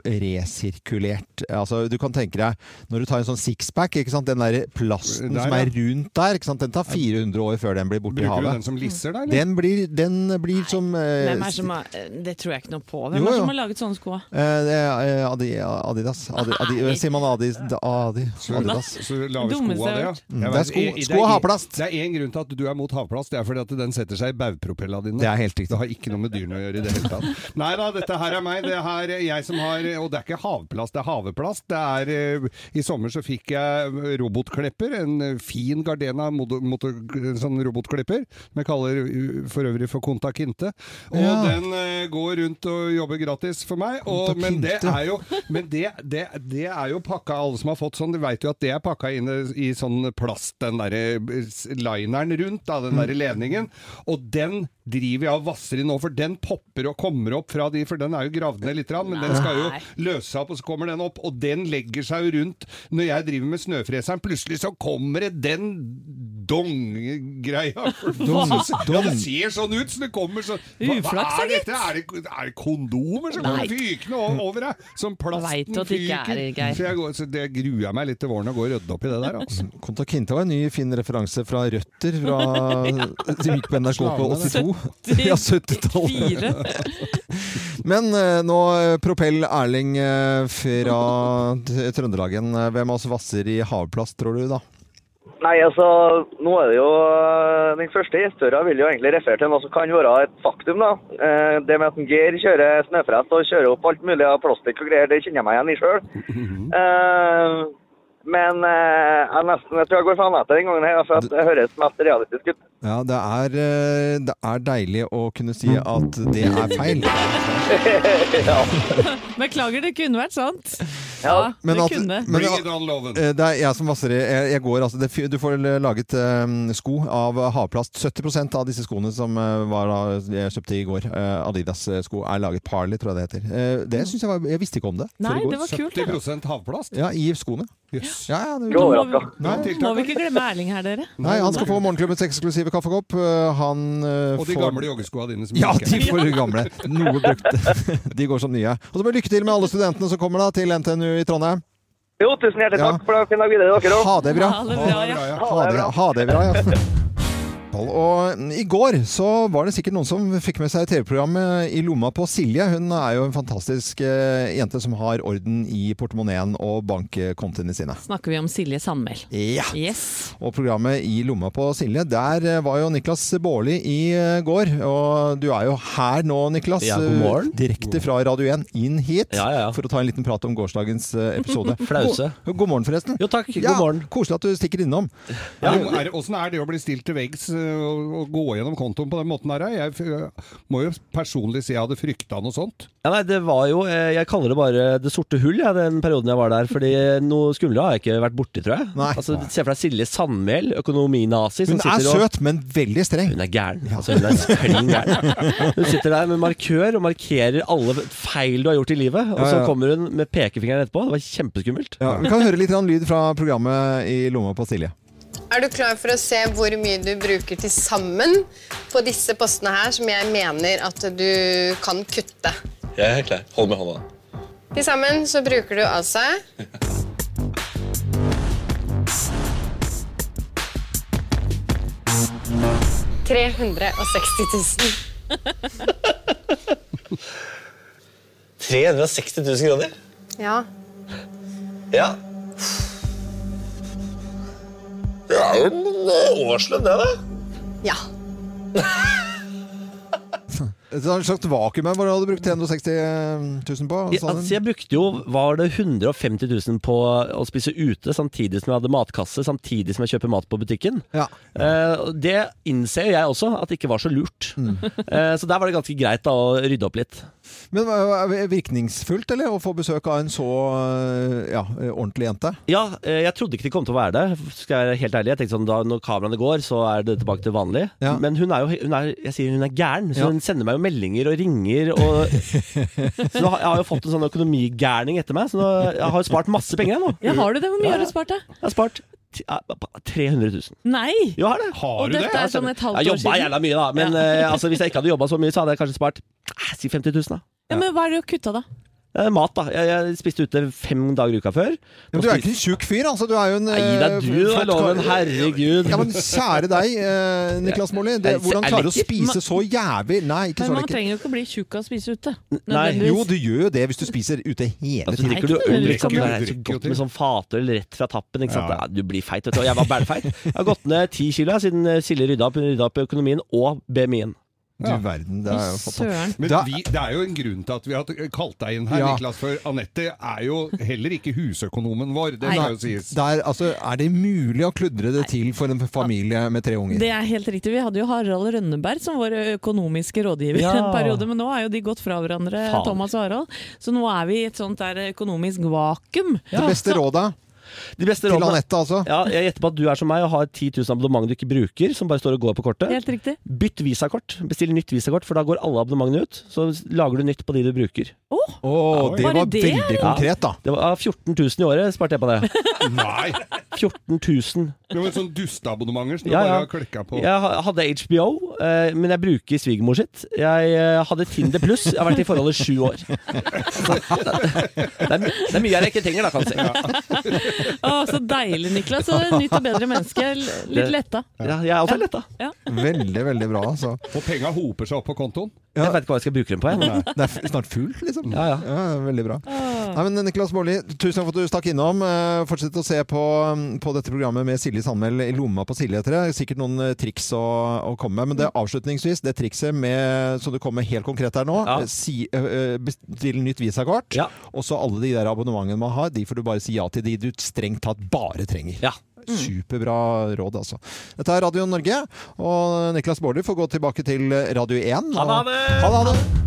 [SPEAKER 1] resirkulert Altså, du kan tenke deg når du tar en sånn sixpack, ikke sant. Den der plasten
[SPEAKER 2] Der,
[SPEAKER 1] som
[SPEAKER 2] ja.
[SPEAKER 1] er rundt der, ikke sant. Den tar 400 år før den blir borte i
[SPEAKER 2] Bruker du den
[SPEAKER 1] havet.
[SPEAKER 2] som lisser, da? Eller?
[SPEAKER 1] Den blir, den blir som eh,
[SPEAKER 3] Hvem er som har, det tror jeg ikke noe på. Hvem er
[SPEAKER 1] Jo,
[SPEAKER 3] det
[SPEAKER 1] jo.
[SPEAKER 3] som har laget sånne sko?
[SPEAKER 1] Eh, det er, eh, Adi, Adidas. Adi,
[SPEAKER 3] *laughs*
[SPEAKER 1] Adi,
[SPEAKER 3] Nei.
[SPEAKER 1] sier man Adi, Adi,
[SPEAKER 2] Så,
[SPEAKER 1] Adidas? Mm,
[SPEAKER 2] så lave sko
[SPEAKER 3] Dummeste
[SPEAKER 2] av
[SPEAKER 3] jeg
[SPEAKER 2] det, ja.
[SPEAKER 3] har hørt.
[SPEAKER 2] Jeg
[SPEAKER 1] det er
[SPEAKER 2] vet,
[SPEAKER 1] sko-
[SPEAKER 2] i- i-
[SPEAKER 1] sko og
[SPEAKER 2] er-
[SPEAKER 1] havplast.
[SPEAKER 2] Det er én grunn til at du er mot havplast. Det er fordi at den setter seg i baugpropella dine.
[SPEAKER 1] Det er helt riktig.
[SPEAKER 2] Det har ikke noe med dyrene å gjøre i det hele tatt.
[SPEAKER 1] *laughs*
[SPEAKER 2] Nei da, dette her er meg. Det er jeg som har Og det er ikke havplast, det er haveplast. Det er eh, I sommer så fikk jeg robotklipper. En eh, fin Gardena motor, motor, sånn robotklipper. Som jeg kaller eh, for øvrig for Conta Kinte. Og
[SPEAKER 1] Ja.
[SPEAKER 2] den eh, går rundt og jobber gratis for meg. Og,
[SPEAKER 1] Conta
[SPEAKER 2] men det
[SPEAKER 1] Kinte.
[SPEAKER 2] er er jo, men det, det, det er jo pakka, alle som har fått sånn, de veit jo at det er pakka inn i sånn plast, den derre lineren rundt, da, den derre ledningen. Og den driver jeg og vasser i nå, for den popper og kommer opp fra de, for den er jo gravd ned litt, grann, men den skal jo
[SPEAKER 3] Nei.
[SPEAKER 2] løse seg opp, og så kommer den opp, og den legger seg jo rundt. Når jeg driver med snøfreseren, plutselig så kommer det den dong-greia.
[SPEAKER 1] Dong,
[SPEAKER 2] Ja,
[SPEAKER 1] dong.
[SPEAKER 2] det ser sånn ut, så det kommer sånn Hva, hva
[SPEAKER 3] Uflaks, da,
[SPEAKER 2] er dette? Er det, er det kondomer som
[SPEAKER 3] Nei.
[SPEAKER 2] kommer fykende o- over deg? Som
[SPEAKER 3] Vet
[SPEAKER 2] plasten
[SPEAKER 3] du at det ikke er
[SPEAKER 2] fyker.
[SPEAKER 3] det, Geir?
[SPEAKER 2] Så, jeg går, så det gruer jeg meg litt til våren å gå og rydde opp i det der. Altså.
[SPEAKER 1] *laughs* Konta Kinte var en ny fin referanse fra Røtter, fra,
[SPEAKER 3] *laughs*
[SPEAKER 1] som gikk på NRK på 82. Ja, 70-tallet.
[SPEAKER 3] Fire.
[SPEAKER 1] *laughs* Men eh, nå eh, propell Erling eh, fra t- Trøndelagen. Eh, Hvem av oss vasser i havplast, tror du da?
[SPEAKER 9] Nei, altså, nå er det jo eh, Den første historien vil jo egentlig referere til noe som kan være et faktum, da. Eh, Det med at en Geir kjører snøfrett og kjører opp alt mulig av plastikk og greier, det kjenner jeg meg igjen i sjøl. Men eh, jeg, nesten, jeg tror jeg går faen etter den gangen her, for at det høres mest realistisk ut.
[SPEAKER 1] Ja, det er, eh, det er deilig å kunne si at det er feil.
[SPEAKER 3] *laughs* Beklager, det kunne vært sant. Ja,
[SPEAKER 9] Ja.
[SPEAKER 1] Men
[SPEAKER 3] det
[SPEAKER 1] at-
[SPEAKER 3] kunne.
[SPEAKER 1] men-
[SPEAKER 2] Bring it on, Loven.
[SPEAKER 1] Eh, Det er jeg som vasser i. Jeg, jeg går, altså, det, fy- du får eh, laget eh, sko av havplast. 70 av disse skoene som eh, var, da jeg kjøpte i går, eh, Adidas-sko, er laget Parley, tror jeg det heter. Eh, det synes jeg var Jeg visste ikke om det. før
[SPEAKER 3] Mm. Nei,
[SPEAKER 1] i går.
[SPEAKER 3] det var kult. det.
[SPEAKER 2] 70 havplast.
[SPEAKER 1] Ja, I skoene.
[SPEAKER 2] Jøss.
[SPEAKER 1] Ja, ja, det,
[SPEAKER 9] Ikke
[SPEAKER 3] Må
[SPEAKER 9] overraska.
[SPEAKER 3] vi-
[SPEAKER 2] Nei, tiltak,
[SPEAKER 3] Må vi ikke glemme Erling her, dere.
[SPEAKER 1] Nei, han skal få morgenklubbens eksklusive kaffekopp. Eh, Han eh,
[SPEAKER 2] Og de
[SPEAKER 1] får
[SPEAKER 2] gamle joggeskoa dine som
[SPEAKER 1] ja,
[SPEAKER 2] gikk.
[SPEAKER 1] de får gamle. Noe brukte.
[SPEAKER 2] *laughs*
[SPEAKER 1] De går som nye. Og så bare lykke til med alle studentene som kommer da til NTNU i Trondheim.
[SPEAKER 9] Jo, tusen hjertelig
[SPEAKER 1] Ja.
[SPEAKER 9] takk for det. Fin dag videre, dere òg.
[SPEAKER 1] Ha det bra.
[SPEAKER 3] Ha det bra, ja.
[SPEAKER 2] ja.
[SPEAKER 1] Ha det, ha det bra, ja. *laughs* Og mm, I går så var det sikkert noen som fikk med seg TV-programmet I lomma på Silje. Hun er jo en fantastisk eh, jente som har orden i portemoneen og bankkontiene sine.
[SPEAKER 3] Snakker vi om Silje Sandmæl.
[SPEAKER 1] Ja!
[SPEAKER 3] Yes.
[SPEAKER 1] Og programmet I lomma på Silje, der eh, var jo Niklas Baarli i eh, går. Og du er jo her nå, Niklas.
[SPEAKER 10] Ja, god morgen.
[SPEAKER 1] eh, Direkte fra Radio 1 inn hit
[SPEAKER 10] Ja, ja, ja.
[SPEAKER 1] for å ta en liten prat om gårsdagens eh, episode.
[SPEAKER 10] *laughs* Flause.
[SPEAKER 1] God, god morgen, forresten.
[SPEAKER 10] Jo takk, god
[SPEAKER 1] Ja,
[SPEAKER 10] morgen.
[SPEAKER 1] Koselig at du stikker innom.
[SPEAKER 2] Er det- er det- Åssen er det å bli stilt til veggs eh, å, å gå gjennom kontoen på den måten her. Jeg f- må jo personlig si jeg hadde frykta noe sånt.
[SPEAKER 10] Ja, nei, det var jo eh, Jeg kaller det bare det sorte hull, jeg, den perioden jeg var der. Fordi eh, noe skumlere har jeg ikke vært borti, tror jeg. Altså, Se for deg Silje Sandmæl, økonominazi. som
[SPEAKER 1] Hun er
[SPEAKER 10] sitter og-
[SPEAKER 1] søt, men veldig streng.
[SPEAKER 10] Hun er gæren. Altså, hun er klin gæren. Hun sitter der med markør og markerer alle feil du har gjort i livet. Og
[SPEAKER 1] Ja,
[SPEAKER 10] så
[SPEAKER 1] ja.
[SPEAKER 10] kommer hun med pekefingeren etterpå. Det var kjempeskummelt.
[SPEAKER 1] Ja, vi kan høre litt grann lyd fra programmet I lomma på Silje.
[SPEAKER 11] Er du klar for å se hvor mye du bruker til sammen på disse postene her, som jeg mener at du kan kutte?
[SPEAKER 12] Jeg er helt klar. Hold med hånda.
[SPEAKER 11] Til sammen så bruker du altså 360 000.
[SPEAKER 12] 360 000 kroner?
[SPEAKER 11] Ja.
[SPEAKER 12] Ja. Det er jo en eh, årslønn, det, da.
[SPEAKER 11] Ja.
[SPEAKER 1] Det er et slags vakuum her. Hva hadde du brukt 360 000 på?
[SPEAKER 10] Jeg,
[SPEAKER 1] sa den?
[SPEAKER 10] altså, jeg brukte jo, var det 150 000 på å spise ute, samtidig som jeg hadde matkasse, samtidig som jeg kjøper mat på butikken. Eh, og det innser jeg også, at det ikke var så lurt. *laughs* Eh, så der var det ganske greit da, å rydde opp litt.
[SPEAKER 1] Men hva- er det virkningsfullt, eller? Å få besøk av en så øh, ja, øh, ordentlig jente?
[SPEAKER 10] Ja, eh, jeg trodde ikke de kom til å være der. Skal jeg være helt ærlig Jeg tenkte sånn, da Når kameraene går, så er det tilbake til vanlig. Men hun er jo hun er, jeg sier hun er gæren, så
[SPEAKER 1] Ja.
[SPEAKER 10] hun sender meg jo meldinger og ringer. Og, så nå har- jeg har jo fått en sånn økonomigærning etter meg, så nå, jeg har jo spart masse penger. jeg, nå
[SPEAKER 3] Ja, har du det? Hvor mye
[SPEAKER 10] Ja,
[SPEAKER 3] har du
[SPEAKER 10] ja.
[SPEAKER 3] spart, da?
[SPEAKER 10] Jeg har spart ti- ja, ba- ba- 300 000.
[SPEAKER 3] Nei!
[SPEAKER 10] Jo, har det.
[SPEAKER 3] Og du dette det? er sånn et halvt
[SPEAKER 10] jeg
[SPEAKER 3] år
[SPEAKER 10] jobba
[SPEAKER 3] siden.
[SPEAKER 10] jævla mye, da. Men eh, altså, hvis jeg ikke hadde jobba så mye, så hadde jeg kanskje spart eh, si 50 000, da.
[SPEAKER 3] Ja, men hva er det du har kutta, da?
[SPEAKER 10] Eh, Mat, da. Jeg, jeg spiste ute fem dager i uka før.
[SPEAKER 1] Men du er ikke en tjukk fyr, altså. Du er jo en
[SPEAKER 10] Nei, da,
[SPEAKER 1] øh,
[SPEAKER 10] du da,
[SPEAKER 1] flott
[SPEAKER 10] Loven.
[SPEAKER 1] kar.
[SPEAKER 10] Herregud.
[SPEAKER 1] Ja, men Kjære deg, øh, Niklas Molly. Det,
[SPEAKER 10] Er det-
[SPEAKER 1] hvordan
[SPEAKER 10] er
[SPEAKER 1] klarer du å
[SPEAKER 10] lekkert?
[SPEAKER 1] spise så jævlig Nei,
[SPEAKER 3] Men
[SPEAKER 1] ikke så
[SPEAKER 3] man
[SPEAKER 1] lekkert.
[SPEAKER 3] trenger jo ikke å bli tjukk av å spise ute.
[SPEAKER 10] nødvendigvis.
[SPEAKER 1] Jo, du gjør jo det hvis du spiser ute hele
[SPEAKER 10] Altså,
[SPEAKER 1] tiden.
[SPEAKER 10] drikker du øl liksom, det er så godt med sånn fatøl rett fra tappen. Ikke sant? Ja. du blir feit, vet du. Og jeg var bælfeit. Jeg har gått ned ti kilo jeg, siden eh, Silje rydda opp, Hun rydda opp i økonomien og BMI-en.
[SPEAKER 1] Du verden, det er jo fantastisk.
[SPEAKER 2] Men
[SPEAKER 1] Da-
[SPEAKER 2] vi, det er jo en grunn til at vi har kalt deg inn her,
[SPEAKER 1] Ja.
[SPEAKER 2] Niklas. For Anette er jo heller ikke husøkonomen vår, det skal jo sies.
[SPEAKER 1] Der, altså, er det mulig å kludre det til for en familie med tre unger?
[SPEAKER 3] Det er helt riktig. Vi hadde jo Harald Rønneberg som vår økonomiske rådgiver
[SPEAKER 1] Ja.
[SPEAKER 3] en periode, men nå er jo de gått fra hverandre,
[SPEAKER 1] Faen.
[SPEAKER 3] Thomas og Harald. Så nå er vi i et sånt der økonomisk vakuum.
[SPEAKER 1] Det beste
[SPEAKER 3] Så-
[SPEAKER 1] rådet
[SPEAKER 10] De beste
[SPEAKER 1] til
[SPEAKER 10] rådene-
[SPEAKER 1] Anette, altså.
[SPEAKER 10] Ja, jeg gjetter på at du er som meg og har 10 000 abonnement du ikke bruker, som bare står og går på kortet.
[SPEAKER 3] Helt riktig.
[SPEAKER 10] Bytt visakort. Bestill nytt visakort, for da går alle abonnementene ut. Så lager du nytt på de du bruker.
[SPEAKER 3] Oh,
[SPEAKER 1] Å, det Var det var det, veldig eller? konkret, da.
[SPEAKER 10] Det var ja, 14 000 i året sparte jeg på
[SPEAKER 1] *laughs*
[SPEAKER 10] det.
[SPEAKER 2] Nei!
[SPEAKER 10] 14 000.
[SPEAKER 2] Det var sånn dusteabonnementer som du
[SPEAKER 10] Ja, ja.
[SPEAKER 2] bare har klikka på.
[SPEAKER 10] Jeg ha- hadde HBO, eh, men jeg bruker svigermor sitt. Jeg eh, hadde Tinder pluss. Jeg har vært i forhold i sju
[SPEAKER 1] *laughs*
[SPEAKER 10] år. *laughs* Så, det, er, my- det er mye jeg ikke trenger, da, kan du si.
[SPEAKER 3] Å, så deilig, Niklas. Så nytt og bedre menneske. L- Litt
[SPEAKER 10] Det-
[SPEAKER 3] letta.
[SPEAKER 10] Ja, jeg er også letta.
[SPEAKER 3] Ja.
[SPEAKER 1] Veldig, veldig bra, altså.
[SPEAKER 2] Og penga hoper seg opp på kontoen.
[SPEAKER 10] Jeg veit ikke hva jeg skal bruke dem på. Jeg.
[SPEAKER 1] Det er f- snart fullt, liksom.
[SPEAKER 10] Ja, ja.
[SPEAKER 1] veldig bra.
[SPEAKER 2] Ah.
[SPEAKER 1] Nei, men Niklas Baarli, tusen takk for at du stakk innom. Eh, Fortsett å se på, mm, på dette programmet med Silje Sandmæl i lomma på Silje etter det. Sikkert noen eh, triks å, å komme med. Men
[SPEAKER 10] Mm.
[SPEAKER 1] det avslutningsvis, det trikset med, som du kom med helt konkret her nå, eh, si, eh, bestill nytt visakort. Og så alle de der abonnementene man har, de får du bare si ja til. De du strengt tatt bare trenger. Mm. Superbra råd, altså. Dette er Radio Norge, og eh, Niklas Baarli får gå tilbake til eh, Radio 1.
[SPEAKER 10] Ha det, ha
[SPEAKER 1] og-
[SPEAKER 10] det!
[SPEAKER 1] Ha det, ha det!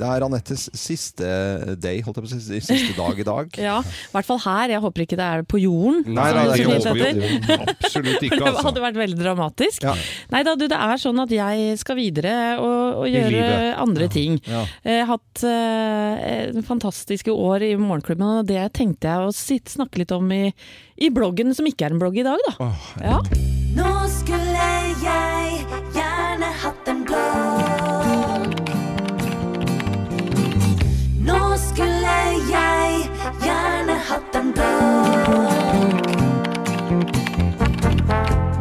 [SPEAKER 1] Det er Anettes siste eh, day, holdt jeg på å si. Siste dag i dag.
[SPEAKER 3] Ja, i hvert fall her. Jeg håper ikke det er på jorden.
[SPEAKER 1] Nei, nei, det er ikke overgjort.
[SPEAKER 2] Absolutt
[SPEAKER 3] *laughs* For det hadde vært veldig dramatisk.
[SPEAKER 1] altså. Ja.
[SPEAKER 3] Nei da, du, det er sånn at jeg skal videre og, og
[SPEAKER 13] I
[SPEAKER 3] gjøre
[SPEAKER 13] livet.
[SPEAKER 3] andre ting.
[SPEAKER 13] Ja.
[SPEAKER 3] Jeg har hatt eh, fantastiske år i morgenklubben, og det tenkte jeg å sitte, snakke litt om i, i bloggen, som ikke er en blogg i dag, da. ja.
[SPEAKER 7] Nå skulle jeg gjerne hatt en blå. Nå skulle jeg gjerne hatt en blå.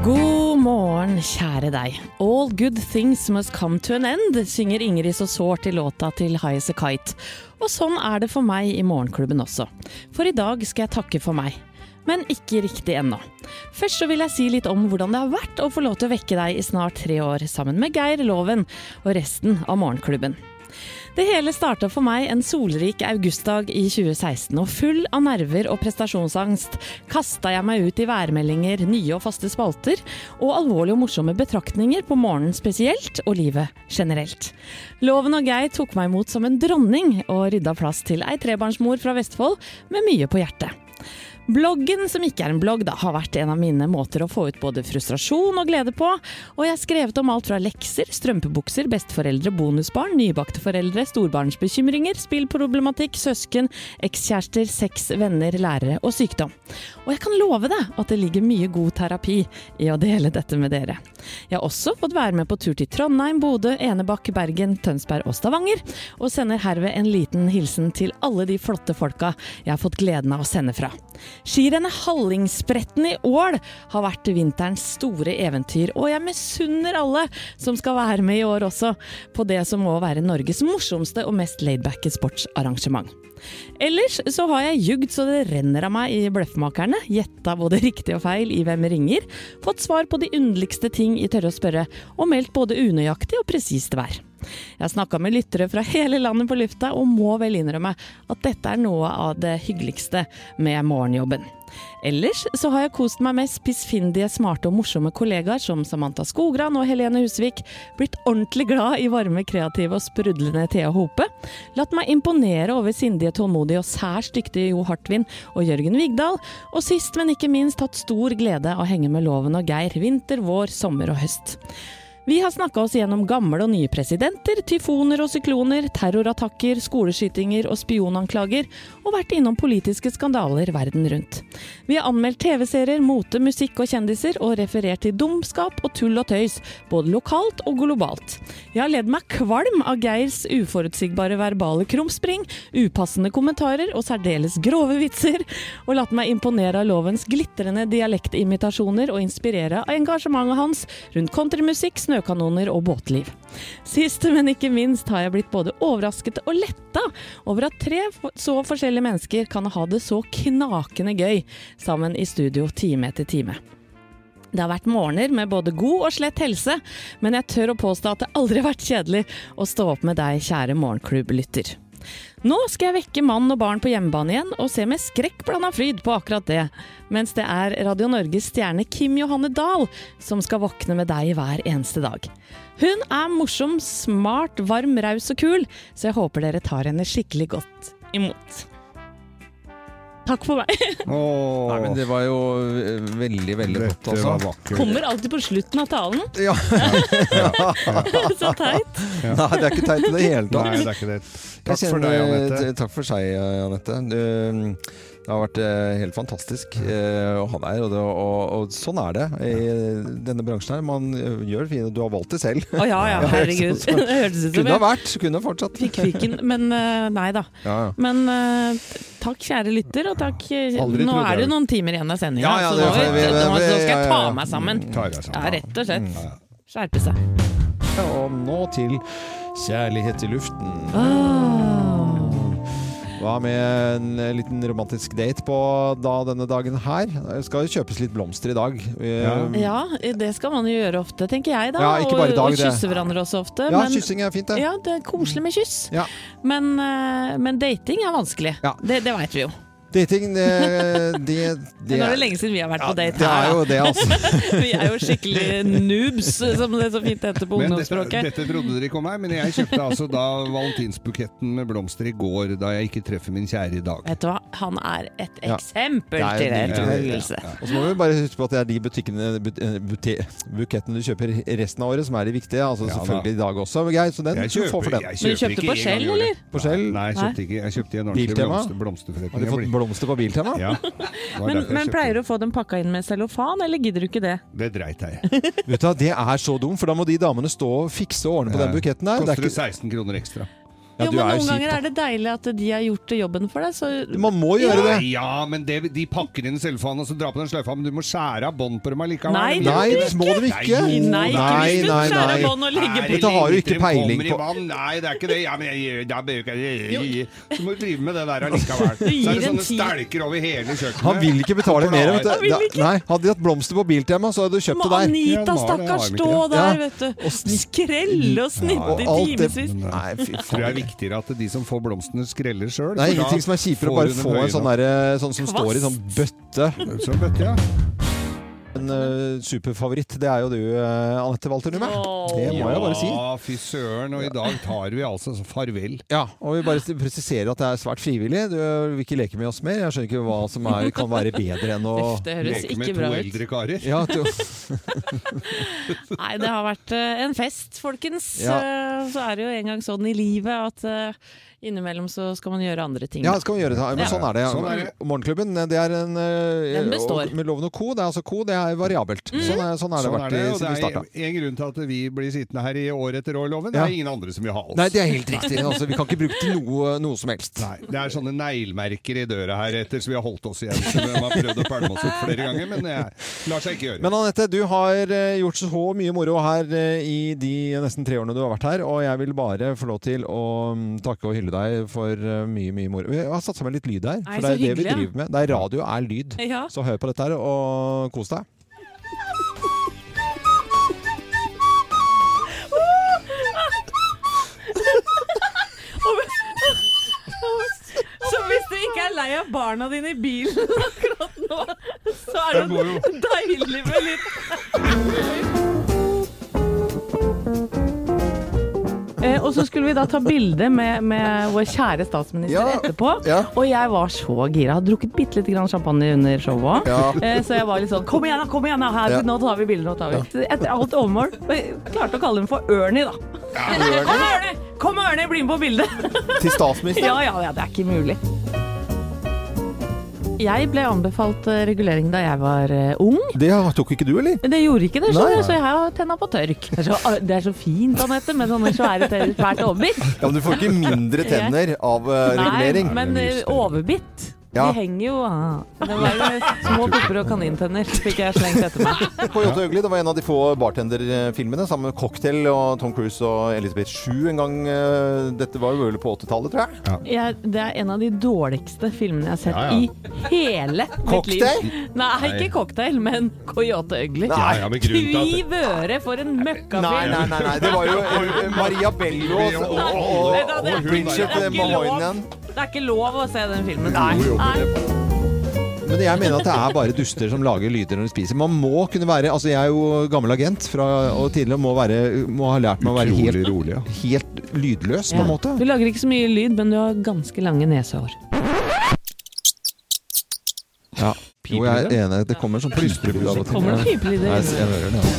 [SPEAKER 3] God morgen, kjære deg. All good things must come to an end, synger Ingrid så sårt i låta til High As A Kite. Og sånn er det for meg i Morgenklubben også. For i dag skal jeg takke for meg. Men ikke riktig ennå. Først så vil jeg si litt om hvordan det har vært å få lov til å vekke deg i snart tre år sammen med Geir Loven og resten av Morgenklubben. Det hele starta for meg en solrik augustdag i 2016, og full av nerver og prestasjonsangst kasta jeg meg ut i værmeldinger, nye og faste spalter, og alvorlige og morsomme betraktninger på morgenen spesielt, og livet generelt. Loven og Geir tok meg imot som en dronning, og rydda plass til ei trebarnsmor fra Vestfold med mye på hjertet. Bloggen, som ikke er en blogg, da, har vært en av mine måter å få ut både frustrasjon og glede på. Og jeg har skrevet om alt fra lekser, strømpebukser, besteforeldre, bonusbarn, nybakte foreldre, storbarnsbekymringer, spillproblematikk, søsken, ekskjærester, sex, venner, lærere og sykdom. Og jeg kan love deg at det ligger mye god terapi i å dele dette med dere. Jeg har også fått være med på tur til Trondheim, Bodø, Enebakk, Bergen, Tønsberg og Stavanger, og sender herved en liten hilsen til alle de flotte folka jeg har fått gleden av å sende fra. Skirennet Hallingsbretten i Ål har vært vinterens store eventyr, og jeg misunner alle som skal være med i år også, på det som må være Norges morsomste og mest laidbacke sportsarrangement. Ellers så har jeg jugd så det renner av meg i Bløffmakerne, gjetta både riktig og feil i Hvem ringer, fått svar på de underligste ting i Tørre å spørre, og meldt både unøyaktig og presist vær. Jeg har snakka med lyttere fra hele landet på lufta, og må vel innrømme at dette er noe av det hyggeligste med morgenjobben. Ellers så har jeg kost meg med spissfindige, smarte og morsomme kollegaer som Samantha Skogran og Helene Husvik, blitt ordentlig glad i varme, kreative og sprudlende Thea Hope, latt meg imponere over sindige, tålmodige og særs dyktige Jo Hartvin og Jørgen Vigdal, og sist, men ikke minst hatt stor glede av å henge med Loven og Geir vinter, vår, sommer og høst. Vi har snakka oss gjennom gamle og nye presidenter, tyfoner og sykloner, terrorattakker, skoleskytinger og spionanklager, og vært innom politiske skandaler verden rundt. Vi har anmeldt TV-serier, mote, musikk og kjendiser, og referert til dumskap og tull og tøys, både lokalt og globalt. Jeg har ledd meg kvalm av Geirs uforutsigbare verbale krumspring, upassende kommentarer og særdeles grove vitser, og latt meg imponere av lovens glitrende dialektimitasjoner og inspirere av engasjementet hans rundt countrymusikk, snøkanoner og båtliv. Sist, men ikke minst, har jeg blitt både overrasket og letta over at tre f- så forskjellige mennesker kan ha det så knakende gøy sammen i studio time etter time. Det har vært morgener med både god og slett helse, men jeg tør å påstå at det aldri har vært kjedelig å stå opp med deg, kjære morgenklubblytter. Nå skal jeg vekke mann og barn på hjemmebane igjen, og se med skrekkblanda fryd på akkurat det. Mens det er Radio Norges stjerne Kim Johanne Dahl som skal våkne med deg hver eneste dag. Hun er morsom, smart, varm, raus og kul, så jeg håper dere tar henne skikkelig godt imot. Takk for meg.
[SPEAKER 1] Nei, men det var jo eh, veldig, veldig godt, altså.
[SPEAKER 2] var vakkert.
[SPEAKER 3] Kommer alltid på slutten av talen.
[SPEAKER 1] Ja.
[SPEAKER 3] Så teit.
[SPEAKER 1] Nei, det er ikke teit i det hele tatt.
[SPEAKER 2] Nei, det er ikke det. Takk
[SPEAKER 1] Jeg
[SPEAKER 2] for deg,
[SPEAKER 1] kjenner-
[SPEAKER 2] Anette.
[SPEAKER 1] t- Takk for seg, eh, Anette. Du, mm, Det har vært eh, helt fantastisk eh, å ha deg her, og, det- og, og sånn er det i denne bransjen her. Man eh, gjør fine Du har valgt det selv.
[SPEAKER 3] Å ja,
[SPEAKER 1] *laughs*
[SPEAKER 3] ja, herregud.
[SPEAKER 1] så-
[SPEAKER 3] *laughs*
[SPEAKER 1] så-
[SPEAKER 3] Det hørtes ut som
[SPEAKER 1] Kunne ha
[SPEAKER 3] jeg-
[SPEAKER 1] vært, kunne ha fortsatt.
[SPEAKER 3] Fikk kvikken, men eh, nei da.
[SPEAKER 1] Ja, ja.
[SPEAKER 3] Men eh, takk kjære lytter, og takk eh,
[SPEAKER 1] Aldri
[SPEAKER 3] Nå
[SPEAKER 1] trodde jeg
[SPEAKER 3] er det
[SPEAKER 1] det.
[SPEAKER 3] jo noen timer igjen av sendinga,
[SPEAKER 1] Ja, ja,
[SPEAKER 3] så
[SPEAKER 1] det
[SPEAKER 3] nå,
[SPEAKER 1] får vi-
[SPEAKER 3] nå, nå skal
[SPEAKER 1] ja,
[SPEAKER 3] jeg ta
[SPEAKER 1] ja.
[SPEAKER 3] meg sammen.
[SPEAKER 1] Ta deg sammen,
[SPEAKER 3] Ja, rett og slett.
[SPEAKER 1] Mm, ja,
[SPEAKER 3] Skjerpe seg.
[SPEAKER 1] Og nå til Kjærlighet i luften. Hva med en eh, liten romantisk date på da, denne dagen her? Det skal jo kjøpes litt blomster i dag. Eh,
[SPEAKER 3] Ja, det skal man jo gjøre ofte, tenker jeg da.
[SPEAKER 1] Ja, ikke bare i dag,
[SPEAKER 3] og, og
[SPEAKER 1] det.
[SPEAKER 3] kysse hverandre også ofte.
[SPEAKER 1] Ja, kyssing er fint, det.
[SPEAKER 3] Ja, det er koselig med kyss. Men, eh, men dating er vanskelig. Det, det veit vi jo.
[SPEAKER 1] Dating, det,
[SPEAKER 3] *laughs*
[SPEAKER 1] det,
[SPEAKER 3] Det,
[SPEAKER 1] det
[SPEAKER 3] Nå er det lenge siden vi har vært på date
[SPEAKER 1] det er jo det, altså.
[SPEAKER 3] vi er jo skikkelig noobs, som det så fint heter på
[SPEAKER 2] Men
[SPEAKER 3] ungdomsspråket.
[SPEAKER 2] Dette, dette trodde dere ikke om meg, men jeg kjøpte altså da valentinsbuketten med blomster i går, da jeg ikke treffer min kjære i dag.
[SPEAKER 3] *laughs* Vet du hva, han er et
[SPEAKER 1] Ja.
[SPEAKER 3] eksempel
[SPEAKER 1] Det er
[SPEAKER 3] til
[SPEAKER 1] nydelig.
[SPEAKER 3] etterfølgelse.
[SPEAKER 1] Og så må vi bare huske på at det er de butikkene, but, eh, bute- bukettene du kjøper resten av året som er de viktige. Altså
[SPEAKER 2] Ja, da.
[SPEAKER 1] Selvfølgelig i dag også, Geir, så den
[SPEAKER 2] Jeg
[SPEAKER 1] skal du få
[SPEAKER 2] kjøper-
[SPEAKER 1] for den.
[SPEAKER 2] jeg Men du kjøper kjøpte ikke på en Shell, gang i året. eller?
[SPEAKER 1] På Shell?
[SPEAKER 2] Nei, jeg kjøpte ikke. Jeg kjøpte i en ordentlig
[SPEAKER 1] Biltema?
[SPEAKER 2] blomster, blomsterforretning.
[SPEAKER 1] Har du fått blomster på Biltema?
[SPEAKER 2] Ja. det var
[SPEAKER 3] Men,
[SPEAKER 2] derfor jeg
[SPEAKER 3] men
[SPEAKER 2] kjøpte.
[SPEAKER 3] pleier du å få dem pakka inn med cellofan, eller gidder du ikke det?
[SPEAKER 2] Det dreit jeg i.
[SPEAKER 1] Vet du, hva, Det er så dumt, for da må de damene stå og fikse og ordne på den buketten der.
[SPEAKER 2] Koster
[SPEAKER 1] Det er
[SPEAKER 2] det
[SPEAKER 1] ikke,
[SPEAKER 2] 16 kroner ekstra.
[SPEAKER 3] jo, men noen ganger er det deilig at de har gjort jobben for deg, så
[SPEAKER 2] ja, Ja, men det, de pakker inn selvfaen og så drar på den sløyfa, men du må skjære av bånd på dem allikevel.
[SPEAKER 3] Nei, det Nei, må du det må ikke. du ikke.
[SPEAKER 2] jo.
[SPEAKER 3] Nei, ikke hvis du Nei, nei, skjærer nei. bånd og legger
[SPEAKER 2] Nei,
[SPEAKER 3] på. Dette har du
[SPEAKER 1] ikke
[SPEAKER 2] de kommer
[SPEAKER 1] peiling
[SPEAKER 2] i
[SPEAKER 1] på.
[SPEAKER 2] vann. Nei, det er ikke det. Ja, men jeg, da bør jeg, ikke- så må du drive med det der
[SPEAKER 3] *laughs*
[SPEAKER 2] allikevel.
[SPEAKER 1] Du gir
[SPEAKER 2] Så er det
[SPEAKER 1] en
[SPEAKER 2] sånne
[SPEAKER 1] tid.
[SPEAKER 2] stelker over hele kjøkkenet.
[SPEAKER 1] Han vil ikke betale mer. Vet du.
[SPEAKER 2] Han vil
[SPEAKER 1] Da-
[SPEAKER 2] ikke.
[SPEAKER 1] Nei, hadde de hatt blomster på Biltema, så hadde du
[SPEAKER 3] Må
[SPEAKER 1] kjøpt det der.
[SPEAKER 3] Anita, stakkars, stå der, vet du. Skrelle og snitte i timevis.
[SPEAKER 1] Nei, fy faen.
[SPEAKER 2] Tror jeg er viktigere at de som får blomstene, skreller sjøl.
[SPEAKER 1] Det er ingenting som er kjipere enn å bare få en sånn, der, sånn som står i sånn bøtte.
[SPEAKER 2] Sånn bøtte, ja.
[SPEAKER 1] En eh, superfavoritt, det er jo du, eh, Anette Walter Numme. Det må jeg bare si.
[SPEAKER 2] Ja, fy søren. Og i dag tar vi altså så farvel.
[SPEAKER 1] Ja, og vi bare presiserer at det er svært frivillig. Du eh, vil ikke leke med oss mer. Jeg skjønner ikke hva som er, kan være bedre enn å
[SPEAKER 3] Uff, det høres Leke med ikke bra to ut. eldre
[SPEAKER 2] karer.
[SPEAKER 1] Ja, to.
[SPEAKER 3] Nei, det har vært eh, en fest, folkens.
[SPEAKER 1] Ja.
[SPEAKER 3] Eh, Så er det jo en gang sånn i livet at eh, innimellom så skal man gjøre andre ting.
[SPEAKER 1] Ja, det skal vi gjøre det. Men
[SPEAKER 3] Ja.
[SPEAKER 1] sånn er det.
[SPEAKER 3] Sånn er det.
[SPEAKER 1] Morgenklubben det er en eh,
[SPEAKER 3] Den består. Mm.
[SPEAKER 1] og- Med loven og co. Det er altså co. Det er variabelt. Sånn er, sånn er det vært i-
[SPEAKER 2] og
[SPEAKER 1] siden vi starta.
[SPEAKER 2] Det er en grunn til at vi blir sittende her i år etter år, Loven. Det
[SPEAKER 1] Ja.
[SPEAKER 2] er ingen andre som vil ha oss.
[SPEAKER 1] Nei, det er helt riktig. Altså, vi kan ikke bruke til noe, noe som helst.
[SPEAKER 2] Nei, Det er sånne neglemerker i døra her etter, så vi har holdt oss igjen. Så vi har prøvd å pælme oss opp flere ganger, men det lar seg ikke gjøre.
[SPEAKER 1] Men Anette, du har eh, gjort så mye moro her eh, i de nesten tre årene du har vært her, og jeg vil bare få lov til å mm, takke og hylle deg for eh, mye, mye moro. Vi har satt sammen litt lyd her,
[SPEAKER 3] Nei,
[SPEAKER 1] for det
[SPEAKER 3] så
[SPEAKER 1] er det vi
[SPEAKER 3] hyggelig, ja.
[SPEAKER 1] driver med. Det er radio er lyd.
[SPEAKER 3] Ja.
[SPEAKER 1] Så hør på dette her, og kos deg.
[SPEAKER 3] Så hvis du ikke er lei av barna dine i bilen *laughs* akkurat nå, så er
[SPEAKER 2] det
[SPEAKER 3] deilig med litt Eh, og så skulle vi da ta bilde med, med vår kjære statsminister etterpå. Og jeg var så gira. Hadde drukket bitte lite grann champagne under showet òg.
[SPEAKER 13] Ja.
[SPEAKER 3] Eh, så jeg var litt sånn Kom igjen, da! kom igjen da, her,
[SPEAKER 13] Ja.
[SPEAKER 3] Nå tar vi bilde! nå tar vi Etter alt overmål. og jeg Klarte å kalle henne for Ernie, da.
[SPEAKER 1] Ernie.
[SPEAKER 3] Kom, Ernie! Kom, Ernie! Bli med på bildet!
[SPEAKER 1] Til statsminister?
[SPEAKER 3] Ja, ja, ja, det er ikke mulig. Jeg ble anbefalt eh, regulering da jeg var eh, ung.
[SPEAKER 1] Det tok ikke du, eller?
[SPEAKER 3] Det gjorde ikke det,
[SPEAKER 1] Nei.
[SPEAKER 3] skjønner du, så jeg har tenna på tørk. Det er så, det er så fint, Anette, med sånne svære tenner, svært overbitt.
[SPEAKER 1] Ja, men du får ikke
[SPEAKER 3] *laughs*
[SPEAKER 1] mindre tenner av eh, regulering.
[SPEAKER 3] Nei, men eh, overbitt.
[SPEAKER 1] Ja.
[SPEAKER 3] De henger jo ah. Det var jo små pupper og kanintenner, fikk jeg slengt etter meg.
[SPEAKER 1] På Jåtte Øgli, det var en av de få bartenderfilmene, sammen med Cocktail og Tom Cruise og Elisabeth Shue en gang. eh, Dette var jo vel på 80-tallet, tror jeg.
[SPEAKER 3] Jeg, det er en av de dårligste filmene jeg har sett
[SPEAKER 1] Ja, ja.
[SPEAKER 3] i hele mitt liv.
[SPEAKER 1] Cocktail?
[SPEAKER 3] Nei, ikke cocktail, men Coyote Ugly.
[SPEAKER 1] Nei. Ja, ja, men grunnen til at-
[SPEAKER 3] Kviv øre for en møkkafilm!
[SPEAKER 1] Nei, nei, nei, nei, det var jo eh, Maria Bello og, og, og,
[SPEAKER 3] Nei, det er
[SPEAKER 1] og
[SPEAKER 3] ikke-
[SPEAKER 1] Bridget
[SPEAKER 3] det er ikke
[SPEAKER 1] Mahonian.
[SPEAKER 3] lov. Det er ikke lov å se den filmen.
[SPEAKER 1] Jo, jo, men
[SPEAKER 3] Nei.
[SPEAKER 1] Men jeg mener at det er bare duster som lager lyder når de spiser. Man må kunne være Altså, jeg er jo gammel agent fra, og tidligere må, være, må ha lært meg å være helt, helt lydløs, på en måte.
[SPEAKER 3] Du lager ikke så mye lyd, men du har ganske lange nesehår.
[SPEAKER 1] Ja. Jo, jeg er enig. Det kommer sånn plystrelyd av og til.
[SPEAKER 3] Kommer det pipelyder?
[SPEAKER 1] Nei, jeg hører det.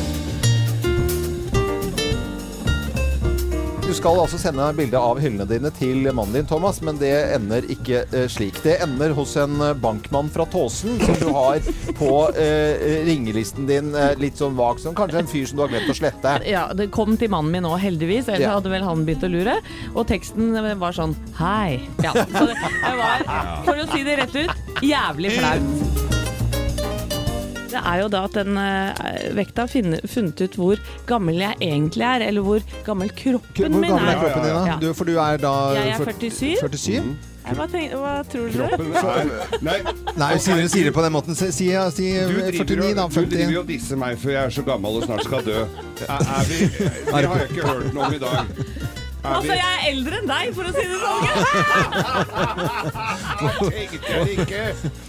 [SPEAKER 1] Du skal altså sende bilde av hyllene dine til mannen din, Thomas, men det ender ikke eh, slik. Det ender hos en eh, bankmann fra Tåsen som du har på eh, ringelisten din eh, litt sånn vag som kanskje en fyr som du har glemt å slette.
[SPEAKER 3] Ja, det kom til mannen min nå, heldigvis. Ellers
[SPEAKER 1] Ja.
[SPEAKER 3] hadde vel han begynt å lure. Og teksten var sånn Hei. Ja, så det det var, for å si det rett ut, jævlig flaut. Det er jo da at den eh, vekta har finne- funnet ut hvor gammel jeg egentlig er, eller hvor gammel kroppen
[SPEAKER 1] Hvor
[SPEAKER 3] min er.
[SPEAKER 1] gammel er kroppen din,
[SPEAKER 3] Ja.
[SPEAKER 1] da? Du, for du er da
[SPEAKER 3] Jeg er
[SPEAKER 1] fyrt-
[SPEAKER 3] 47.
[SPEAKER 1] 47?
[SPEAKER 3] Nei, Hva, tenk, hva tror
[SPEAKER 2] Kroppen
[SPEAKER 3] dere?
[SPEAKER 2] er- Nei,
[SPEAKER 1] Nei, sier du sier det på den måten. Si, si, si
[SPEAKER 2] Du driver
[SPEAKER 1] 49, eh, da.
[SPEAKER 2] og- Du
[SPEAKER 1] 50. *laughs*
[SPEAKER 2] driver og disser meg for jeg er så gammel og snart skal dø. Er, er vi, det har jeg ikke hørt noe om i dag. Er
[SPEAKER 3] Altså,
[SPEAKER 2] vi,
[SPEAKER 3] jeg er eldre enn deg, for å si det sånn!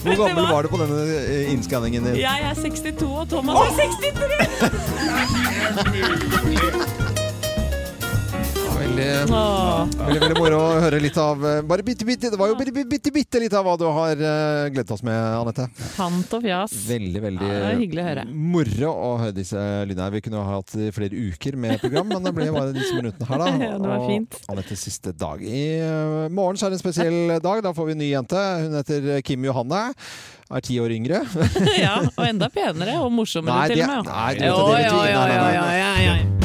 [SPEAKER 1] Hvor gammel var du på denne eh, innskanningen din?
[SPEAKER 3] Jeg er 62, og Thomas er 63!
[SPEAKER 1] Ja, Veldig,
[SPEAKER 3] Åh.
[SPEAKER 1] veldig, veldig moro å høre litt av eh, Bare bitte, bitte, det var jo bitte, bitte, bitte litt av hva du har eh, gledet oss med, Anette.
[SPEAKER 3] Tant og fjas.
[SPEAKER 1] Veldig, veldig
[SPEAKER 3] Ja, det var hyggelig å høre.
[SPEAKER 1] moro å høre disse lydene her. Vi kunne ha hatt flere uker med program, men det ble bare disse minuttene her, da.
[SPEAKER 3] *laughs* Ja, det var fint.
[SPEAKER 1] Og Anettes siste dag. I eh, morgen så er det en spesiell dag. Da får vi en ny jente. Hun heter Kim Johanne. Er ti år yngre.
[SPEAKER 3] *laughs* ja, og enda penere og morsommere
[SPEAKER 1] Nei,
[SPEAKER 3] til
[SPEAKER 1] det-
[SPEAKER 3] og med.
[SPEAKER 1] nei, det-
[SPEAKER 3] Jo,
[SPEAKER 1] det- det-
[SPEAKER 3] jo, jo,
[SPEAKER 1] nei, nei,
[SPEAKER 3] jo,
[SPEAKER 1] nei.
[SPEAKER 3] jo, jo, jo.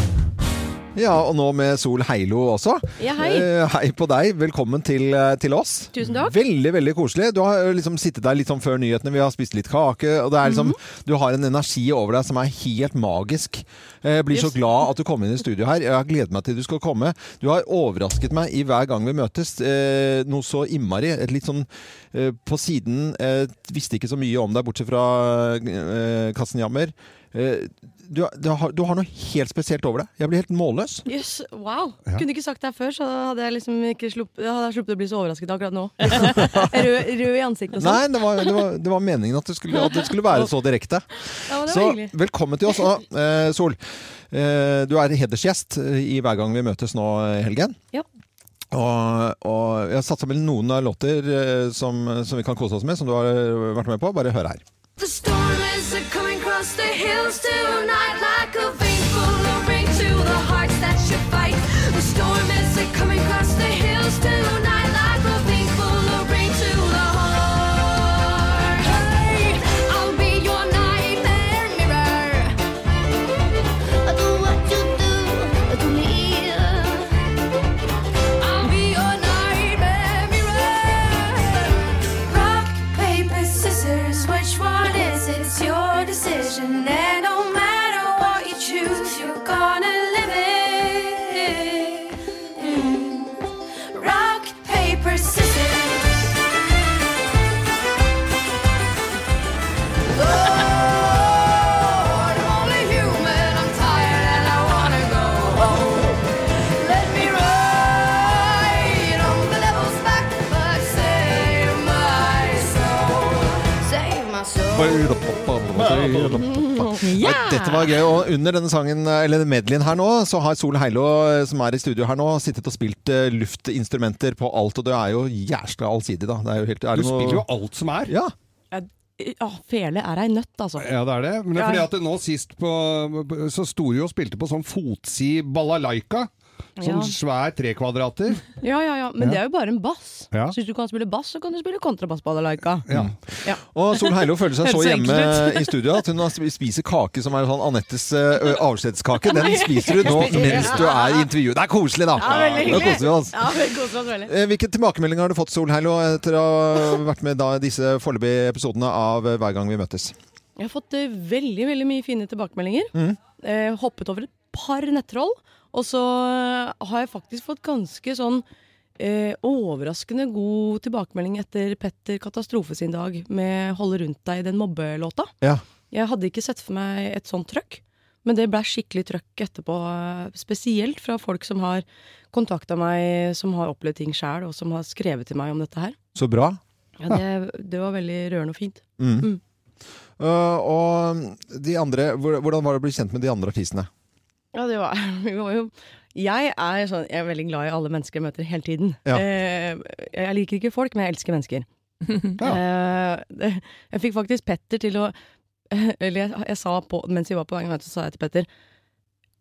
[SPEAKER 1] Ja, og nå med Sol Heilo også.
[SPEAKER 13] Ja, hei.
[SPEAKER 1] Eh, hei på deg. Velkommen til, eh, til oss.
[SPEAKER 13] Tusen takk.
[SPEAKER 1] Veldig, veldig koselig. Du har eh, liksom sittet der litt sånn før nyhetene. Vi har spist litt kake. Og det er liksom, Du har en energi over deg som er helt magisk. Eh, Jeg blir så
[SPEAKER 14] Yes.
[SPEAKER 1] glad at du kom inn i studio her. Jeg har gledet meg til du skal komme. Du har overrasket meg i hver gang vi møtes. Eh, noe så innmari. Et litt sånn eh, på siden eh, Visste ikke så mye om deg, bortsett fra eh, Kassenjammer. Eh, du, du, har, du har noe helt spesielt over deg. Jeg blir helt målløs.
[SPEAKER 13] Jøss, wow.
[SPEAKER 1] Ja.
[SPEAKER 13] Kunne du ikke sagt det her før, så hadde jeg liksom ikke slupp, hadde jeg sluppet å bli så overrasket
[SPEAKER 3] *laughs*
[SPEAKER 13] akkurat nå. Rød, rød i ansiktet og sånn.
[SPEAKER 1] Nei, det var, det, var, det var meningen at det skulle, at det skulle være så direkte.
[SPEAKER 13] Ja, men det var
[SPEAKER 1] så
[SPEAKER 13] hyggelig.
[SPEAKER 1] velkommen til oss. Og, eh, Sol, eh, du er hedersgjest eh, i Hver gang vi møtes nå i helgen.
[SPEAKER 13] Ja.
[SPEAKER 1] Og, og jeg har satt sammen noen av låter eh, som, som vi kan kose oss med, som du har vært med på. Bare hør her.
[SPEAKER 7] The storm is a coming across the hills tonight like a vein full of rain to the hearts that should fight. The storm is a coming across the hills tonight like a vein full of rain to the heart. Hey, I'll be your nightmare mirror. Do what you do to me. I'll be your nightmare mirror. Rock, paper, scissors, which one is it? It's your decision. And no matter what you choose, you're gonna live it. Mm. Rock, paper, scissors. Lord, I'm only human. I'm tired and I wanna go home. Let me ride on the devil's back, but save my soul. Save my soul.
[SPEAKER 1] Nei, Dette var gøy, og under denne sangen, eller medleyen her nå, så har Sol Heilo, eh, som er i studio her nå, sittet og spilt eh, luftinstrumenter på alt, og det er jo jævla allsidig, da. Det er jo helt, er
[SPEAKER 2] Du
[SPEAKER 1] det noe-
[SPEAKER 2] spiller jo alt som er.
[SPEAKER 1] Ja.
[SPEAKER 13] Ja, fele er ei nøtt, altså.
[SPEAKER 2] Ja, det er det. Men det er fordi at det nå sist på, så sto jo og spilte på sånn fotsid balalaika. Sånn
[SPEAKER 13] Ja.
[SPEAKER 2] svær trekvadrater.
[SPEAKER 13] Ja, ja, ja.
[SPEAKER 2] Ja.
[SPEAKER 13] Men det er jo bare en bass.
[SPEAKER 2] Ja.
[SPEAKER 13] Så hvis du kan spille bass, så kan du spille kontrabass på Adalaika.
[SPEAKER 2] Ja.
[SPEAKER 13] Ja.
[SPEAKER 1] Og Sol Heilo føler
[SPEAKER 13] *laughs*
[SPEAKER 1] seg så
[SPEAKER 13] Høres
[SPEAKER 1] hjemme
[SPEAKER 13] enkelt ut.
[SPEAKER 1] i studio at hun har sp- spiser kake som er sånn Anettes eh, avskjedskake.
[SPEAKER 13] *laughs*
[SPEAKER 1] Den spiser du nå mens du er i intervjuet. Det er koselig, da!
[SPEAKER 13] Ja,
[SPEAKER 1] Nå
[SPEAKER 13] veldig hyggelig.
[SPEAKER 1] koser vi oss.
[SPEAKER 13] Ja, vi koser oss veldig.
[SPEAKER 1] Eh, Hvilke tilbakemeldinger har du fått, Sol Heilo, etter å ha vært med da, i disse foreløpige episodene av eh, Hver gang vi møtes?
[SPEAKER 13] Jeg har fått eh, veldig veldig mye fine tilbakemeldinger.
[SPEAKER 1] Mm.
[SPEAKER 13] Eh, hoppet over et par nettroll. Og så eh, har jeg faktisk fått ganske sånn eh, overraskende god tilbakemelding etter Petter Katastrofe sin dag med 'Holde rundt deg' den mobbelåta.
[SPEAKER 1] Ja.
[SPEAKER 13] Jeg hadde ikke sett for meg et sånt trøkk. Men det blei skikkelig trøkk etterpå, eh, spesielt fra folk som har kontakta meg, som har opplevd ting sjæl, og som har skrevet til meg om dette her.
[SPEAKER 1] Så bra.
[SPEAKER 13] Ja, det, det var veldig rørende og fint.
[SPEAKER 1] Mm. Eh, og de andre, hvor- hvordan var det å bli kjent med de andre artistene?
[SPEAKER 13] Ja, det var, *laughs* vi var jo jeg er, sånn, jeg er veldig glad i alle mennesker jeg møter hele tiden.
[SPEAKER 1] Ja.
[SPEAKER 13] Eh, jeg liker ikke folk, men jeg elsker mennesker. Eh, det, jeg fikk faktisk Petter til å *laughs* Eller jeg, jeg sa på, mens vi var på vei, så sa jeg til Petter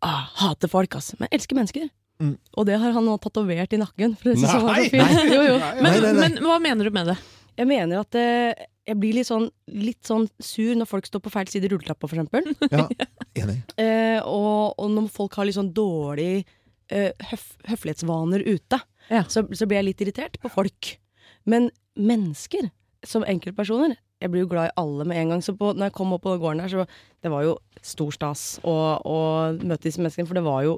[SPEAKER 13] ah, Hater folk, ass, men elsker mennesker.
[SPEAKER 7] Mm.
[SPEAKER 13] Og det har han nå tatovert i nakken. For det synes jeg var
[SPEAKER 3] Nei!
[SPEAKER 13] så fint.
[SPEAKER 3] Nei.
[SPEAKER 13] *laughs* Jo, jo.
[SPEAKER 3] Nei, nei, nei. Men- men
[SPEAKER 13] hva mener du med det? Jeg mener at eh, jeg blir litt sånn, litt sånn sur når folk står på feil side i rulletrappa, for eksempel. *laughs* Eh, og, og når folk har litt sånn dårlig eh, høf, høflighetsvaner ute, så, så blir jeg litt irritert på folk. Men mennesker, som enkeltpersoner Jeg blir jo glad i alle med en gang. Så på, når jeg kom opp på gården der, så det var jo stor stas å, å møte disse menneskene. For det var jo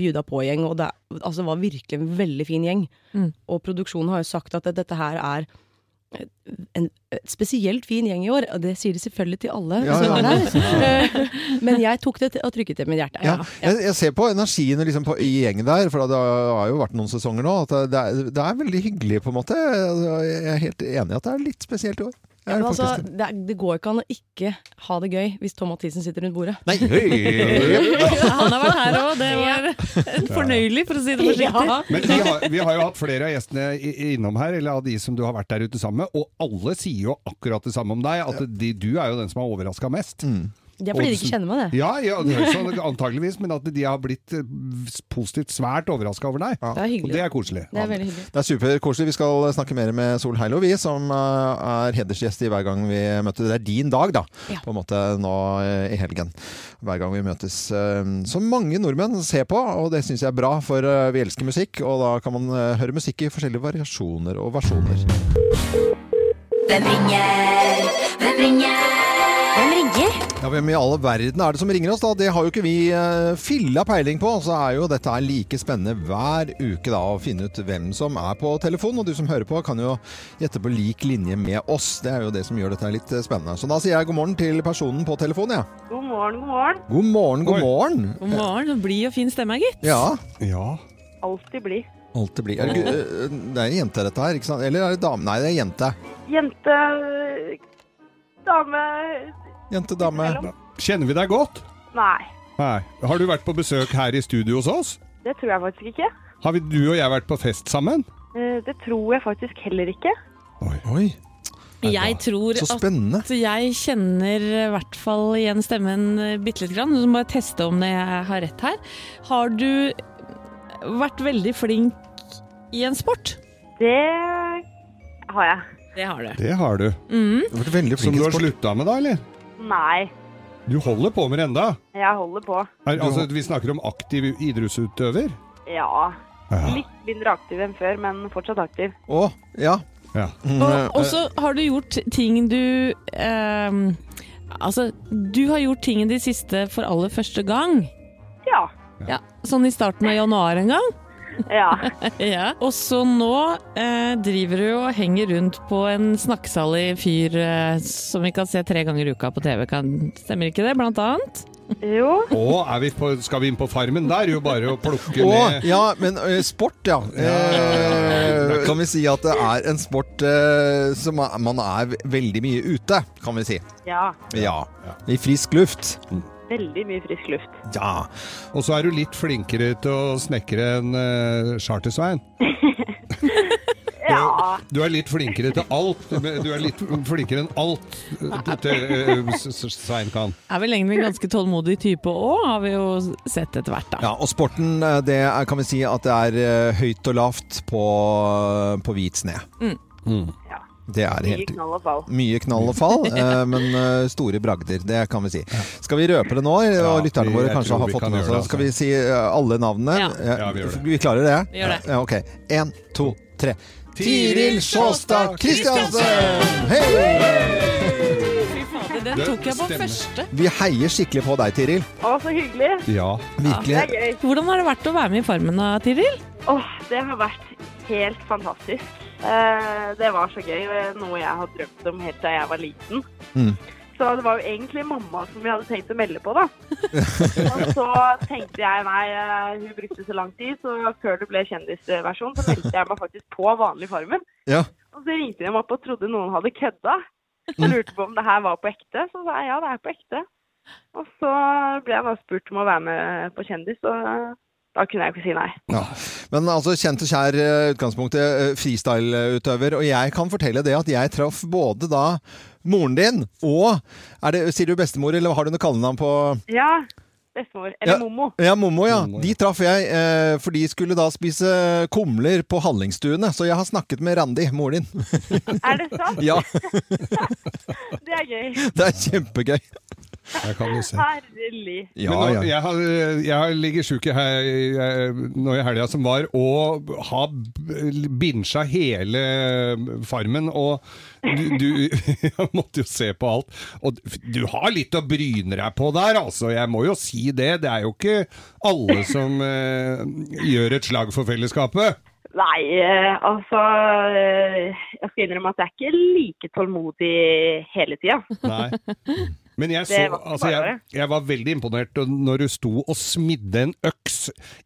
[SPEAKER 13] bjuda på-gjeng, og det, altså, det var virkelig en veldig fin gjeng.
[SPEAKER 3] Mm.
[SPEAKER 13] Og produksjonen har jo sagt at dette her er en spesielt fin gjeng i år, og det sier de selvfølgelig til alle
[SPEAKER 1] Ja,
[SPEAKER 13] som
[SPEAKER 1] ja.
[SPEAKER 13] er der. *laughs*
[SPEAKER 1] Ja.
[SPEAKER 13] Eh, Men jeg tok det til, og trykket det med hjertet.
[SPEAKER 1] Ah, Ja, jeg, jeg ser på energien liksom på, i gjengen der, for det har jo vært noen sesonger nå. At det, er, det er veldig hyggelig, på en måte. Jeg er helt enig i at det er litt spesielt i år. Jeg
[SPEAKER 13] Ja,
[SPEAKER 1] er
[SPEAKER 13] men altså,
[SPEAKER 1] faktisk-
[SPEAKER 13] det, er- det går ikke an å ikke ha det gøy hvis Tom Mathisen sitter rundt bordet.
[SPEAKER 1] Nei,
[SPEAKER 13] *laughs*
[SPEAKER 1] hei!
[SPEAKER 3] Han har vært her òg, det var fornøyelig, for å si det forsiktig.
[SPEAKER 13] Ja.
[SPEAKER 2] Men vi har, vi har jo hatt flere av gjestene i- innom her, eller av de som du har vært der ute sammen med, og alle sier jo akkurat det samme om deg, at de, du er jo den som har overraska mest.
[SPEAKER 15] Det er fordi de ikke
[SPEAKER 2] oddsen.
[SPEAKER 15] kjenner meg, det.
[SPEAKER 2] Ja, ja det er sånn, antageligvis, men at de har blitt eh, positivt svært overraska over deg.
[SPEAKER 15] Det er hyggelig.
[SPEAKER 2] Og det er koselig.
[SPEAKER 15] Det er veldig hyggelig.
[SPEAKER 1] Det er superkoselig. Vi skal snakke mer med Sol Heilo, vi, som eh, er hedersgjest i Hver gang vi møtes. Det er din dag, da,
[SPEAKER 15] Ja.
[SPEAKER 1] på en måte nå eh, i helgen. Hver gang vi møtes. eh, Som mange nordmenn ser på, og det syns jeg er bra, for eh, vi elsker musikk. Og da kan man eh, høre musikk i forskjellige variasjoner og versjoner.
[SPEAKER 14] Hvem ringer? Hvem ringer? Hvem ringer?
[SPEAKER 1] Ja, Hvem i all verden er det som ringer oss, da? Det har jo ikke vi eh, filla peiling på. Så er jo dette er like spennende hver uke da, å finne ut hvem som er på telefonen. Og du som hører på, kan jo gjette på lik linje med oss. Det er jo det som gjør dette litt eh, spennende. Så da sier jeg god morgen til personen på telefonen, jeg.
[SPEAKER 3] God morgen, god morgen.
[SPEAKER 1] Ja. God morgen, god morgen.
[SPEAKER 3] God morgen. så Blid og fin stemme, gitt.
[SPEAKER 1] Ja.
[SPEAKER 7] Alltid blid.
[SPEAKER 1] Alt det blir. Er det, gu- eh, det er en jente, dette her, ikke sant? Eller er det dame? Nei, det er jente.
[SPEAKER 7] Jente, dame
[SPEAKER 1] Jente, dame.
[SPEAKER 2] Kjenner vi deg godt?
[SPEAKER 7] Nei,
[SPEAKER 2] Nei. Har du vært på besøk her i studio hos oss?
[SPEAKER 7] det tror jeg faktisk ikke.
[SPEAKER 2] Har vi, du og jeg vært på fest sammen?
[SPEAKER 7] Eh, Det tror jeg faktisk heller ikke.
[SPEAKER 1] Oi.
[SPEAKER 3] Jeg tror
[SPEAKER 2] Så
[SPEAKER 3] at jeg kjenner i hvert fall igjen stemmen eh, bitte lite grann. Så må jeg teste om det jeg har rett her. Har du vært veldig flink i en sport?
[SPEAKER 7] Det har jeg.
[SPEAKER 3] Det har du.
[SPEAKER 2] Det har du.
[SPEAKER 3] Mm.
[SPEAKER 1] Du har vært veldig
[SPEAKER 2] Som
[SPEAKER 1] flink
[SPEAKER 2] du
[SPEAKER 1] i
[SPEAKER 2] har
[SPEAKER 1] sport.
[SPEAKER 2] slutta med, da, eller?
[SPEAKER 7] Nei,
[SPEAKER 2] Du holder på med det enda?
[SPEAKER 7] jeg holder på.
[SPEAKER 2] Er, altså, vi snakker om aktiv idrettsutøver?
[SPEAKER 7] Ja. Litt mindre aktiv enn før, men fortsatt aktiv.
[SPEAKER 1] Å, ja.
[SPEAKER 2] Ja.
[SPEAKER 3] Og og så har du gjort ting du ehm, Altså, du har gjort ting de siste for aller første gang.
[SPEAKER 7] Ja.
[SPEAKER 3] ja sånn i starten av januar en gang. *laughs*
[SPEAKER 7] Ja.
[SPEAKER 3] Og så nå eh, driver du og henger rundt på en snakkesalig fyr eh, som vi kan se tre ganger i uka på TV. Kan, stemmer ikke det, blant annet?
[SPEAKER 7] Jo.
[SPEAKER 2] Å, er vi på, skal vi inn på farmen? Der er jo bare å plukke
[SPEAKER 1] Å,
[SPEAKER 2] ned
[SPEAKER 1] ja, men ø, sport, ja. Eh, kan vi si at det er en sport eh, som er, man er veldig mye ute, kan vi si.
[SPEAKER 7] Ja.
[SPEAKER 1] Ja. I frisk luft.
[SPEAKER 7] Veldig mye frisk luft.
[SPEAKER 1] Ja.
[SPEAKER 2] Og så er du litt flinkere til å snekre enn uh, Chartersveien.
[SPEAKER 7] Ja.
[SPEAKER 2] Du er litt flinkere til alt. Du du er litt flinkere enn alt eh, til, eh, S- S- Svein kan.
[SPEAKER 3] Er vel egentlig en ganske tålmodig type òg, har vi jo sett etter hvert, da.
[SPEAKER 1] Ja, og sporten, eh, det er, kan vi si at det er eh, høyt og lavt på, eh, på hvit sne.
[SPEAKER 3] Mm.
[SPEAKER 1] Det er
[SPEAKER 7] Mye
[SPEAKER 1] helt
[SPEAKER 7] knall og fall.
[SPEAKER 1] Mye knall og
[SPEAKER 3] *laughs*
[SPEAKER 1] fall, eh, men eh, store bragder. Det kan vi si. Skal vi røpe det nå, eller- og
[SPEAKER 2] Ja,
[SPEAKER 1] lytterne
[SPEAKER 2] vi-
[SPEAKER 1] våre
[SPEAKER 2] jeg
[SPEAKER 1] kanskje
[SPEAKER 2] tror
[SPEAKER 1] har
[SPEAKER 2] vi
[SPEAKER 1] fått
[SPEAKER 2] kan
[SPEAKER 1] det med
[SPEAKER 2] gjøre
[SPEAKER 1] seg?
[SPEAKER 2] det,
[SPEAKER 1] Skal vi si eh, alle navnene? Eh,
[SPEAKER 2] Ja, vi gjør det.
[SPEAKER 1] Vi klarer det?
[SPEAKER 3] Vi gjør det.
[SPEAKER 1] Ja, ok. Én, to, tre.
[SPEAKER 14] Tiril Sjåstad Kristiansen!
[SPEAKER 3] Fy fader, den
[SPEAKER 1] Det
[SPEAKER 3] tok jeg på
[SPEAKER 1] stemmer.
[SPEAKER 3] første.
[SPEAKER 1] Vi heier skikkelig på deg, Tiril.
[SPEAKER 7] Å, så hyggelig.
[SPEAKER 1] Ja. Virkelig.
[SPEAKER 7] Det er gøy.
[SPEAKER 3] Hvordan har det vært å være med i Farmen da, Tiril?
[SPEAKER 7] Åh, det har vært helt fantastisk. Eh, Det var så gøy, og noe jeg har drømt om helt da jeg var liten.
[SPEAKER 1] Mm.
[SPEAKER 7] Så det var jo egentlig mamma som vi hadde tenkt å melde på, da. Og så tenkte jeg nei, eh, hun brukte så lang tid, så før det ble kjendisversjon, så meldte jeg meg faktisk på vanlig Farmen.
[SPEAKER 16] *laughs*
[SPEAKER 1] Ja.
[SPEAKER 7] Og så ringte de opp og trodde noen hadde kødda. Og
[SPEAKER 1] Mm.
[SPEAKER 7] lurte på om det her var på ekte. Så sa jeg ja, det er på ekte. Og så ble jeg bare spurt om å være med på Kjendis, og da kunne jeg jo ikke si nei.
[SPEAKER 1] Ja. Men altså, kjent og kjær eh, utgangspunktet, eh, freestyle-utøver. Og jeg kan fortelle det at jeg traff både da moren din og er det, Sier du bestemor, eller har du noe kallenavn på
[SPEAKER 7] Ja, bestemor. Eller Mommo.
[SPEAKER 1] Ja, Mommo, ja. De traff jeg, eh, for de skulle da spise kumler på Hallingstuene. Så jeg har snakket med Randi, moren din. *laughs*
[SPEAKER 7] Er det sant?
[SPEAKER 1] ja,
[SPEAKER 7] *laughs* Det er gøy.
[SPEAKER 1] det er kjempegøy.
[SPEAKER 2] Jeg kan jo se.
[SPEAKER 7] Herlig.
[SPEAKER 2] Men nå, Jeg, har, jeg har ligget sjuk i he- jeg- nå i helga som var, og har b- binsja hele Farmen. Og du, *laughs* du Jeg måtte jo se på alt. Og du har litt å bryne deg på der, altså. Jeg må jo si det. Det er jo ikke alle som eh, gjør et slag for fellesskapet.
[SPEAKER 7] Nei, eh, altså eh, Jeg skal innrømme at jeg er ikke like tålmodig hele tida. *laughs*
[SPEAKER 2] Nei. Men jeg,
[SPEAKER 7] Det
[SPEAKER 2] så,
[SPEAKER 7] var ikke
[SPEAKER 2] altså jeg,
[SPEAKER 7] bare.
[SPEAKER 2] jeg var veldig imponert da- når du sto og smidde en øks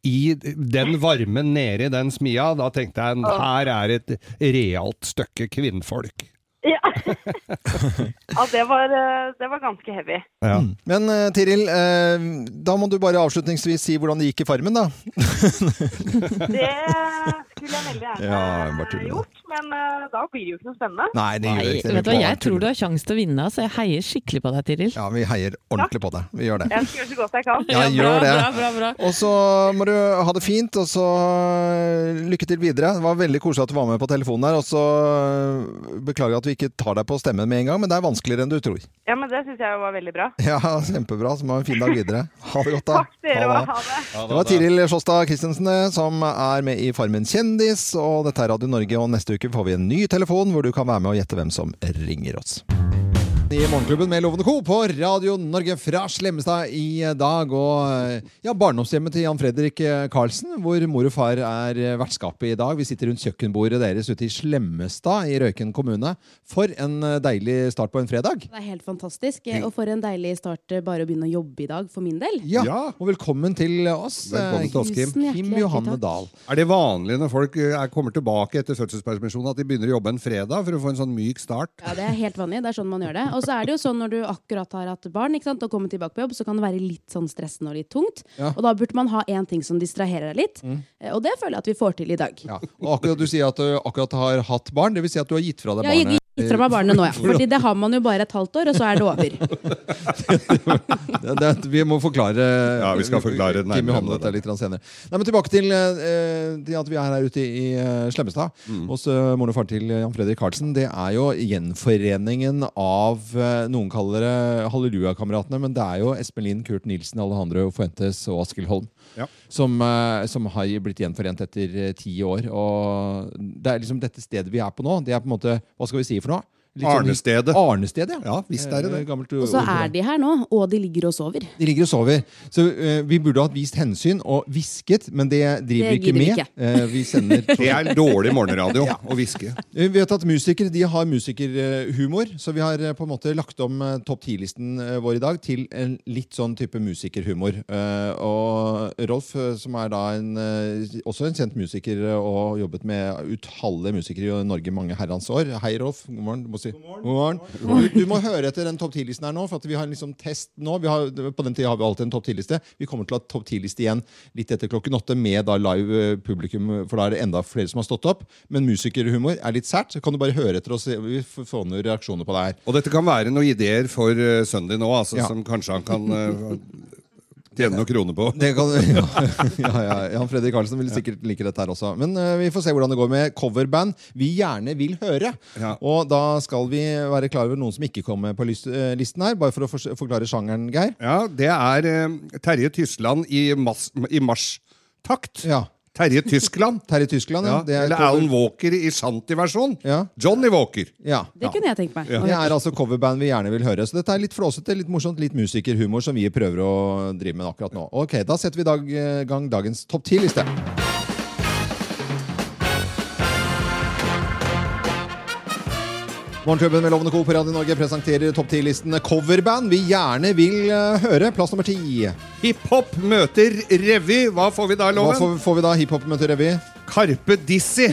[SPEAKER 2] i den varmen nede i den smia. Da tenkte jeg her er et realt stykke kvinnfolk.
[SPEAKER 7] *laughs*
[SPEAKER 5] Ja. ja, det var, eh, det var ganske heavy.
[SPEAKER 1] Mm. Men eh, Tiril, eh, da må du bare avslutningsvis si hvordan det gikk i Farmen, da.
[SPEAKER 5] Det skulle jeg veldig gjerne
[SPEAKER 1] Ja, jeg bare tuller.
[SPEAKER 5] gjort, men eh, da blir det jo ikke noe spennende.
[SPEAKER 1] Nei, det gjør ikke det.
[SPEAKER 3] Vet du hva, Jeg tror du har sjanse til å vinne, så jeg heier skikkelig på deg, Tiril.
[SPEAKER 1] Ja, vi heier ordentlig på deg. Vi gjør det.
[SPEAKER 5] Jeg skal gjøre så godt jeg kan.
[SPEAKER 1] Ja, gjør det.
[SPEAKER 3] bra, bra, bra.
[SPEAKER 1] Og så må du ha det fint, og så eh, lykke til videre. Det var veldig koselig at du var med på telefonen her, og så eh, beklager jeg at vi ikke tar deg på stemmen med en gang, men det er vanskeligere enn du tror. *laughs*
[SPEAKER 5] Ja, men det syns jeg var veldig bra.
[SPEAKER 1] Ja, kjempebra. Så må ha en fin dag videre. Ha det godt, da.
[SPEAKER 5] Takk dere, og ha det.
[SPEAKER 1] Det var Tiril Sjåstad Christensen eh, som er med i Farmen kjendis, og dette er Radio Norge, og neste uke får vi en ny telefon hvor du kan være med og gjette hvem som ringer oss. I Morgenklubben med Lovende Co. på Radio Norge fra Slemmestad i dag. Og eh, ja, barndomshjemmet til Jan Fredrik eh, Karlsen, hvor mor og far er eh, vertskapet i dag. Vi sitter rundt kjøkkenbordet deres ute i Slemmestad i Røyken kommune. For en eh, deilig start på en fredag.
[SPEAKER 14] Det er helt fantastisk. eh, Og for en deilig start eh, bare å begynne å jobbe i dag, for min del.
[SPEAKER 1] Ja, og velkommen til oss. eh,
[SPEAKER 2] Velkommen til oss, Kim.
[SPEAKER 14] Tusen hjertelig,
[SPEAKER 1] Kim
[SPEAKER 14] hjertelig
[SPEAKER 1] Johanne
[SPEAKER 14] takk.
[SPEAKER 1] Dahl.
[SPEAKER 2] Er det vanlig når folk eh, er, kommer tilbake etter fødselspermisjon at de begynner å jobbe en fredag for å få en sånn myk start?
[SPEAKER 14] Ja, Det er helt vanlig. Det er sånn man gjør det. Og så er det jo sånn når du akkurat har hatt barn ikke sant, og kommer tilbake på jobb, så kan det være litt sånn stressende og litt tungt.
[SPEAKER 1] Ja.
[SPEAKER 14] Og da burde man ha én ting som distraherer deg litt.
[SPEAKER 1] Mm.
[SPEAKER 14] Eh, Og det føler jeg at vi får til i dag.
[SPEAKER 1] Ja, og akkurat Du sier at du akkurat har hatt barn. Det vil si at du har gitt fra deg
[SPEAKER 14] Jeg har
[SPEAKER 1] barnet.
[SPEAKER 14] gitt fra meg barnet
[SPEAKER 1] *laughs*
[SPEAKER 14] nå, ja. Fordi det har man jo bare et halvt år, og så er det over.
[SPEAKER 1] det, det, vi må forklare
[SPEAKER 2] Ja, vi skal forklare det
[SPEAKER 1] Kim
[SPEAKER 2] nærmere
[SPEAKER 1] Johanne
[SPEAKER 2] enn det.
[SPEAKER 1] dette litt senere. Nei, men Tilbake til, eh, til at vi er her ute i eh, Slemmestad.
[SPEAKER 2] Mm.
[SPEAKER 1] Hos eh, moren og faren til Jan Fredrik Karlsen. Det er jo gjenforeningen av eh, Noen kaller det Hallelujakameratene, men det er jo Espen Lind, Kurt Nilsen, Alejandro Fuentes og Askild Holm
[SPEAKER 2] Ja.
[SPEAKER 1] som, eh, som har blitt gjenforent etter eh, ti år. Og det er liksom dette stedet vi er på nå. Det er på en måte, Hva skal vi si for noe? Litt sånn-
[SPEAKER 2] Arnestedet.
[SPEAKER 1] Arnestedet, ja.
[SPEAKER 2] visst er det det.
[SPEAKER 1] Eh, Gammelt
[SPEAKER 14] Og så
[SPEAKER 1] ord for
[SPEAKER 14] er de her nå, og de ligger og sover.
[SPEAKER 1] de ligger og sover. Så eh, vi burde hatt vist hensyn og hvisket, men det driver
[SPEAKER 14] Det
[SPEAKER 1] vi ikke
[SPEAKER 14] gidder vi
[SPEAKER 1] med.
[SPEAKER 14] ikke.
[SPEAKER 1] Eh, vi sender
[SPEAKER 2] *laughs*
[SPEAKER 1] Eh,
[SPEAKER 2] Det er dårlig
[SPEAKER 1] *laughs*
[SPEAKER 2] morgenradio å hviske.
[SPEAKER 1] Vi vet at musikere de har musikerhumor, så vi har eh, på en måte lagt om eh, topp 10-listen eh, vår i dag til en litt sånn type musikerhumor. Eh, Og Rolf, eh, som er da en, eh, også en kjent musiker eh, og har jobbet med utallige musikere i Norge mange herrens år. Hei, Rolf. God morgen. Du må si. God morgen. Du, du må høre etter den topp 10-listen her nå, for at vi har en liksom test nå. Vi har, på den tida har vi alltid en topp 10-liste. Vi kommer til å ha topp 10-liste igjen litt etter klokken åtte med da live eh, publikum, for da er det enda flere som har stått opp. Men musikerhumor er litt sært, så kan du bare høre etter og se. Vi får får noen reaksjoner på det her.
[SPEAKER 2] Og dette kan være noen ideer for eh, Sunday nå, altså,
[SPEAKER 1] Ja.
[SPEAKER 2] som kanskje han kan eh, tjene noen kroner på.
[SPEAKER 1] Det kan, ja, *laughs* ja, ja, Jan Fredrik Karlsen vil sikkert like dette her også. Men eh, vi får se hvordan det går med coverband vi gjerne vil høre. Og da skal vi være klar over noen som ikke kommer på lys- eh, listen her, bare for å fors- forklare sjangeren, Geir.
[SPEAKER 2] Ja, det er eh, Terje Tysland i, mas i marsjtakt. Terje Tyskland.
[SPEAKER 1] Terje Tyskland, ja. Det er
[SPEAKER 2] Eller
[SPEAKER 1] cover.
[SPEAKER 2] Alan Walker i shanty-versjon. Johnny Walker.
[SPEAKER 1] Ja.
[SPEAKER 14] Det kunne jeg tenkt meg.
[SPEAKER 1] Det er altså coverband vi gjerne vil høre. Så dette er litt flåsete, litt morsomt, litt musikerhumor som vi prøver å drive med akkurat nå. Ok, Da setter vi i dag, eh, gang dagens topp ti-liste. Morgenklubben med Lovende Co. på Radio Norge presenterer topp ti-listen coverband vi gjerne vil eh, høre. Plass nummer ti.
[SPEAKER 2] Hiphop møter revy. Hva får vi da,
[SPEAKER 1] Hva
[SPEAKER 2] Loven?
[SPEAKER 1] får, får vi da? Hiphop møter revy?
[SPEAKER 2] Karpe Dizzy.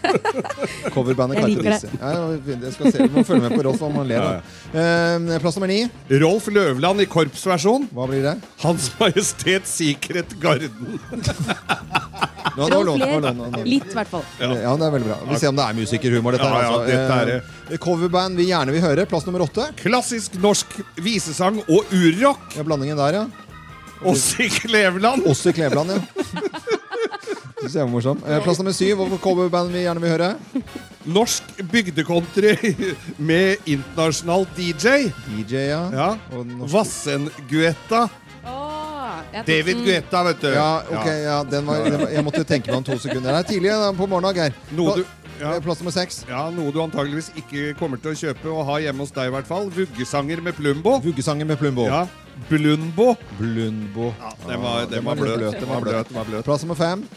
[SPEAKER 1] *laughs* Coverbandet
[SPEAKER 2] Jeg
[SPEAKER 1] Carpe
[SPEAKER 2] liker det.
[SPEAKER 1] Dizzy. Ja, ja, fint. jeg skal se. Vi må følge med på Rolf om han ler. da. Eh, Plass nummer ni.
[SPEAKER 2] Rolf Løvland i korpsversjon.
[SPEAKER 1] Hva blir det?
[SPEAKER 2] Hans Majestet Sikret Garden.
[SPEAKER 1] *laughs* Nå, nå, nå, nå, nå, nå.
[SPEAKER 14] Litt, i hvert fall.
[SPEAKER 1] Ja. det er veldig bra. Vi ser om det er musikerhumor. Dette
[SPEAKER 2] Ja,
[SPEAKER 1] her,
[SPEAKER 2] ja,
[SPEAKER 1] altså.
[SPEAKER 2] dette er det.
[SPEAKER 1] Eh, Coverband vi gjerne vil høre. Plass nummer åtte.
[SPEAKER 2] Klassisk norsk visesang og urrock.
[SPEAKER 1] Ja, blandingen der, ja.
[SPEAKER 2] Åssi Kleveland.
[SPEAKER 1] Åssi
[SPEAKER 2] *laughs*
[SPEAKER 1] Kleveland, ja. Synes jeg var morsom. Eh, Plass nummer syv. Hva for coverband vi gjerne vil høre?
[SPEAKER 2] Norsk bygdekontry *laughs* med internasjonal DJ.
[SPEAKER 1] DJ, ja.
[SPEAKER 2] Vassen-Guetta. David Guetta, vet du.
[SPEAKER 1] Ja, ok, ja, den var, den var, jeg måtte tenke meg om to sekunder. Det er tidlig da, på morgenen, Geir.
[SPEAKER 2] Noe du,
[SPEAKER 1] Pla- Plass nummer seks.
[SPEAKER 2] ja, noe du antageligvis ikke kommer til å kjøpe og ha hjemme hos deg, i hvert fall. Vuggesanger med Plumbo.
[SPEAKER 1] Vuggesanger med Plumbo.
[SPEAKER 2] Ja. Blundbo.
[SPEAKER 1] Blundbo.
[SPEAKER 2] Ja, den var, den var,
[SPEAKER 1] litt
[SPEAKER 2] bløt.
[SPEAKER 1] Ah, Den var bløt.
[SPEAKER 2] Den var bløt.
[SPEAKER 1] Plass nummer fem.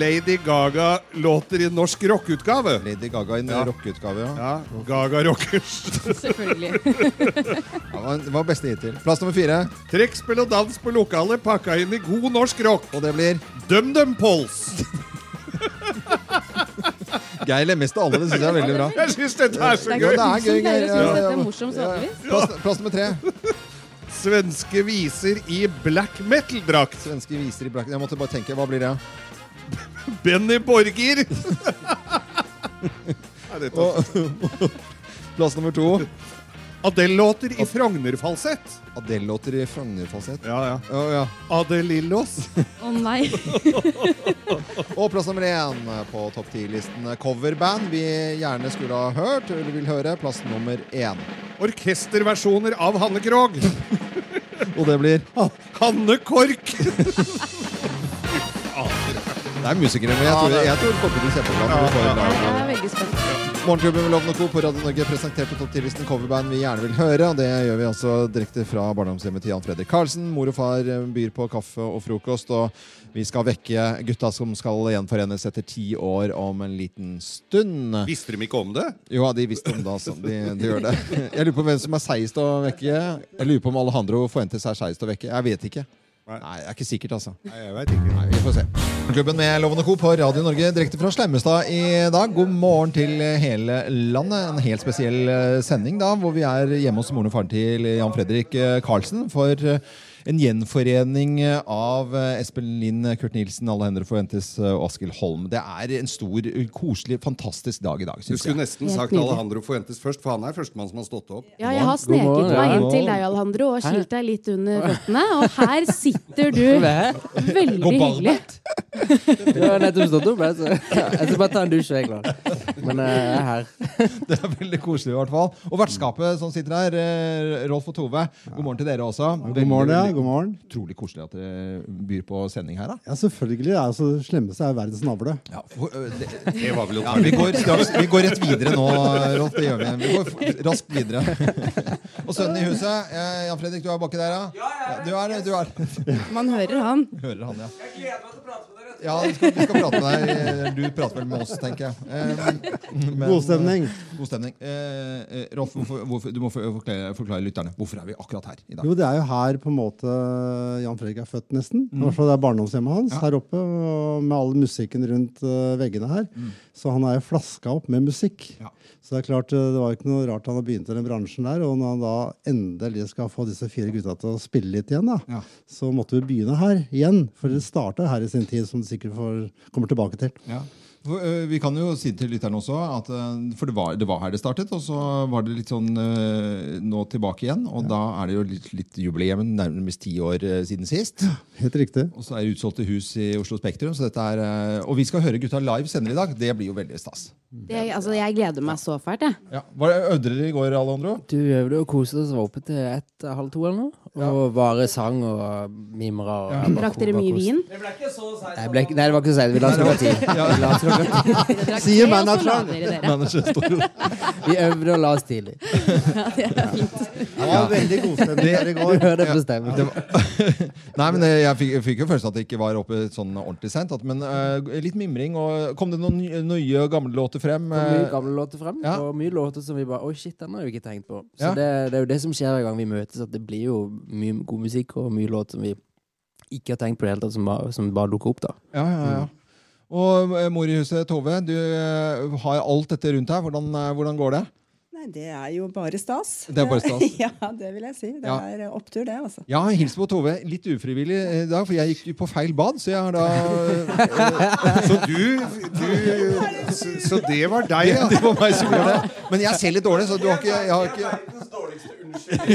[SPEAKER 2] Lady Gaga låter i norsk rockeutgave.
[SPEAKER 1] Lady Gaga i en rockeutgave, ja.
[SPEAKER 2] Gaga Rockers.
[SPEAKER 1] Ja, det var- det var beste hittil. Plass nummer fire.
[SPEAKER 2] Trekkspill og dans på lokalet pakka inn i god norsk rock.
[SPEAKER 1] Og det blir
[SPEAKER 2] DumDum Pols.
[SPEAKER 1] *laughs* Geir Lemmestad, alle. Det syns jeg er veldig bra.
[SPEAKER 2] Jeg syns dette er så
[SPEAKER 1] Ja,
[SPEAKER 2] gøy!
[SPEAKER 1] det er gøy, Geir.
[SPEAKER 14] Jeg synes
[SPEAKER 1] Ja, ja,
[SPEAKER 14] dette
[SPEAKER 1] ja.
[SPEAKER 14] er morsomt vanligvis.
[SPEAKER 1] Plass, plass nummer tre.
[SPEAKER 2] Svenske viser i black metal-drakt.
[SPEAKER 1] Svenske viser i black Jeg måtte bare tenke. Hva blir det?
[SPEAKER 2] *laughs* Benny
[SPEAKER 1] *laughs*
[SPEAKER 2] Borger!
[SPEAKER 1] Og, plass nummer to.
[SPEAKER 2] Adele-låter i Frogner-falsett.
[SPEAKER 1] Adele-låter *laughs* i Frogner-falsett.
[SPEAKER 2] Ja, ja.
[SPEAKER 1] Å, ja.
[SPEAKER 2] Adelillos.
[SPEAKER 14] *laughs*
[SPEAKER 1] *laughs*
[SPEAKER 14] Å nei.
[SPEAKER 1] Og plass nummer én på topp ti-listen. Coverband vi gjerne skulle ha hørt, eller vil høre. Plass nummer én.
[SPEAKER 2] Orkesterversjoner av Hanne Krogh.
[SPEAKER 1] Og det blir
[SPEAKER 2] Hanne
[SPEAKER 1] *laughs*
[SPEAKER 2] Kork!
[SPEAKER 1] Det er musikere, men jeg tror, jeg tror det kommer til å bli kjempebra. når vi får en live.
[SPEAKER 14] Jeg er veldig spent.
[SPEAKER 1] Morgenklubben med Lovende Co. på Radio Norge presenterte topp 10-listen coverband vi gjerne vil høre. og Det gjør vi altså direkte fra barndomshjemmet til Jan Fredrik Karlsen. Mor og far eh, byr på kaffe og frokost, og vi skal vekke gutta som skal gjenforenes etter ti år om en liten stund.
[SPEAKER 2] Visste de ikke om det?
[SPEAKER 1] Jo, ja, de visste om det, altså. De, de gjør det. Jeg lurer på hvem som er seigest å vekke. Jeg lurer på om Alejandro Fuentes er seigest å vekke. Jeg vet ikke. Nei, det er ikke sikkert, altså.
[SPEAKER 2] Nei, jeg vet ikke.
[SPEAKER 1] Nei, vi får se. Klubben med Loven og Co. på Radio Norge direkte fra Slemmestad i dag. God morgen til hele landet. En helt spesiell eh, sending da, hvor vi er hjemme hos moren og faren til Jan Fredrik eh, Karlsen for eh, en gjenforening eh, av eh, Espen Lind, eh, Kurt Nilsen, Alle Hender Forventes og Askild Holm. Det er en stor, eh, koselig, fantastisk dag i dag,
[SPEAKER 2] Du
[SPEAKER 1] syns
[SPEAKER 2] skulle
[SPEAKER 1] jeg.
[SPEAKER 2] nesten
[SPEAKER 14] Helt
[SPEAKER 2] sagt
[SPEAKER 14] nydelig.
[SPEAKER 2] Alejandro Fuentes først, for han er førstemann som har stått opp.
[SPEAKER 14] Ja, jeg har
[SPEAKER 1] God morgen.
[SPEAKER 14] sneket meg inn
[SPEAKER 1] Ja.
[SPEAKER 14] til deg, Alejandro, og skilt deg litt under føttene. Og her sitter du.
[SPEAKER 17] Hva?
[SPEAKER 14] Veldig
[SPEAKER 17] Går barbeint?
[SPEAKER 14] hyggelig.
[SPEAKER 17] Jeg har nettopp stått opp. Jeg, så ja, jeg skal bare ta en dusj, jeg er klar. Men eh, jeg er her.
[SPEAKER 1] *laughs* Det er veldig koselig i hvert fall. Og vertskapet som sitter her, eh, Rolf og Tove, god morgen til dere også.
[SPEAKER 18] God morgen, ja.
[SPEAKER 1] Veldig,
[SPEAKER 18] God morgen.
[SPEAKER 1] veldig Utrolig koselig at dere eh, byr på sending her, da.
[SPEAKER 18] Ja, selvfølgelig. Det er altså, det slemmeste er verdens navle.
[SPEAKER 1] *laughs* Det var vel ja, vi, går straks, vi går rett videre nå, Rolf. Det gjør vi. Vi går f- raskt videre. Og sønnen i huset, eh, Jan Fredrik, du er baki der, ja? ja du er det. Du er det.
[SPEAKER 14] Man hører han.
[SPEAKER 1] Hører han, ja. Ja, vi skal, vi skal prate med deg. Eh, Du prater vel med oss, tenker jeg. Eh,
[SPEAKER 18] God stemning.
[SPEAKER 1] God stemning. Eh, eh, Rolf, hvorfor, hvorfor, du må for- forklare, forklare lytterne. Hvorfor er vi akkurat her i dag?
[SPEAKER 18] Jo, det er jo her på en måte Jan Fredrik er født, nesten. I
[SPEAKER 1] Mm.
[SPEAKER 18] hvert fall det er barndomshjemmet hans her oppe, og med all musikken rundt eh, veggene her.
[SPEAKER 1] Mm.
[SPEAKER 18] Så han er jo flaska opp med musikk. Så det er klart, eh, det var jo ikke noe rart han har begynt i den bransjen der. Og når han da endelig skal få disse fire gutta til å spille litt igjen, da, så måtte vi begynne her igjen. For det starta her i sin tid, som du sikkert får, kommer tilbake til.
[SPEAKER 1] Ja. For, eh, vi kan jo si til lytterne også at eh, For det var, det var her det startet, og så var det litt sånn eh, nå tilbake igjen. Og da er det jo litt, litt jubileum, nærmest ti år eh, siden sist.
[SPEAKER 18] Helt riktig.
[SPEAKER 1] Og så er det utsolgte hus i Oslo Spektrum. Så dette er, eh, og vi skal høre gutta live senere i dag. Det blir jo veldig stas.
[SPEAKER 14] Det, altså, jeg gleder meg så fælt, jeg.
[SPEAKER 1] Ja. Var det Øvde dere i går, Alejandro?
[SPEAKER 17] Du øvde og koste oss og var oppe til ett, halv to eller noe. Og bare sang og mimra. og bare
[SPEAKER 14] Drakk
[SPEAKER 17] ko-
[SPEAKER 14] dere
[SPEAKER 17] bare
[SPEAKER 14] mye
[SPEAKER 17] koste.
[SPEAKER 14] vin?
[SPEAKER 17] Nei, ble, ikke- nei, det var ikke så seint. Vi la oss klokka ti. Vi la oss klokka ti.
[SPEAKER 14] *laughs* Dere drakk Sier te, og så manageren. la dere dere. Manageren
[SPEAKER 17] Vi øvde og la oss tidlig.
[SPEAKER 14] *laughs* Ja, det er fint.
[SPEAKER 18] var veldig god stemning her i
[SPEAKER 1] *laughs*
[SPEAKER 18] går.
[SPEAKER 17] Du hører det bestemmer.
[SPEAKER 1] Det var- *laughs* Nei, men eh, jeg fikk, jeg fikk jo følelsen at det ikke var oppe sånn ordentlig sent. at- Men eh, litt mimring. Og kom det noen nye- nye gamle låter frem?
[SPEAKER 17] Og mye
[SPEAKER 1] eh?
[SPEAKER 17] gamle låter frem, og mye låter som vi bare Oi, shit, den har vi ikke tenkt på. Så
[SPEAKER 1] Ja.
[SPEAKER 17] det, det er jo det som skjer hver gang vi møtes, at det blir jo mye god musikk og mye låt som vi ikke har tenkt på i det hele tatt, som bare, som bare dukker opp, da.
[SPEAKER 1] Ja, ja, ja. Og eh, mor i huset, Tove, du eh, har alt dette rundt deg. Hvordan, eh, hvordan går det?
[SPEAKER 19] *laughs* Nei, det er jo bare stas.
[SPEAKER 1] Det er bare stas.
[SPEAKER 19] *laughs* ja, det vil jeg si. Det
[SPEAKER 1] Ja.
[SPEAKER 19] er opptur, det, altså.
[SPEAKER 1] Ja, hils på Tove. Litt ufrivillig eh, i dag, for jeg gikk jo på feil bad. Så jeg har *laughs* eh, da
[SPEAKER 2] Så du, du så, så det var deg, ja?
[SPEAKER 1] *laughs* Det var meg som gjorde det. *laughs* Men jeg ser litt dårlig, så du har ikke, jeg har ikke...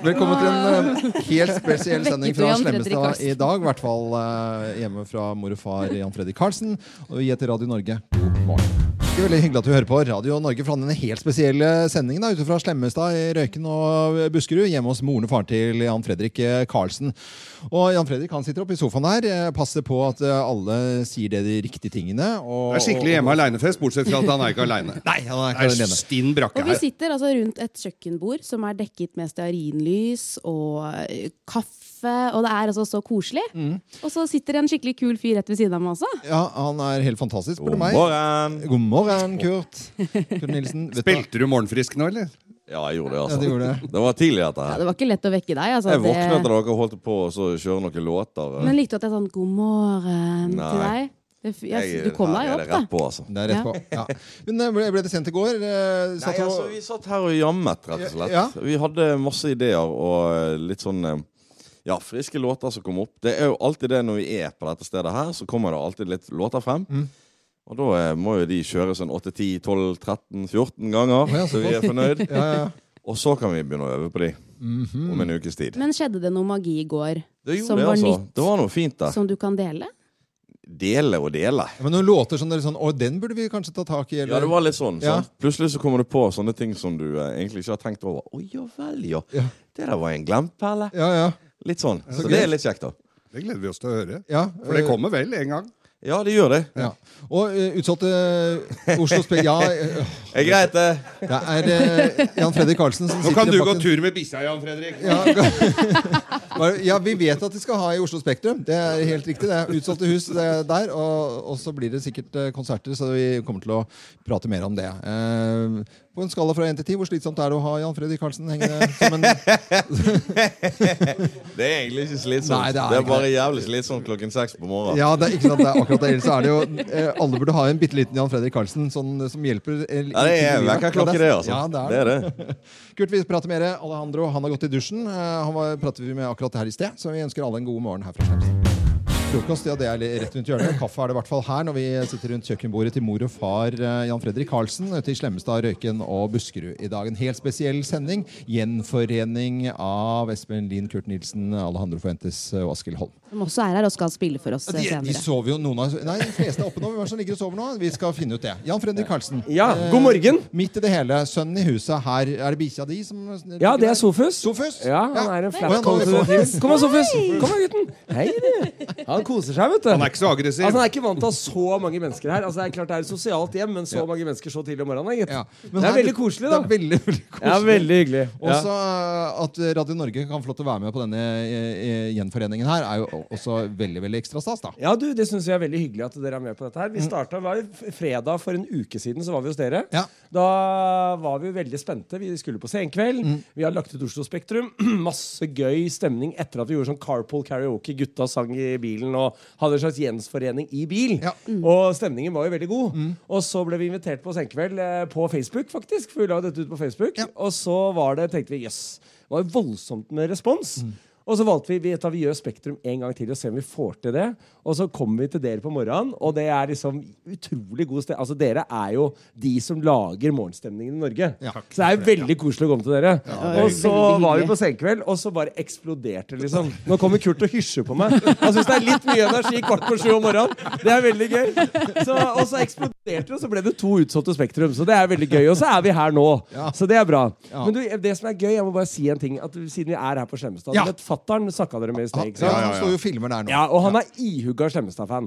[SPEAKER 1] Velkommen til en eh, helt spesiell sending
[SPEAKER 20] Vekket du
[SPEAKER 1] fra
[SPEAKER 20] Jan Fredrik
[SPEAKER 1] Slemmestad
[SPEAKER 20] Karlsen?
[SPEAKER 1] i dag. I hvert fall eh, hjemme fra mor og far Jan Fredrik Karlsen. Og vi heter Radio Norge. God morgen. Det er veldig hyggelig at du hører på Radio Norge fra denne helt spesielle sendingen da, ute fra Slemmestad i Røyken og Buskerud, hjemme hos moren og faren til Jan Fredrik eh, Karlsen. Og Jan Fredrik han sitter oppe i sofaen her, eh, passer på at eh, alle sier det de riktige tingene. Og,
[SPEAKER 2] Det er skikkelig hjemme aleinefest, bortsett fra at han er ikke aleine.
[SPEAKER 16] *laughs*
[SPEAKER 1] *laughs* Nei, han er ikke
[SPEAKER 2] Det
[SPEAKER 1] alene.
[SPEAKER 2] er stinn brakke
[SPEAKER 14] Og vi
[SPEAKER 2] her.
[SPEAKER 14] sitter altså rundt et kjøkkenbord som er dekket med stearinlys og eh, kaffe, og det er altså så koselig. Og så sitter det en skikkelig kul fyr rett ved siden av meg også.
[SPEAKER 1] Ja, han er helt fantastisk, spør du
[SPEAKER 2] God
[SPEAKER 1] meg.
[SPEAKER 2] morgen.
[SPEAKER 1] God morgen, Kurt. Kurt Nilsen. vet du hva?
[SPEAKER 2] Spilte du Morgenfrisk nå, eller?
[SPEAKER 4] Ja, jeg gjorde det, altså.
[SPEAKER 1] Ja, du gjorde det.
[SPEAKER 4] var tidlig, dette
[SPEAKER 14] Ja,
[SPEAKER 4] her.
[SPEAKER 14] det var ikke lett å vekke deg.
[SPEAKER 1] sånn
[SPEAKER 14] Altså,
[SPEAKER 4] Jeg våknet da
[SPEAKER 14] det...
[SPEAKER 4] dere holdt på å kjøre noen låter.
[SPEAKER 14] Men likte du at jeg sa 'god sånn, morgen' til
[SPEAKER 4] Nei.
[SPEAKER 14] deg? Det, f- jeg, du kom deg
[SPEAKER 4] her er
[SPEAKER 14] opp,
[SPEAKER 4] det
[SPEAKER 14] da.
[SPEAKER 4] rett på, altså.
[SPEAKER 1] Det er rett på. Ja. Men eh, ble, ble det sendt i går? Eh,
[SPEAKER 4] Nei,
[SPEAKER 1] satt og-
[SPEAKER 4] altså, vi satt her og jammet, rett og slett.
[SPEAKER 1] Ja.
[SPEAKER 4] Vi hadde masse ideer og eh, litt sånn eh, ja, friske låter som kom opp. Det er jo alltid det når vi er på dette stedet her, så kommer det alltid litt låter frem.
[SPEAKER 1] Mm.
[SPEAKER 4] Og da eh, må jo de kjøre sånn 8, 10, 12, 13, 14 ganger,
[SPEAKER 1] Ja,
[SPEAKER 4] så vi er
[SPEAKER 1] såpass.
[SPEAKER 4] fornøyd.
[SPEAKER 1] Ja, ja.
[SPEAKER 4] Og så kan vi begynne å øve på de
[SPEAKER 1] Mhm.
[SPEAKER 4] om en ukes tid.
[SPEAKER 14] Men skjedde det noe magi i går
[SPEAKER 4] Det gjorde
[SPEAKER 14] som
[SPEAKER 4] det,
[SPEAKER 14] var
[SPEAKER 4] altså.
[SPEAKER 14] nytt,
[SPEAKER 4] Det var noe fint der.
[SPEAKER 14] som du kan dele?
[SPEAKER 4] Dele og dele.
[SPEAKER 1] Ja, men noen låter som dere sånn Å, den burde vi kanskje ta tak i, eller?
[SPEAKER 4] Ja, det var litt sånn.
[SPEAKER 1] Ja.
[SPEAKER 4] Sant? Plutselig så kommer du på sånne ting som du eh, egentlig ikke har tenkt over. Å ja vel, ja. Det der var en glemperle. Litt sånn.
[SPEAKER 2] Ja,
[SPEAKER 4] Så,
[SPEAKER 2] så
[SPEAKER 4] det
[SPEAKER 2] gøy.
[SPEAKER 4] er litt kjekt, da.
[SPEAKER 2] Det gleder vi oss til å høre.
[SPEAKER 1] Ja,
[SPEAKER 2] For det
[SPEAKER 1] eh,
[SPEAKER 2] kommer vel en gang.
[SPEAKER 4] Ja, det gjør det. *laughs*
[SPEAKER 1] Ja. Og eh, utsatte Oslo Spe...
[SPEAKER 16] *laughs*
[SPEAKER 1] Ja. eh,
[SPEAKER 4] *laughs* Det er greit, det.
[SPEAKER 1] Det er eh, Jan Fredrik Karlsen som
[SPEAKER 2] Nå kan du
[SPEAKER 1] sitter
[SPEAKER 2] gå
[SPEAKER 1] bak en-
[SPEAKER 2] tur med bikkja, Jan Fredrik.
[SPEAKER 16] *laughs*
[SPEAKER 1] Bare- Ja, *laughs* vi vet at de skal ha i Oslo Spektrum. Det er helt riktig. Det er utsolgte hus det er der. Og, og så blir det sikkert eh, konserter, så vi kommer til å prate mer om det. Eh, på en skala fra 1 til 10, hvor slitsomt er det å ha Jan Fredrik Karlsen hengende som en
[SPEAKER 4] *laughs* Det er egentlig ikke slitsomt.
[SPEAKER 1] Nei, det
[SPEAKER 4] det,
[SPEAKER 1] er
[SPEAKER 4] er
[SPEAKER 1] ikke
[SPEAKER 4] bare jævlig slitsomt klokken seks på morgenen.
[SPEAKER 1] Ja, det er, ikke sant, det er akkurat det. Ellers er det jo eh, Alle burde ha en bitte liten Jan Fredrik Karlsen sånn, eh, som hjelper. eh,
[SPEAKER 4] Ja,
[SPEAKER 1] litt i
[SPEAKER 4] det er
[SPEAKER 1] livet.
[SPEAKER 4] vekkerklokke, det, altså.
[SPEAKER 1] Ja, det, er det. *laughs* Kurt, vi prater mer. Alejandro han har gått i dusjen. Eh, han var, prater vi med akkurat her i sted, så vi ønsker alle en god morgen her fra Skjermstad. Frokost ja, det er litt rett rundt hjørnet. Kaffe er det i hvert fall her når vi sitter rundt kjøkkenbordet til mor og far eh, Jan Fredrik Karlsen ute i Slemmestad, Røyken og Buskerud i dag. En helt spesiell sending. Gjenforening av Espen Lien, Kurt Nilsen, Alejandro Fuentes eh, og Askild Holm.
[SPEAKER 14] Som også er her og skal spille for oss
[SPEAKER 1] De,
[SPEAKER 14] eh,
[SPEAKER 1] de
[SPEAKER 14] senere.
[SPEAKER 1] sover jo noen av Nei, de fleste er oppe nå. Hvem er det som ligger og sover nå? Vi skal finne ut det. Jan Fredrik Karlsen. Eh,
[SPEAKER 20] Ja, god morgen.
[SPEAKER 1] midt i det hele. Sønnen i huset her. Er det bikkja di som
[SPEAKER 20] Ja, det er Sofus.
[SPEAKER 1] Sofus?
[SPEAKER 20] Ja, han er en
[SPEAKER 1] Å, ja,
[SPEAKER 20] flat
[SPEAKER 1] nå er vi på
[SPEAKER 20] Sofus.
[SPEAKER 1] Sofus.
[SPEAKER 20] Kom da, Sofus.
[SPEAKER 1] Hei.
[SPEAKER 20] Kom da, gutten. Hei, du. Han koser seg, vet du.
[SPEAKER 2] Han er ikke så aggressiv.
[SPEAKER 20] Altså, han er ikke vant til å ha så mange mennesker her. Altså, det er klart det er et sosialt hjem, men så mange mennesker så tidlig om morgenen, gitt.
[SPEAKER 1] Men
[SPEAKER 20] det er
[SPEAKER 1] her-
[SPEAKER 20] veldig koselig, da.
[SPEAKER 1] Det er veldig, veldig koselig.
[SPEAKER 20] Ja, veldig hyggelig. Ja.
[SPEAKER 1] Også eh, at Radio Norge kan få lov til å være med på denne eh, eh, gjenforeningen her, er jo også veldig veldig ekstra stas. da Mm.
[SPEAKER 20] Ja, du, Det syns vi er veldig hyggelig at dere er med på dette. her Vi startet, var jo f- Fredag for en uke siden så var vi hos dere. Da var vi jo veldig spente. Vi skulle på Senkveld.
[SPEAKER 1] Mm.
[SPEAKER 20] Vi har lagt ut Oslo Spektrum. *clears throat* Masse gøy stemning etter at vi gjorde sånn carpool karaoke. Gutta sang i bilen og hadde en slags gjensforening i bil. Og stemningen var jo veldig god.
[SPEAKER 1] Mm.
[SPEAKER 20] Og så ble vi invitert på Senkveld eh, på Facebook, faktisk. For vi la jo dette ut på Facebook. Og så var det, tenkte vi jøss. Det var jo voldsomt med respons.
[SPEAKER 1] Mm.
[SPEAKER 20] Og så valgte vi, vi, vet du hva, vi gjør Spektrum en gang til og ser om vi får til det. Og så kommer vi til dere på morgenen, og det er liksom utrolig god sted. Altså, dere er jo de som lager morgenstemningen i Norge. så det er veldig koselig å komme til dere.
[SPEAKER 2] det er
[SPEAKER 20] og så
[SPEAKER 2] veldig
[SPEAKER 20] var vi
[SPEAKER 2] hyggelig.
[SPEAKER 20] på senkveld, og så bare eksploderte det, liksom. Nå kommer Kurt og hysjer på meg. Han syns det er litt mye energi kvart på sju om morgenen. Det er veldig gøy. Så, og så eksploderte det, og så ble det to utsolgte Spektrum. Så det er veldig gøy. Og så er vi her nå. Så det er bra.
[SPEAKER 2] Ja.
[SPEAKER 20] Men du, det som er gøy, jeg må bare si en ting. At siden vi er her på Slemmestad
[SPEAKER 2] Ja.
[SPEAKER 20] ja. Fattern snakka dere med i sted. ikke
[SPEAKER 1] Ja,
[SPEAKER 20] sant?
[SPEAKER 1] han står jo og filmer der nå.
[SPEAKER 20] Ja, og han er ihuga Slemmestad-fan.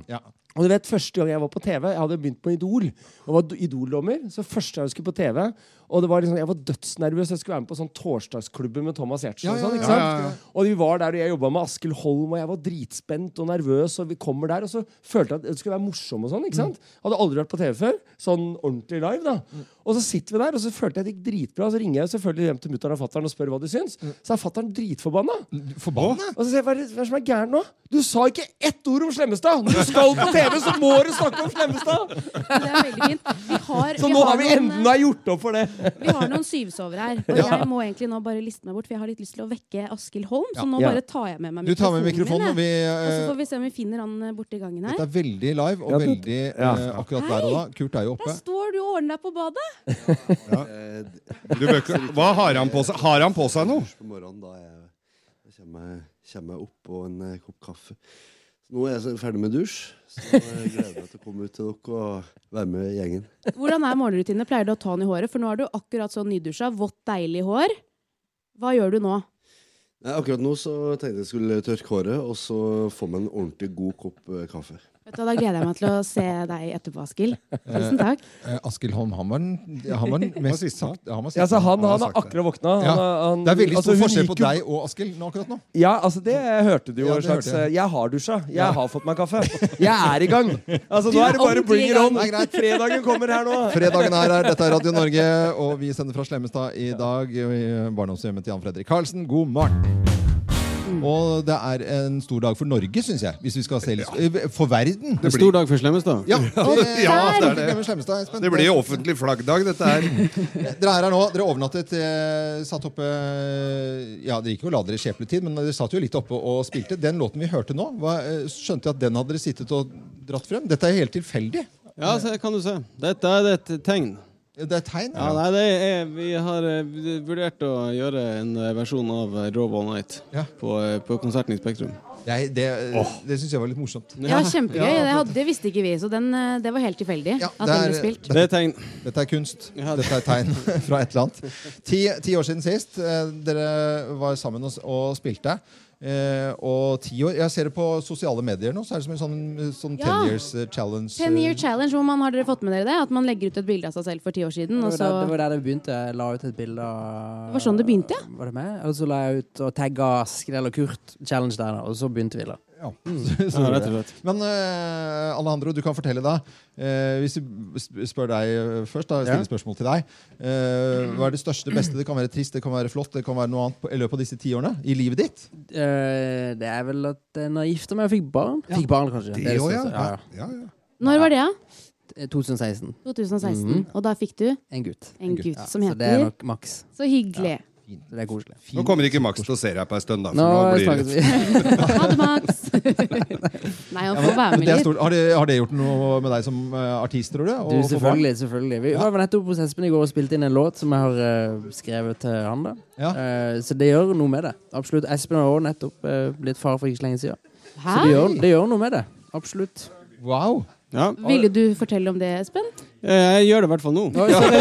[SPEAKER 20] Og du vet, Første gang jeg var på TV Jeg hadde begynt på Idol. Og var Idol-dommer. Så første gang jeg skulle på TV Og det var liksom, Jeg var dødsnervøs. Jeg skulle være med på sånn torsdagsklubben med Thomas Giertsen.
[SPEAKER 2] Ja,
[SPEAKER 20] og
[SPEAKER 2] ja,
[SPEAKER 20] sånn,
[SPEAKER 2] ja,
[SPEAKER 20] ikke sant?
[SPEAKER 2] ja, ja.
[SPEAKER 20] Og vi var der, og jeg jobba med Askild Holm, og jeg var dritspent og nervøs. Og vi kommer der, og så følte jeg at det skulle være morsom og sånn. ikke sant? Hadde aldri vært på TV før. Sånn ordentlig live, da. Og så sitter vi der, og så følte jeg det gikk dritbra. Og så ringer jeg selvfølgelig hjem til mutter'n og fatter'n og spør hva de syns.
[SPEAKER 1] Mm.
[SPEAKER 20] Så er fatter'n dritforbanna.
[SPEAKER 1] Forbanna?
[SPEAKER 20] Og så sier jeg, hva er det hva er det som er gærent nå? Du sa ikke ett ord om Slemmestad! Når du skal på TV, så må du snakke om Slemmestad!
[SPEAKER 14] Har-
[SPEAKER 20] Så nå har vi
[SPEAKER 14] noen, eh,
[SPEAKER 20] enda gjort opp for det.
[SPEAKER 14] Vi har noen syvsovere her, og
[SPEAKER 20] Ja.
[SPEAKER 14] jeg må egentlig nå bare liste meg bort, for jeg har litt lyst til å vekke Askild Holm, så
[SPEAKER 1] Ja.
[SPEAKER 14] nå
[SPEAKER 1] Ja.
[SPEAKER 14] bare tar jeg med meg
[SPEAKER 1] Du tar med mikrofonen, og
[SPEAKER 14] min, jeg.
[SPEAKER 1] vi, eh,
[SPEAKER 14] og så får vi se om vi finner han eh, borti gangen
[SPEAKER 1] Dette
[SPEAKER 14] her.
[SPEAKER 1] er veldig live og
[SPEAKER 2] Ja, det-
[SPEAKER 1] veldig
[SPEAKER 2] Ja.
[SPEAKER 1] eh, akkurat der og da. Kurt er jo oppe.
[SPEAKER 14] Der står du og ordner deg på badet!
[SPEAKER 2] Du bør ikke, hva har han på seg? Har han på seg noe?
[SPEAKER 21] på morgenen da jeg, jeg kommer, meg- kommer meg opp og en eh, kopp kaffe. Så nå er jeg så ferdig med dusj, så jeg gleder jeg meg til å komme ut til dere og være med i gjengen.
[SPEAKER 14] Hvordan er morgenrutinene? Pleier du å ta han i håret? For nå har du akkurat sånn nydusja, vått, deilig hår. Hva gjør du nå?
[SPEAKER 21] Nei, akkurat nå så tenkte jeg skulle tørke håret og så få meg en ordentlig god kopp eh, kaffe.
[SPEAKER 14] Vet du, hva, da gleder jeg meg til å se deg etterpå, Askild. Tusen takk.
[SPEAKER 1] Eh, eh, Askild Holm, han var den ja, han var den
[SPEAKER 2] Han var
[SPEAKER 1] mest
[SPEAKER 2] sist, han.
[SPEAKER 1] sagt- han var sist.
[SPEAKER 20] Ja, så han,
[SPEAKER 1] var
[SPEAKER 20] han har
[SPEAKER 1] sagt det.
[SPEAKER 20] akkurat våkna. Han
[SPEAKER 1] Ja.
[SPEAKER 20] har- han-
[SPEAKER 1] Det er veldig stor
[SPEAKER 20] altså, hun
[SPEAKER 1] forskjell
[SPEAKER 20] gikk
[SPEAKER 1] på
[SPEAKER 20] jo-
[SPEAKER 1] deg og Askild nå akkurat nå.
[SPEAKER 20] Ja, altså det hørte du jo
[SPEAKER 1] Ja,
[SPEAKER 20] en
[SPEAKER 1] det
[SPEAKER 20] slags
[SPEAKER 1] hørte jeg.
[SPEAKER 20] eh, Jeg har dusja. Jeg
[SPEAKER 1] Ja.
[SPEAKER 20] har fått meg
[SPEAKER 1] *laughs*
[SPEAKER 20] kaffe. Jeg er i gang. Altså
[SPEAKER 1] Du
[SPEAKER 20] Nå
[SPEAKER 1] er
[SPEAKER 20] er det bare
[SPEAKER 1] ordentlig
[SPEAKER 20] bring
[SPEAKER 1] i
[SPEAKER 20] it
[SPEAKER 1] gang.
[SPEAKER 20] on.
[SPEAKER 1] Det er greit.
[SPEAKER 20] Fredagen kommer her nå.
[SPEAKER 1] Fredagen er her. Dette er Radio Norge, og vi sender fra Slemmestad i dag. i Barndomshjemmet til Jan Fredrik Karlsen. God morgen!
[SPEAKER 20] Mm.
[SPEAKER 1] Og det er en stor dag for Norge, syns jeg. Hvis vi skal se litt Eh, For verden!
[SPEAKER 16] En stor dag for Slemmestad.
[SPEAKER 1] Ja, Eh,
[SPEAKER 16] *laughs* Ja, det er det.
[SPEAKER 1] Slemmestad, Espen.
[SPEAKER 16] Det blir jo offentlig flaggdag, dette
[SPEAKER 1] *laughs*
[SPEAKER 16] her.
[SPEAKER 1] Dere er her nå, dere overnattet, eh, satt oppe eh, Ja, dere gikk jo og la dere i skjebnetid, men dere satt jo litt oppe og spilte. Den låten vi hørte nå, var, eh, skjønte jeg at den hadde dere sittet og dratt frem. Dette er helt tilfeldig.
[SPEAKER 16] Ja, se, kan du se. Dette er et tegn.
[SPEAKER 1] Det er tegn?
[SPEAKER 16] Ja, nei, det er, vi har eh, vurdert å gjøre en eh, versjon av eh, Raw All Night på, eh, på konserten i Spektrum.
[SPEAKER 1] Jeg, det det syns jeg var litt morsomt.
[SPEAKER 14] Ja, kjempegøy. Det, hadde, det visste ikke vi, så den, eh, det var helt tilfeldig. at den
[SPEAKER 1] eh,
[SPEAKER 14] ble spilt.
[SPEAKER 1] er tegn. Dette er kunst. Dette er tegn *laughs* fra et eller annet. Ti, ti år siden sist. eh, Dere var sammen og, s- og spilte. Eh, og ti år Jeg ser det på sosiale medier nå, så er det som en sånn, sånn
[SPEAKER 14] Ja.
[SPEAKER 1] ten years eh, challenge.
[SPEAKER 14] Ten Year Challenge, hvor man har dere fått med dere det? At man legger ut et bilde av seg selv for ti år siden.
[SPEAKER 17] Det
[SPEAKER 14] Og
[SPEAKER 17] var,
[SPEAKER 14] så,
[SPEAKER 17] der, det var der det begynte. Jeg la ut et bilde av
[SPEAKER 14] Mm, altså- det var sånn det begynte, ja.
[SPEAKER 17] Var det meg? Og så la jeg ut og tagga Skrell og Kurt Challenge der, da, og så begynte vi, da. Mm. *laughs*
[SPEAKER 1] Så gjorde jeg det. Men eh, Alejandro, du kan fortelle da eh, Hvis vi sp- spør deg eh, først da, stiller
[SPEAKER 16] Ja.
[SPEAKER 1] spørsmål til deg eh, Hva er det største, beste? Det kan være trist, det kan være flott Det kan være noe annet på, i løpet av disse ti årene i livet ditt
[SPEAKER 17] Eh, Det er vel at eh, når jeg gifta meg og fikk barn Fikk barn, kanskje.
[SPEAKER 1] Det
[SPEAKER 17] er
[SPEAKER 1] også,
[SPEAKER 17] største.
[SPEAKER 1] ja.
[SPEAKER 17] ja.
[SPEAKER 14] Når var det, da?
[SPEAKER 17] Eh, 2016.
[SPEAKER 14] 2016.
[SPEAKER 17] Mhm.
[SPEAKER 14] Og da fikk du
[SPEAKER 17] En gutt.
[SPEAKER 14] en gutt
[SPEAKER 17] Ja,
[SPEAKER 14] som
[SPEAKER 17] Så det er
[SPEAKER 14] heter
[SPEAKER 17] nok maks.
[SPEAKER 14] Så hyggelig.
[SPEAKER 17] Det er koselig.
[SPEAKER 16] Nå kommer ikke Max til å se deg på ei stund, da. for
[SPEAKER 17] Nå
[SPEAKER 16] blir det-
[SPEAKER 14] snakkes vi. Ha det,
[SPEAKER 16] *laughs*
[SPEAKER 14] Max. Nei, han får være
[SPEAKER 1] Men det
[SPEAKER 14] med
[SPEAKER 1] er
[SPEAKER 14] litt.
[SPEAKER 1] stort. har, det, har det gjort noe med deg som eh, artist, tror du?
[SPEAKER 17] Du, selvfølgelig. selvfølgelig. Vi *laughs* var nettopp hos Espen i går og spilte inn en låt som jeg har eh, skrevet til han. da. Eh, så det gjør noe med det. Absolutt. Espen har også nettopp eh, blitt far for ikke så lenge siden. Så
[SPEAKER 14] Hei!
[SPEAKER 17] det gjør, det gjør noe med det. Absolutt.
[SPEAKER 1] Wow.
[SPEAKER 14] Ville du fortelle om det, Espen?
[SPEAKER 16] Eh, Jeg gjør det i hvert fall nå.
[SPEAKER 17] Oi, sorry,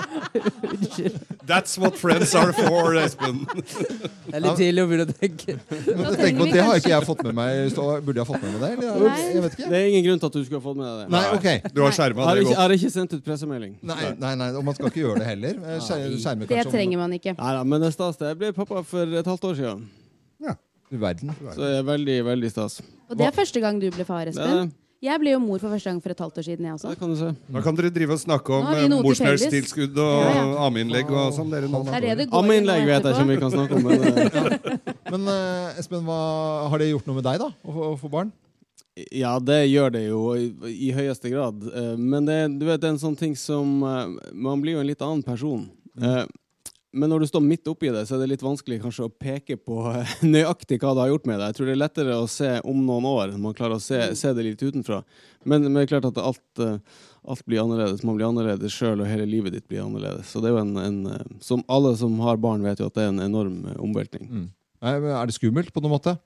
[SPEAKER 16] *laughs*
[SPEAKER 17] *laughs*
[SPEAKER 16] That's what friends are for, *laughs* Espen.
[SPEAKER 17] Det er litt tidlig å begynne å tenke.
[SPEAKER 1] Men tenk på at det har ikke jeg fått med meg så Burde jeg ha fått med meg det? Eller?
[SPEAKER 16] Nei.
[SPEAKER 1] Jeg vet ikke
[SPEAKER 16] Det er ingen grunn til at du skulle ha fått med deg det.
[SPEAKER 1] Nei, ok. Du har skjermet
[SPEAKER 16] Har
[SPEAKER 1] det
[SPEAKER 16] ikke,
[SPEAKER 1] godt.
[SPEAKER 16] har ikke sendt ut pressemelding.
[SPEAKER 1] Nei, nei, nei, og man skal ikke gjøre det heller Eh, skjer- skjermer
[SPEAKER 14] Det
[SPEAKER 1] kanskje om-
[SPEAKER 14] trenger man ikke.
[SPEAKER 16] Nei da, men det er stas. det. Jeg ble pappa for et halvt år siden.
[SPEAKER 1] Du verden.
[SPEAKER 16] Så det er veldig, veldig stas.
[SPEAKER 14] Og det er første gang du ble far,
[SPEAKER 16] Ja,
[SPEAKER 14] Espen. Jeg ble jo mor for første gang for et halvt år siden, jeg også.
[SPEAKER 16] Da kan dere drive og snakke om
[SPEAKER 14] Nå har vi
[SPEAKER 16] eh,
[SPEAKER 14] noe til felles.
[SPEAKER 16] morsmelstilskudd og
[SPEAKER 14] Ja, ja.
[SPEAKER 16] ammeinnlegg og sånn. Dere nå.
[SPEAKER 14] Det er det det går
[SPEAKER 16] Ammeinnlegg
[SPEAKER 14] gjennom
[SPEAKER 16] vet jeg ikke om vi kan snakke om, men eh,
[SPEAKER 1] Men eh, Espen, hva, har det gjort noe med deg da? Å få- å få barn?
[SPEAKER 16] Ja, det gjør det jo i, i høyeste grad. Eh, Men det, du vet, det er en sånn ting som eh, Man blir jo en litt annen person. Eh, Men når du står midt oppi det, så er det litt vanskelig kanskje å peke på eh, *laughs* nøyaktig hva det har gjort med deg. Jeg tror det er lettere å se om noen år, når man klarer å se, se det litt utenfra. Men, men det er klart at alt, eh, alt blir annerledes. Man blir annerledes sjøl, og hele livet ditt blir annerledes. Så det er jo en, en eh, Som alle som har barn, vet jo at det er en enorm eh, omveltning.
[SPEAKER 1] Mm. Nei, men Er det skummelt på noen måte?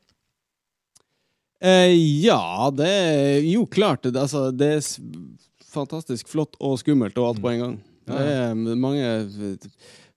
[SPEAKER 16] Eh, ja, det er jo klart. Det, altså, det er s- fantastisk flott og skummelt og alt
[SPEAKER 1] Mm.
[SPEAKER 16] på en gang. Det er eh, mange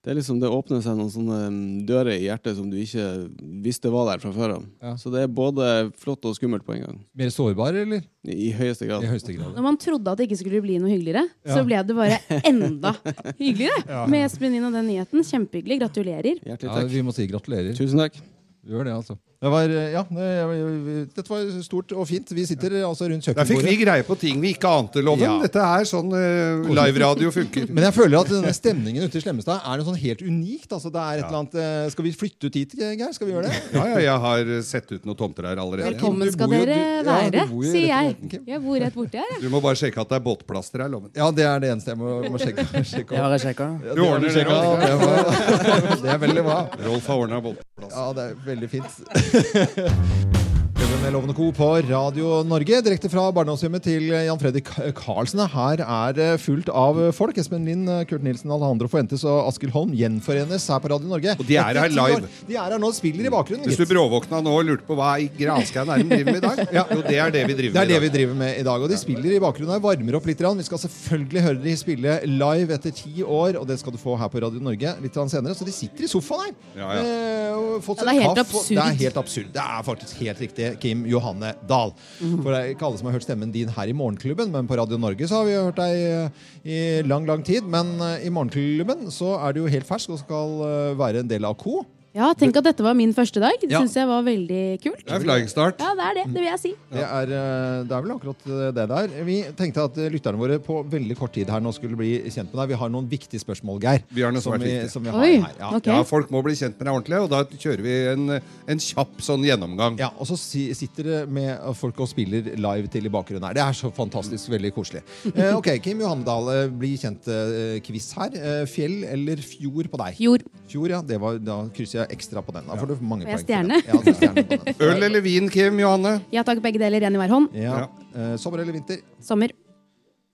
[SPEAKER 16] Det er liksom det åpner seg noen sånne mm, dører i hjertet som du ikke visste var der fra før av. Så det er både flott og skummelt på en gang.
[SPEAKER 1] Mer sårbar, eller?
[SPEAKER 16] I, i høyeste grad.
[SPEAKER 14] Når man trodde at det ikke skulle bli noe hyggeligere, så
[SPEAKER 16] Ja.
[SPEAKER 14] ble det
[SPEAKER 1] *laughs*
[SPEAKER 14] bare enda hyggeligere.
[SPEAKER 1] Ja.
[SPEAKER 14] Med Espen inn og den nyheten. Kjempehyggelig. Gratulerer.
[SPEAKER 16] Hjertelig
[SPEAKER 1] Ja,
[SPEAKER 16] takk.
[SPEAKER 1] vi må si gratulerer.
[SPEAKER 16] Tusen takk.
[SPEAKER 1] Vi gjør det, altså. Det var, eh, ja, det, jeg- dette var stort og fint. Vi sitter eh, altså rundt
[SPEAKER 16] Der
[SPEAKER 1] kjøkkenbordet.
[SPEAKER 16] fikk vi
[SPEAKER 1] greie på ting vi ikke ante,
[SPEAKER 16] Loven, dette er sånn uh, live-radio funker.
[SPEAKER 1] Men jeg føler at denne stemningen ute i Slemmestad er noe sånn helt unikt. Altså, det er et eller annet, eh, skal vi flytte ut dit, Geir? Skal vi gjøre det?
[SPEAKER 16] *laughs* Ja, ja, jeg har sett ut noen tomter her allerede.
[SPEAKER 14] Velkommen skal dere være, sier jeg. Jeg bor rett borti her. jeg.
[SPEAKER 16] Du må bare sjekke at det er båtplaster her, Loven.
[SPEAKER 1] Ja, det er det eneste jeg må, må sjekke. sjekke
[SPEAKER 16] Det har jeg
[SPEAKER 17] sjekket.
[SPEAKER 1] Ja,
[SPEAKER 16] Du
[SPEAKER 1] det
[SPEAKER 16] ordner
[SPEAKER 1] har
[SPEAKER 16] det,
[SPEAKER 1] du sjekket,
[SPEAKER 16] Rolf.
[SPEAKER 1] det var- *laughs* Det er veldig bra.
[SPEAKER 16] Rolf har ordnet båtplass.
[SPEAKER 1] Ja, det er veldig fint. Jobben med Loven og Co. på Radio Norge, direkte fra barndomshjemmet til Jan Fredrik Karlsen. Her er det fullt av folk. Espen Lind, Kurt Nilsen, Alejandro Fuentes og Askild Holm gjenforenes her på Radio Norge.
[SPEAKER 16] Og de er
[SPEAKER 1] Etter
[SPEAKER 16] her
[SPEAKER 1] ti
[SPEAKER 16] live.
[SPEAKER 1] år. De er her nå og spiller i bakgrunnen.
[SPEAKER 16] Hvis du
[SPEAKER 1] gitt.
[SPEAKER 16] bråvåkna nå og lurte på hva i granskauen er de driver med i dag,
[SPEAKER 1] Ja.
[SPEAKER 16] jo, det er det vi driver
[SPEAKER 1] Det er
[SPEAKER 16] med
[SPEAKER 1] det
[SPEAKER 16] i
[SPEAKER 1] vi
[SPEAKER 16] dag.
[SPEAKER 1] driver med i dag. Og de spiller i bakgrunnen her, varmer opp litt. grann. Vi skal selvfølgelig høre de spille live etter ti år, og det skal du få her på Radio Norge litt grann senere. Så de sitter i sofaen her.
[SPEAKER 16] Ja, ja.
[SPEAKER 1] Eh, og fått
[SPEAKER 14] Ja,
[SPEAKER 1] seg
[SPEAKER 14] det er helt
[SPEAKER 1] kaffe, og-
[SPEAKER 14] absurd.
[SPEAKER 1] Det er helt absurd. Det er faktisk helt riktig, Kim Johanne Dahl.
[SPEAKER 14] Mhm.
[SPEAKER 1] For det er ikke alle som har hørt stemmen din her i Morgenklubben, men på Radio Norge så har vi jo hørt deg eh, i lang, lang tid. Men eh, i Morgenklubben så er du jo helt fersk og skal eh, være en del av Co.
[SPEAKER 14] Ja, tenk at dette var min første dag. Det
[SPEAKER 1] Ja.
[SPEAKER 14] syns jeg var veldig kult.
[SPEAKER 1] Det er flying start.
[SPEAKER 14] Ja, det er det. Det vil jeg si.
[SPEAKER 1] Det er, eh, det er vel akkurat det der. Vi tenkte at eh, lytterne våre på veldig kort tid her nå skulle bli kjent med deg. Vi har noen viktige spørsmål, Geir.
[SPEAKER 2] Vi har noe som,
[SPEAKER 1] som
[SPEAKER 2] er
[SPEAKER 1] vi,
[SPEAKER 2] viktig.
[SPEAKER 1] som vi har her. Ja.
[SPEAKER 2] ja, folk må bli kjent med deg ordentlig, og da kjører vi en, en kjapp sånn gjennomgang.
[SPEAKER 1] Ja, og så si, sitter det med folk og spiller live til i bakgrunnen her. Det er så fantastisk veldig koselig. Eh, ok, Kim Johandal, eh, bli kjent-quiz her. Eh, fjell eller fjord på deg?
[SPEAKER 14] Fjord.
[SPEAKER 1] ja, det var, Da krysser jeg ekstra på den. Da får du mange poeng.
[SPEAKER 14] Får jeg stjerne?
[SPEAKER 1] Ja, det er stjerne på den.
[SPEAKER 2] *laughs* Øl eller vin, Kim Johanne?
[SPEAKER 14] Ja takk, begge deler. Én i hver hånd.
[SPEAKER 1] Ja. Eh, sommer eller vinter?
[SPEAKER 14] Sommer.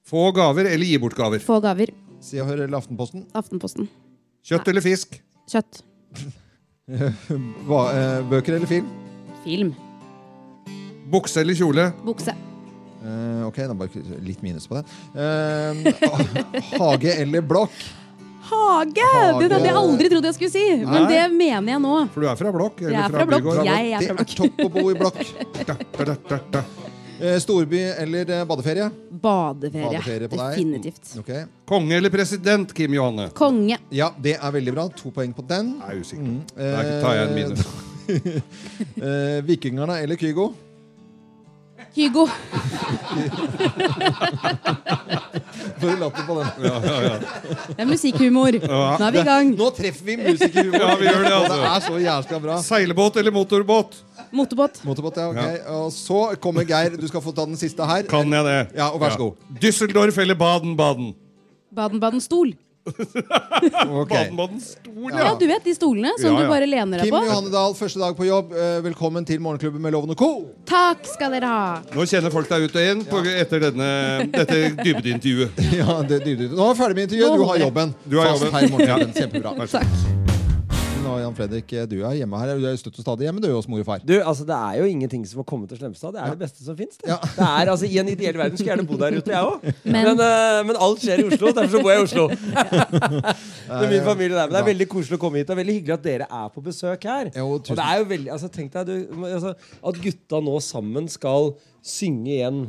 [SPEAKER 2] Få gaver eller gi bort gaver?
[SPEAKER 14] Få gaver.
[SPEAKER 1] Se og Hør eller Aftenposten?
[SPEAKER 14] Aftenposten.
[SPEAKER 2] Kjøtt eller fisk?
[SPEAKER 14] Kjøtt.
[SPEAKER 1] *laughs* Hva, eh, bøker eller film?
[SPEAKER 14] Film.
[SPEAKER 2] Bukse eller kjole?
[SPEAKER 14] Bukse.
[SPEAKER 1] Eh, ok, da bare krysser- litt minus på den. Eh, *laughs* hage eller blokk?
[SPEAKER 14] Hage! Det hadde jeg aldri trodd jeg skulle si,
[SPEAKER 1] Nei.
[SPEAKER 14] men det mener jeg nå.
[SPEAKER 2] For du er fra blokk?
[SPEAKER 14] Jeg er fra blokk. Jeg er fra
[SPEAKER 1] Det er
[SPEAKER 14] blokk.
[SPEAKER 1] topp å bo i blokk. Eh, Storby eller eh, badeferie?
[SPEAKER 14] Badeferie.
[SPEAKER 1] Badeferie på deg.
[SPEAKER 14] Definitivt.
[SPEAKER 1] Ok.
[SPEAKER 2] Konge eller president, Kim Johanne?
[SPEAKER 14] Konge.
[SPEAKER 1] Ja, det er veldig bra. To poeng på den.
[SPEAKER 2] Jeg er usikker.
[SPEAKER 1] Mm.
[SPEAKER 2] Da tar jeg en minus.
[SPEAKER 1] *laughs* Eh, Vikingerne eller
[SPEAKER 2] *laughs*
[SPEAKER 1] Kygo?
[SPEAKER 14] *laughs* Kygo.
[SPEAKER 1] Bare latter på den.
[SPEAKER 2] Ja, ja, ja.
[SPEAKER 14] Det er musikkhumor.
[SPEAKER 2] Ja.
[SPEAKER 14] Nå er vi i gang.
[SPEAKER 1] Nå treffer vi musikerhumor.
[SPEAKER 2] Ja, vi gjør det, altså.
[SPEAKER 1] Det er så jævla bra.
[SPEAKER 2] Seilbåt eller motorbåt?
[SPEAKER 14] Motorbåt.
[SPEAKER 1] Motorbåt, ja, ok. Og så kommer Geir. Du skal få ta den siste her.
[SPEAKER 2] Kan jeg det?
[SPEAKER 1] Ja, og vær så god.
[SPEAKER 2] Düsseldorf eller Baden-Baden?
[SPEAKER 14] Baden-Baden-stol.
[SPEAKER 2] Baden-Baden stol,
[SPEAKER 14] Ja, du vet de stolene som
[SPEAKER 1] Ja, ja.
[SPEAKER 14] du bare lener deg
[SPEAKER 1] Kim
[SPEAKER 14] på?
[SPEAKER 1] Johanne Dahl, første dag på jobb. Eh, Velkommen til Morgenklubben med Loven og Co.
[SPEAKER 14] Takk skal dere ha.
[SPEAKER 2] Nå kjenner folk deg ut og inn på, etter denne, dette dybdeintervjuet.
[SPEAKER 1] *laughs* Ja, det, du, du, nå er vi ferdig med intervjuet.
[SPEAKER 2] Nå
[SPEAKER 1] Du har
[SPEAKER 2] holder
[SPEAKER 1] jobben.
[SPEAKER 2] det. Du har
[SPEAKER 1] Fast
[SPEAKER 2] jobben.
[SPEAKER 1] her i Morgenklubben.
[SPEAKER 2] Ja.
[SPEAKER 1] Kjempebra.
[SPEAKER 2] Vær så
[SPEAKER 14] Takk.
[SPEAKER 1] Nå, Jan Fredrik, eh, du er hjemme her. Du er støtt og stadig hjemme, du hos mor og far.
[SPEAKER 20] Du, altså Det er jo ingenting som har kommet til Slemmestad. Det er det beste som fins. det. Det er, altså, I en ideell verden skulle jeg gjerne bo der ute, jeg òg. Men, eh, men alt skjer i Oslo, derfor så bor jeg i *laughs* Oslo. Med min familie der. Men det er veldig koselig å komme hit. Det er veldig hyggelig at dere er på besøk her. og det er jo veldig, altså, tenk deg du, altså, At gutta nå sammen skal synge igjen.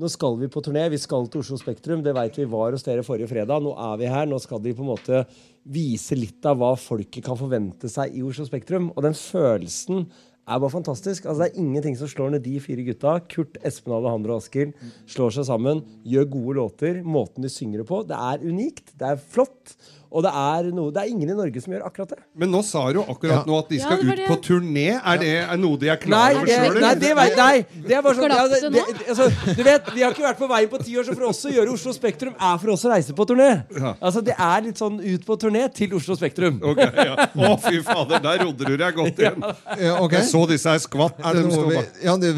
[SPEAKER 20] Nå skal vi på turné. Vi skal til Oslo Spektrum. Det veit vi var hos dere forrige fredag. Nå er vi her. Nå skal de på en måte vise litt av hva folket kan forvente seg i Oslo Spektrum. Og den følelsen er bare fantastisk. Altså, det er ingenting som slår ned de fire gutta. Kurt, Espen, Alejandro og Askild slår seg sammen, gjør gode låter. Måten de synger det på. Det er unikt. Det er flott. Og det er, noe, det er ingen i Norge som gjør akkurat det.
[SPEAKER 2] Men nå sa du akkurat nå at de
[SPEAKER 20] Ja,
[SPEAKER 2] skal
[SPEAKER 20] det var
[SPEAKER 2] ut
[SPEAKER 20] det.
[SPEAKER 2] på turné. Er det er noe de er
[SPEAKER 20] Nei,
[SPEAKER 2] klar over
[SPEAKER 20] det,
[SPEAKER 2] sjøl?
[SPEAKER 20] nei, det vet Nei! Det er bare sånn, ja,
[SPEAKER 2] Glapp
[SPEAKER 20] det,
[SPEAKER 2] det
[SPEAKER 20] det,
[SPEAKER 2] nå?
[SPEAKER 20] altså, du vet, Vi har ikke vært på veien på ti år, så for oss å gjøre Oslo Spektrum er for oss å reise på turné. Altså, Det er litt sånn ut på turné til Oslo Spektrum.
[SPEAKER 2] ja. Å, fy fader, der rodde du deg godt igjen.
[SPEAKER 1] Ja, ok.
[SPEAKER 2] Jeg så disse her skvatt.
[SPEAKER 1] Er det
[SPEAKER 2] de
[SPEAKER 1] noe
[SPEAKER 2] sto
[SPEAKER 1] vi
[SPEAKER 2] bak.
[SPEAKER 1] Ja, det,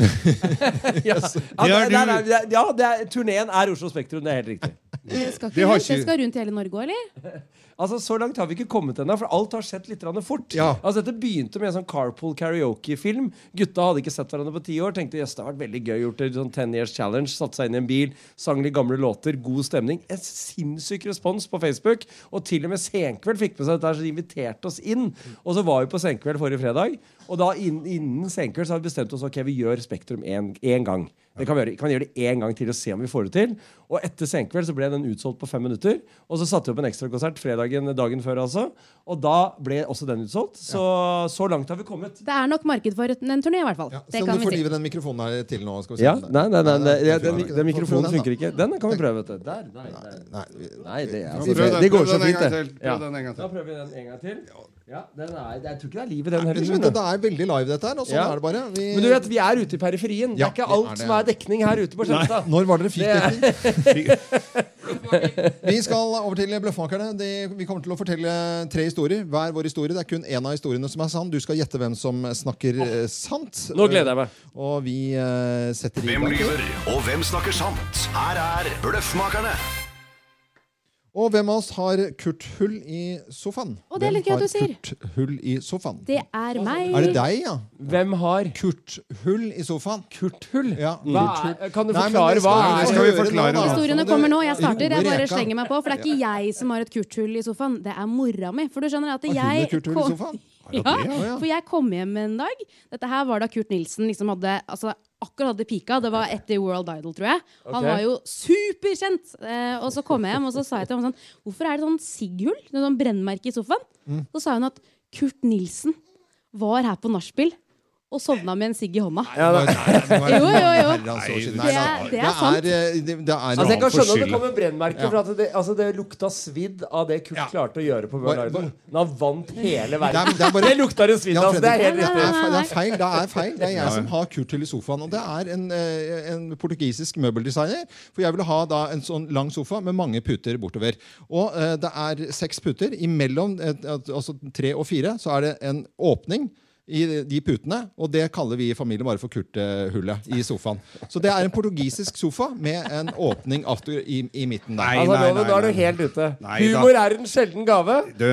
[SPEAKER 20] Ja,
[SPEAKER 2] Det
[SPEAKER 20] ja,
[SPEAKER 2] er
[SPEAKER 20] det,
[SPEAKER 2] du.
[SPEAKER 20] det, det, ja det er, turneen er Oslo Spektrum, det er helt riktig.
[SPEAKER 14] Dere skal,
[SPEAKER 20] Det
[SPEAKER 14] ikke
[SPEAKER 20] har
[SPEAKER 14] rundt, dere
[SPEAKER 20] ikke-
[SPEAKER 14] skal rundt i hele Norge òg, eller?
[SPEAKER 20] Altså, Så langt har vi ikke kommet ennå, for alt har skjedd litt grann fort. Altså, Dette begynte med en sånn carpool karaoke-film. Gutta hadde ikke sett hverandre på ti år. Tenkte jøss, det har vært veldig gøy gjort det, sånn 10 Years Challenge. Satte seg inn i en bil, sang litt gamle låter, god stemning. En sinnssyk respons på Facebook. Og til og med Senkveld fikk med seg dette, her, så de inviterte oss inn. Og så var vi på Senkveld forrige fredag, og da innen, innen Senkveld så har vi bestemt oss ok, vi gjør Spektrum én gang. Det kan vi gjøre, kan vi gjøre det én gang til og se om vi får det til. Og etter Senkveld så ble den utsolgt på fem minutter. Og så satte vi opp en ekstrakonsert fredagen dagen før, altså. Og da ble også den utsolgt. Så så langt har vi kommet.
[SPEAKER 14] Det er nok marked for en turné, i hvert fall.
[SPEAKER 1] Se
[SPEAKER 14] det
[SPEAKER 1] om
[SPEAKER 14] kan
[SPEAKER 1] du får
[SPEAKER 14] vi si.
[SPEAKER 1] livet den mikrofonen her til nå. Skal vi se
[SPEAKER 20] Ja,
[SPEAKER 1] om det-
[SPEAKER 20] nei, nei, nei, nei, ja, den,
[SPEAKER 1] den-
[SPEAKER 20] den mikrofonen
[SPEAKER 1] Prøv den, da.
[SPEAKER 20] funker ikke. Den kan vi prøve, vet du. Der, nei, nei. Nei, det, er,
[SPEAKER 1] Prøv den,
[SPEAKER 20] det går
[SPEAKER 1] prøv
[SPEAKER 20] så
[SPEAKER 1] den en
[SPEAKER 20] fint,
[SPEAKER 1] gang
[SPEAKER 20] det.
[SPEAKER 1] til, prøv
[SPEAKER 20] Ja.
[SPEAKER 1] den en gang til.
[SPEAKER 20] Da prøver vi den en gang til. Ja, den er, jeg tror ikke det er livet, den
[SPEAKER 1] Nei,
[SPEAKER 20] heller.
[SPEAKER 1] men Det er veldig live, dette her. Og sånn
[SPEAKER 20] Ja.
[SPEAKER 1] er det bare. Vi,
[SPEAKER 20] Men du vet, vi er ute i periferien.
[SPEAKER 1] Ja,
[SPEAKER 20] det er
[SPEAKER 1] vi
[SPEAKER 20] ikke alt
[SPEAKER 1] er det.
[SPEAKER 20] som er dekning her ute på Skjønstad.
[SPEAKER 1] Når var dere fikk
[SPEAKER 20] Det er- *laughs*
[SPEAKER 1] vi skal over til Bløffmakerne. De- Vi kommer til å fortelle tre historier. Hver vår historie. Det er kun én av historiene som er sann. Du skal gjette hvem som snakker eh, sant.
[SPEAKER 20] Nå gleder jeg meg.
[SPEAKER 1] Og vi eh, setter i
[SPEAKER 6] Hvem
[SPEAKER 1] gang.
[SPEAKER 6] lyver, og hvem snakker sant? Her er Bløffmakerne.
[SPEAKER 1] Og hvem av oss har Kurt Hull i sofaen?
[SPEAKER 14] Å, det er litt gøy
[SPEAKER 1] Hvem
[SPEAKER 14] at du sier.
[SPEAKER 1] har Kurt Hull i sofaen?
[SPEAKER 14] Det er meg.
[SPEAKER 1] Er det deg, ja?
[SPEAKER 20] Hvem har
[SPEAKER 1] Kurt Hull i sofaen?
[SPEAKER 20] Kurt Hull?
[SPEAKER 1] Ja,
[SPEAKER 20] Hva
[SPEAKER 1] Kurt Hull.
[SPEAKER 20] er- kan du
[SPEAKER 1] Nei, men
[SPEAKER 20] forklare
[SPEAKER 1] det skal
[SPEAKER 20] hva
[SPEAKER 1] vi-
[SPEAKER 20] er-
[SPEAKER 1] skal vi
[SPEAKER 20] Høre nå,
[SPEAKER 1] forklare
[SPEAKER 20] da.
[SPEAKER 1] nå?
[SPEAKER 14] Historiene
[SPEAKER 1] Så
[SPEAKER 14] kommer nå.
[SPEAKER 1] det-
[SPEAKER 14] Jeg starter. Jeg
[SPEAKER 1] roer
[SPEAKER 14] bare
[SPEAKER 1] reka.
[SPEAKER 14] slenger meg på. For det er ikke jeg som har et kurthull i sofaen. Det er mora mi. For du skjønner
[SPEAKER 1] Og
[SPEAKER 14] at
[SPEAKER 1] hun
[SPEAKER 14] jeg
[SPEAKER 1] har kurthull i
[SPEAKER 14] kom-
[SPEAKER 1] sofaen?
[SPEAKER 14] *laughs* Ja,
[SPEAKER 1] det, ja, ja.
[SPEAKER 14] for jeg kom hjem en dag. Dette her var da Kurt Nilsen liksom hadde altså, akkurat hadde pika. Det var etter World Idol, tror jeg. Han
[SPEAKER 7] Ok.
[SPEAKER 14] var jo superkjent! Eh, og så kom jeg hjem og så sa jeg til ham sånn Hvorfor er det sånn sigghull? Det er Sånn brennmerke i sofaen?
[SPEAKER 7] Mm.
[SPEAKER 14] Så sa hun at Kurt Nilsen var her på nachspiel og sovna med en sigg i hånda.
[SPEAKER 1] Ja, da-
[SPEAKER 14] *laughs* jo, jo, jo.
[SPEAKER 1] Nei, da-
[SPEAKER 14] Det, det er sant.
[SPEAKER 1] Det er, eh, det, det er
[SPEAKER 20] Altså, jeg kan
[SPEAKER 1] Raham for
[SPEAKER 20] skjønne at det
[SPEAKER 1] skyld.
[SPEAKER 20] kommer brennmerker,
[SPEAKER 1] Ja.
[SPEAKER 20] for at det, altså, det lukta svidd av det Kurt klarte å gjøre på Bjørn
[SPEAKER 1] Bare-
[SPEAKER 20] Arden. Men han vant hele
[SPEAKER 1] Det er-
[SPEAKER 20] verden.
[SPEAKER 1] det er bare-
[SPEAKER 20] Det lukta det svidd
[SPEAKER 1] Ja,
[SPEAKER 20] av, altså, det er helt
[SPEAKER 1] Fredrik,
[SPEAKER 20] riktig.
[SPEAKER 1] Det er, fe- det er feil. Det er feil. Det er
[SPEAKER 20] Ja, ja.
[SPEAKER 1] jeg som har Kurt til i sofaen. Og det er en, eh, en portugisisk møbeldesigner. For jeg ville ha da en sånn lang sofa med mange puter bortover. Og eh, det er seks puter. Imellom eh, altså tre og fire så er det en åpning. I de putene, og det kaller vi i familien bare for Kurt-hullet i sofaen. Så det er en portugisisk sofa med en åpning after i, i midten der.
[SPEAKER 20] altså, Loven, nå er du helt ute.
[SPEAKER 1] da.
[SPEAKER 20] Humor er en sjelden gave.
[SPEAKER 2] Du,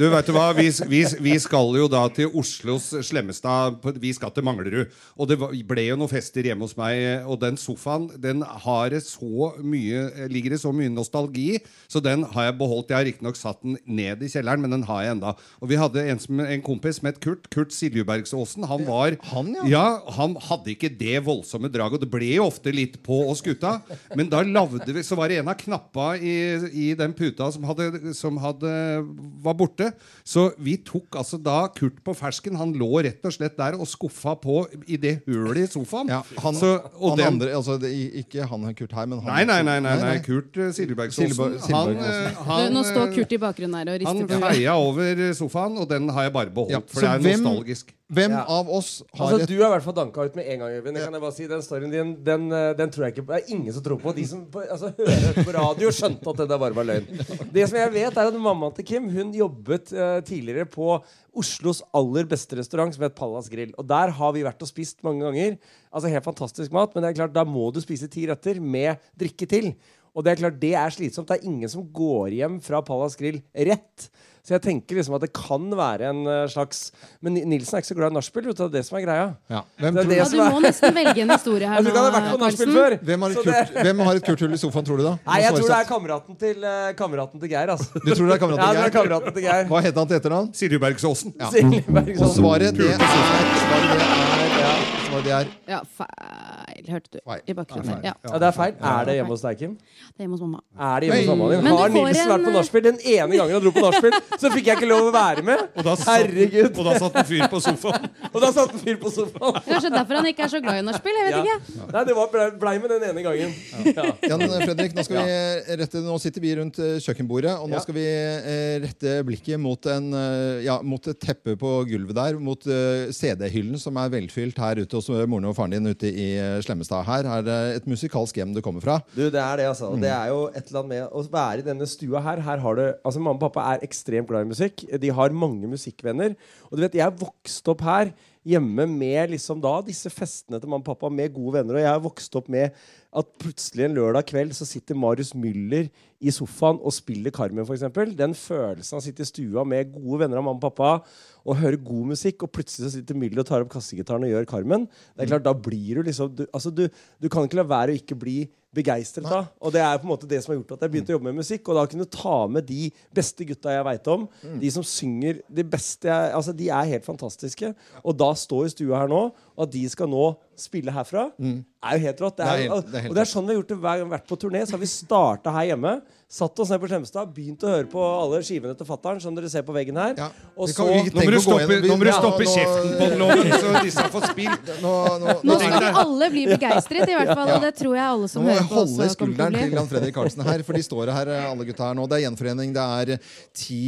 [SPEAKER 2] du vet du hva, vi, vi, vi skal jo da til Oslos slemmestad. på- Vi skal til Manglerud. Og det var- ble jo noen fester hjemme hos meg, og den sofaen den har det så mye, ligger det så mye nostalgi i, så den har jeg beholdt. Jeg har riktignok satt den ned i kjelleren, men den har jeg enda. Og vi hadde en, som, en kompis som het Kurt. Kurt Siljebergsåsen. Han var
[SPEAKER 1] Han, ja.
[SPEAKER 2] Han hadde ikke det voldsomme draget, og det ble jo ofte litt på oss gutta. Men da lavde vi Så var det en av knappa i, i den puta som, hadde, som hadde, var borte. Så vi tok altså da Kurt på fersken. Han lå rett og slett der og skuffa på i det hullet i sofaen.
[SPEAKER 1] Han,
[SPEAKER 2] Så- og
[SPEAKER 1] han
[SPEAKER 2] den-
[SPEAKER 1] andre, altså det, ikke han Kurt her, men han
[SPEAKER 2] Nei, nei, nei, nei, nei. Kurt eh, Siljebergsåsen.
[SPEAKER 1] Silber-
[SPEAKER 2] han,
[SPEAKER 1] Silbergsåsen.
[SPEAKER 2] eh,
[SPEAKER 14] Du,
[SPEAKER 2] han,
[SPEAKER 14] nå står
[SPEAKER 2] eh,
[SPEAKER 14] Kurt i bakgrunnen her og rister
[SPEAKER 2] han
[SPEAKER 14] på huet.
[SPEAKER 2] feia over sofaen, og den har jeg bare beholdt.
[SPEAKER 1] Ja,
[SPEAKER 2] for
[SPEAKER 1] så
[SPEAKER 2] det er
[SPEAKER 1] hvem-
[SPEAKER 2] nostalgisk.
[SPEAKER 1] Hvem av oss har
[SPEAKER 20] Altså,
[SPEAKER 1] et
[SPEAKER 20] Du er i hvert fall danka ut med en gang, Øyvind. Det kan jeg bare si. Den storyen din den, eh, den tror jeg ikke på. Det er ingen som tror på. De som på- altså, hører på radio, skjønte at det der bare var løgn. Det som jeg vet, er at mammaen til Kim hun jobbet eh, tidligere på Oslos aller beste restaurant, som het Pallas Grill. Og der har vi vært og spist mange ganger. Altså Helt fantastisk mat, men det er klart, da må du spise ti retter med drikke til. Og det er klart, det er slitsomt. Det er ingen som går hjem fra Pallas Grill rett. Så jeg tenker liksom at det kan være en eh, slags Men Ni- Nilsen er ikke så glad i nachspiel. vet du, Det er det som er greia. Det er det
[SPEAKER 14] Ja,
[SPEAKER 20] som
[SPEAKER 14] du
[SPEAKER 20] er-
[SPEAKER 14] må nesten velge en historie her
[SPEAKER 20] Jeg tror ikke han har vært på nachspiel før.
[SPEAKER 1] Hvem har, et
[SPEAKER 20] så
[SPEAKER 1] Kurt,
[SPEAKER 20] det-
[SPEAKER 1] hvem har et Kurt-hull i sofaen, tror du, da?
[SPEAKER 20] Nei, jeg tror det er kameraten til, eh, kameraten til Geir. Altså.
[SPEAKER 1] Du tror det er kameraten
[SPEAKER 20] Ja,
[SPEAKER 1] til
[SPEAKER 20] jeg tror
[SPEAKER 1] Geir?
[SPEAKER 20] det er kameraten til Geir.
[SPEAKER 1] Hva heter han til etternavn?
[SPEAKER 2] Siljebergsåsen.
[SPEAKER 1] Ja.
[SPEAKER 20] Siljebergsåsen.
[SPEAKER 1] Og svaret, det er Svaret, det er, ja, svaret det er
[SPEAKER 14] Ja, feil, hørte du. I bakgrunnen her. Ja.
[SPEAKER 20] Ja, det er feil. Er det hjemme hos deg, Kim?
[SPEAKER 14] Det er hjemme hos mamma.
[SPEAKER 20] Er det hjemme hos
[SPEAKER 14] Oi.
[SPEAKER 20] mammaen din?
[SPEAKER 14] Men du
[SPEAKER 20] Har
[SPEAKER 14] får
[SPEAKER 20] Nilsen
[SPEAKER 14] en, eh,
[SPEAKER 20] vært på nachspiel? Den ene gangen han dro på nachspiel, så fikk jeg ikke lov å være med. Herregud.
[SPEAKER 2] Og da satt en fyr på sofaen.
[SPEAKER 20] *laughs* Og da satt en fyr på sofaen.
[SPEAKER 14] Kanskje derfor han ikke eh, er så glad i nachspiel. Jeg vet
[SPEAKER 20] Ja.
[SPEAKER 14] ikke.
[SPEAKER 20] Nei, det var blei blei med den ene gangen. Ja.
[SPEAKER 1] Jan eh, Fredrik, nå, skal vi eh, rette, nå sitter vi rundt eh, kjøkkenbordet, og nå
[SPEAKER 20] Ja.
[SPEAKER 1] skal vi eh, rette blikket mot, en, eh, ja, mot et teppe på gulvet der, mot eh, CD-hyllen som er velfylt her ute hos eh, moren og faren din ute i eh, Slemmestad. Her er det et musikalsk hjem du kommer fra.
[SPEAKER 20] Du, det er det, altså. Og Det er jo et eller annet med å være i denne stua her. her har det, altså Mamma og pappa er ekstremt glad i musikk. De har mange musikkvenner. Og du vet, jeg vokste opp her hjemme med liksom da disse festene til mamma og pappa med gode venner. Og jeg har vokst opp med at plutselig en lørdag kveld så sitter Marius Müller i sofaen og spiller Carmen, f.eks. Den følelsen av å sitte i stua med gode venner av mamma og pappa og høre god musikk, og plutselig så sitter Müller og tar opp kassegitaren og gjør Carmen. Det er klart, Da blir du liksom Du, altså, du, du kan ikke la være å ikke bli begeistret da. Og det er på en måte det som har gjort at jeg begynte å jobbe med musikk. Og da kunne ta med de beste gutta jeg veit om.
[SPEAKER 1] Mm.
[SPEAKER 20] De som synger det beste jeg, Altså, de er helt fantastiske. Og da stå i stua her nå, og at de skal nå spille herfra,
[SPEAKER 1] Mm.
[SPEAKER 20] er jo helt rått. Det er,
[SPEAKER 1] Det er helt- det er helt
[SPEAKER 20] og det er sånn vi har gjort det hver gang vi har vært på turné. Så har vi starta her hjemme, satt oss ned på Slemmestad, begynt å høre på alle skivene til fatter'n, som dere ser på veggen her. Og så
[SPEAKER 1] Vi kan- vi
[SPEAKER 2] Nå må
[SPEAKER 1] trenger
[SPEAKER 2] du
[SPEAKER 1] å gå
[SPEAKER 2] stoppe-
[SPEAKER 1] gjennom- vi-
[SPEAKER 2] nå må du
[SPEAKER 1] ja,
[SPEAKER 2] stoppe
[SPEAKER 1] nå-
[SPEAKER 2] kjeften på den, Loven, så disse får spilt.
[SPEAKER 14] Nå skal vi alle bli
[SPEAKER 1] Ja.
[SPEAKER 14] begeistret, i hvert fall.
[SPEAKER 1] Ja.
[SPEAKER 14] Og det tror jeg alle som
[SPEAKER 1] Nå må
[SPEAKER 14] hører
[SPEAKER 1] jeg
[SPEAKER 14] på.
[SPEAKER 1] holde
[SPEAKER 14] også kommer
[SPEAKER 1] skulderen
[SPEAKER 14] å bli.
[SPEAKER 1] til Jan Fredrik Karlsen her, for de står her, eh, alle gutta her nå. Det er gjenforening. Det er eh, ti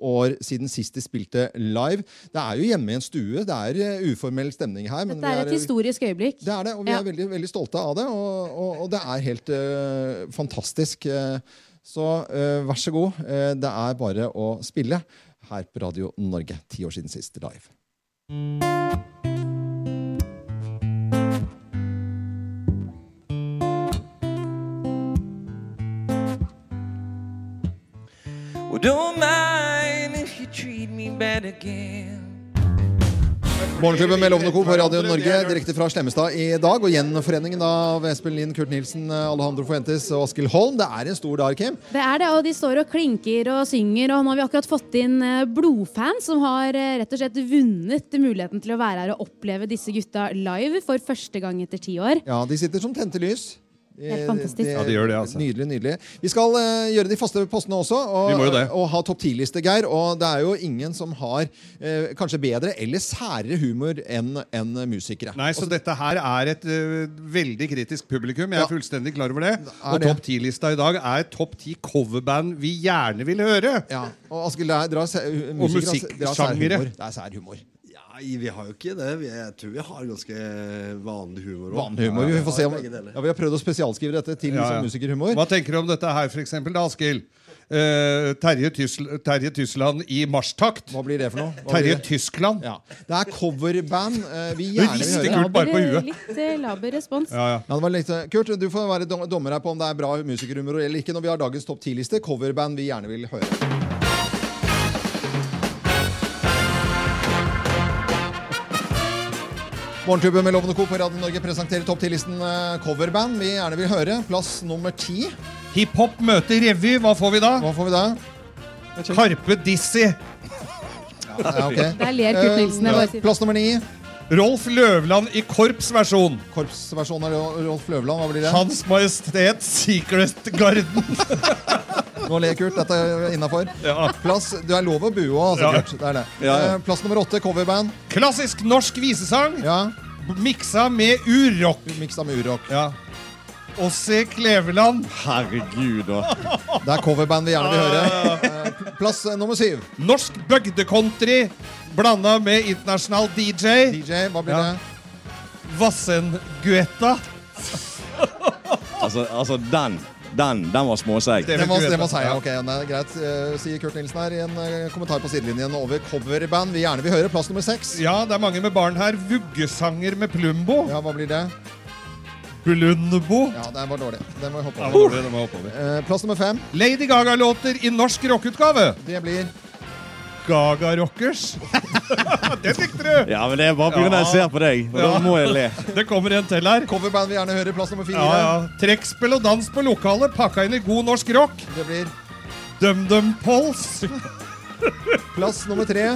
[SPEAKER 1] år siden sist de spilte live. Det er jo hjemme i en stue. Det er eh, uformell stemning her. men
[SPEAKER 14] Det er
[SPEAKER 1] vi
[SPEAKER 14] et historisk øyeblikk.
[SPEAKER 1] Det er det, og vi
[SPEAKER 14] Ja.
[SPEAKER 1] er veldig, veldig stolte av det. Og, og, og det er helt eh, fantastisk. eh, så eh, vær så god. eh, det er bare å spille her på Radio Norge. Ti år siden sist live.
[SPEAKER 22] Well, don't mind if you treat me bad again.
[SPEAKER 1] Morgenklubben med Lovende Co. på Radio Norge direkte fra Slemmestad i dag. Og gjenforeningen av Espen Lind, Kurt Nilsen, Alejandro Fuentes og Askild Holm. Det er en stor dag, Kim.
[SPEAKER 14] Det er det, og de står og klinker og synger, og nå har vi akkurat fått inn eh, blodfans som har eh, rett og slett vunnet muligheten til å være her og oppleve disse gutta live for første gang etter ti år.
[SPEAKER 1] Ja, De sitter som tente lys.
[SPEAKER 14] Helt fantastisk.
[SPEAKER 2] Ja, det gjør det, altså.
[SPEAKER 1] Nydelig, nydelig. Vi skal eh, gjøre de faste postene også, og,
[SPEAKER 2] Vi må jo det.
[SPEAKER 1] og ha topp 10-liste, Geir. Og det er jo ingen som har eh, kanskje bedre eller særere humor enn enn musikere.
[SPEAKER 2] Nei, så dette her er et ø, veldig kritisk publikum. Jeg er fullstendig klar over det. Og
[SPEAKER 1] det.
[SPEAKER 2] topp ti-lista i dag er topp ti coverband vi gjerne vil høre.
[SPEAKER 1] Og Askild, det er- dere har sær-
[SPEAKER 2] Og
[SPEAKER 1] musikere har- dere
[SPEAKER 2] musikksjangere.
[SPEAKER 1] har særhumor. Det er sær humor.
[SPEAKER 21] Nei, vi har jo ikke det. Vi, jeg tror vi har ganske vanlig humor. også.
[SPEAKER 1] Vanlig humor. Vi får se om
[SPEAKER 21] begge deler.
[SPEAKER 1] ja, Vi har prøvd å spesialskrive dette til
[SPEAKER 2] Ja,
[SPEAKER 1] liksom,
[SPEAKER 2] ja.
[SPEAKER 1] musikerhumor.
[SPEAKER 2] Hva tenker du om dette her, for eksempel, da, Askild? Eh, Terje, Tysl Terje Tysland i marsjtakt. Hva
[SPEAKER 1] blir det for noe? Hva blir
[SPEAKER 2] Terje
[SPEAKER 1] det?
[SPEAKER 2] Tyskland.
[SPEAKER 1] Det er coverband eh, vi gjerne vil
[SPEAKER 2] rister
[SPEAKER 1] høre.
[SPEAKER 2] Kurt bare på
[SPEAKER 14] Dere, Litt eh, laber respons. *laughs*
[SPEAKER 2] Ja, ja.
[SPEAKER 1] det var litt, eh, Kurt, du får være dom- dommer her på om det er bra musikerhumor eller ikke når vi har dagens topp 10-liste. Coverband vi gjerne vil høre. Morgenklubben med Lovende Co på Radio Norge presenterer topp 10-listen eh, coverband vi gjerne vil høre. Plass nummer ti.
[SPEAKER 2] Hiphop møter revy. Hva får vi da?
[SPEAKER 1] Hva får vi da?
[SPEAKER 2] Karpe Dizzy.
[SPEAKER 1] Ja, ok.
[SPEAKER 14] Der ler Kurt Nilsen, jeg
[SPEAKER 1] Eh,
[SPEAKER 14] bare sier.
[SPEAKER 1] Plass nummer ni.
[SPEAKER 2] Rolf Løvland i korpsversjon.
[SPEAKER 1] Korpsversjonen av Ro- Rolf Løvland, hva blir det?
[SPEAKER 2] Hans Majestet Secret Garden.
[SPEAKER 1] *laughs* Nå ler Kurt, dette er innafor. Plass Du er lov å bue òg, altså,
[SPEAKER 2] Ja.
[SPEAKER 1] Kurt. Det er det.
[SPEAKER 2] Ja, ja.
[SPEAKER 1] Eh, Plass nummer åtte, coverband.
[SPEAKER 2] Klassisk norsk visesang. Miksa med urrock.
[SPEAKER 1] Miksa med urrock.
[SPEAKER 2] Ja. Åse Kleveland.
[SPEAKER 1] Herregud, Det er coverband vi gjerne vil høre. Eh, Plass eh, nummer syv.
[SPEAKER 2] Norsk bygdecountry blanda med internasjonal DJ.
[SPEAKER 1] DJ, Hva blir
[SPEAKER 2] det? Vassendguetta.
[SPEAKER 4] Altså, altså den, den, den var småseig.
[SPEAKER 1] Det må, det må si, ja. ok, det er greit, eh, sier Kurt Nilsen her i en eh, kommentar på sidelinjen over coverband vi gjerne vil høre. Plass nummer seks.
[SPEAKER 2] Ja, det er mange med barn her. Vuggesanger med Plumbo.
[SPEAKER 1] Ja, hva blir det?
[SPEAKER 2] Blundbo.
[SPEAKER 1] Ja, den var dårlig. Den må vi hoppe
[SPEAKER 2] Den var
[SPEAKER 1] over.
[SPEAKER 2] dårlig, den må jeg hoppe over.
[SPEAKER 1] Eh, Plass nummer fem.
[SPEAKER 2] Lady Gaga-låter i norsk rockeutgave.
[SPEAKER 1] Det blir
[SPEAKER 2] Gaga Rockers. det likte du!
[SPEAKER 4] *laughs* Ja, men det er bare pga. at jeg ser på deg. Og
[SPEAKER 2] Ja.
[SPEAKER 4] Da må jeg le.
[SPEAKER 2] Det kommer en til her.
[SPEAKER 1] Coverband vi gjerne hører. Plass nummer fire.
[SPEAKER 2] Ja, ja. Trekkspill og dans på lokalet pakka inn i god norsk rock.
[SPEAKER 1] Det blir
[SPEAKER 2] DumDum Pols.
[SPEAKER 1] *laughs* Plass nummer tre.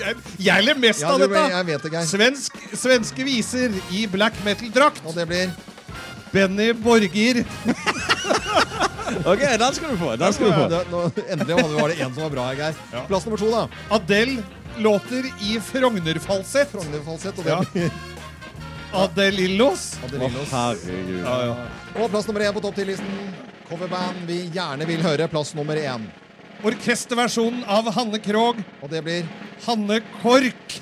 [SPEAKER 2] Jeg, jeg ler mest
[SPEAKER 1] Ja,
[SPEAKER 2] av
[SPEAKER 1] du-
[SPEAKER 2] dette.
[SPEAKER 1] jeg vet det, Geir.
[SPEAKER 2] Svensk, svenske viser i black metal-drakt.
[SPEAKER 1] Og det blir
[SPEAKER 2] Benny Borger.
[SPEAKER 4] OK, den skal du få. Den skal du få.
[SPEAKER 1] Ja, det- nå, endelig hadde- var det en som var bra her, Geir. Plass nummer to, da.
[SPEAKER 2] Adele låter i Frogner-falsett.
[SPEAKER 1] Frogner-falsett, og det
[SPEAKER 2] ja. Adelillos.
[SPEAKER 1] Adelillos.
[SPEAKER 4] Å, herregud.
[SPEAKER 2] Ja, ja.
[SPEAKER 1] Og plass nummer én på topp 10-listen. Coverband vi gjerne vil høre. Plass nummer én.
[SPEAKER 2] Orkesterversjonen av Hanne Krogh.
[SPEAKER 1] Og det blir
[SPEAKER 2] Hanne
[SPEAKER 1] *laughs*
[SPEAKER 2] Kork.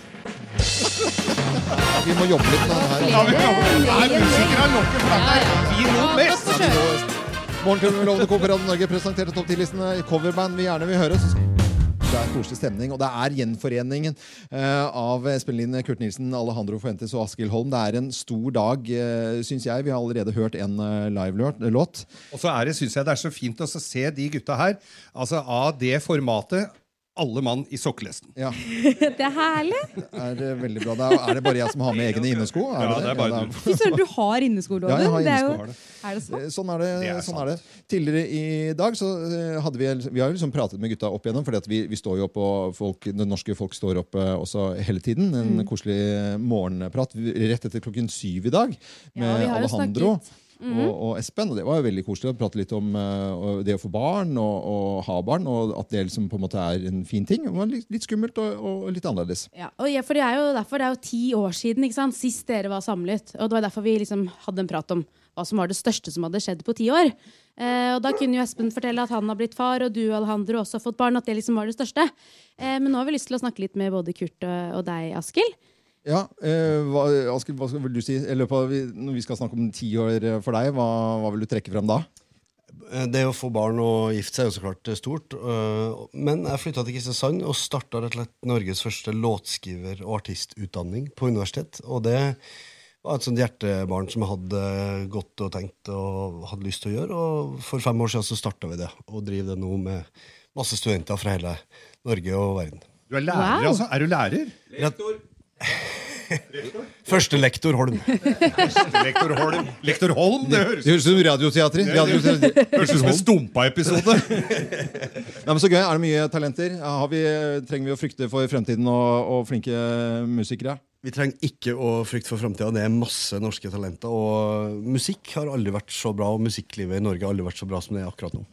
[SPEAKER 1] Vi må jobbe litt med den her.
[SPEAKER 2] Ja, vi jobber. Nei, musikere har lokket fram her. Vi
[SPEAKER 1] Ja,
[SPEAKER 2] lo mest.
[SPEAKER 1] godt forsøkt. Morgenklubben med Lovende Co på Radio Norge presenterte topp 10-listene i coverband vi gjerne vil høre. Så det er koselig stemning, og det er gjenforeningen eh, av Espen-Linn Kurt Nilsen, Alejandro Fuentes og Askild Holm. Det er en stor dag, uh, syns jeg. Vi har allerede hørt en eh, live-låt.
[SPEAKER 2] Og så er det, synes jeg det er så fint å se de gutta her, altså av det formatet, alle mann i sokkelesten.
[SPEAKER 1] Ja.
[SPEAKER 14] Det er herlig.
[SPEAKER 1] Er det veldig bra. Det er, er det bare jeg som har med egne innesko? Er
[SPEAKER 2] Ja, det er bare du.
[SPEAKER 14] Fy søren, du har inneskoloven.
[SPEAKER 1] Ja, jeg har
[SPEAKER 14] Det er jo-
[SPEAKER 1] innesko.
[SPEAKER 14] Er det sånn?
[SPEAKER 1] Eh, Sånn er det.
[SPEAKER 14] Det er
[SPEAKER 1] sånn er det. Tidligere i dag så eh, hadde vi Vi har jo liksom pratet med gutta opp igjennom, for vi, vi står jo opp, og folk, det norske folk står opp eh, også hele tiden. En
[SPEAKER 14] Mm.
[SPEAKER 1] koselig morgenprat vi- rett etter klokken syv i dag med
[SPEAKER 14] Ja, vi har jo
[SPEAKER 1] Alejandro.
[SPEAKER 14] snakket. Mhm.
[SPEAKER 1] Og, og Espen, og det var jo veldig koselig å prate litt om eh, og det å få barn og, og ha barn, og at det liksom på en måte er en fin ting. Det var litt, litt skummelt og, og litt annerledes.
[SPEAKER 14] Ja, og jeg, for det er jo derfor det er jo ti år siden ikke sant? sist dere var samlet. Og det var derfor vi liksom hadde en prat om hva som var det største som hadde skjedd på ti år. Eh, og da kunne jo Espen fortelle at han har blitt far, og du Alejandro også har fått barn. At det liksom var det største. Eh, men nå har vi lyst til å snakke litt med både Kurt og, og deg, Askild.
[SPEAKER 1] Ja, eh, hva, Askild, hva vil du si? I løpet av, når vi skal snakke om ti år eh, for deg, hva, hva vil du trekke frem da?
[SPEAKER 21] Eh, Det å få barn og gifte seg er jo så klart eh, stort. øh, Men jeg flytta til Kristiansand og starta rett og slett Norges første låtskriver- og artistutdanning på universitet. Og det var et sånt hjertebarn som jeg hadde gått og tenkt og hadde lyst til å gjøre. Og for fem år siden så starta vi det, og driver det nå med masse studenter fra hele Norge og verden.
[SPEAKER 2] Du er lærer, Wow. altså? Er du lærer?
[SPEAKER 21] *laughs* Lektor. Første lektor Holm.
[SPEAKER 2] Lektor Holm. Lektor Holm, det høres
[SPEAKER 1] ut som radioteatret.
[SPEAKER 2] Det høres ut som en Stumpa-episode.
[SPEAKER 1] *laughs* Nei, men så gøy, Er det mye talenter? Har vi, trenger vi å frykte for fremtiden og, og flinke musikere?
[SPEAKER 21] Vi trenger ikke å frykte for framtida. Det er masse norske talenter. Og musikk har aldri vært så bra, og musikklivet i Norge har aldri vært så bra som det er akkurat nå.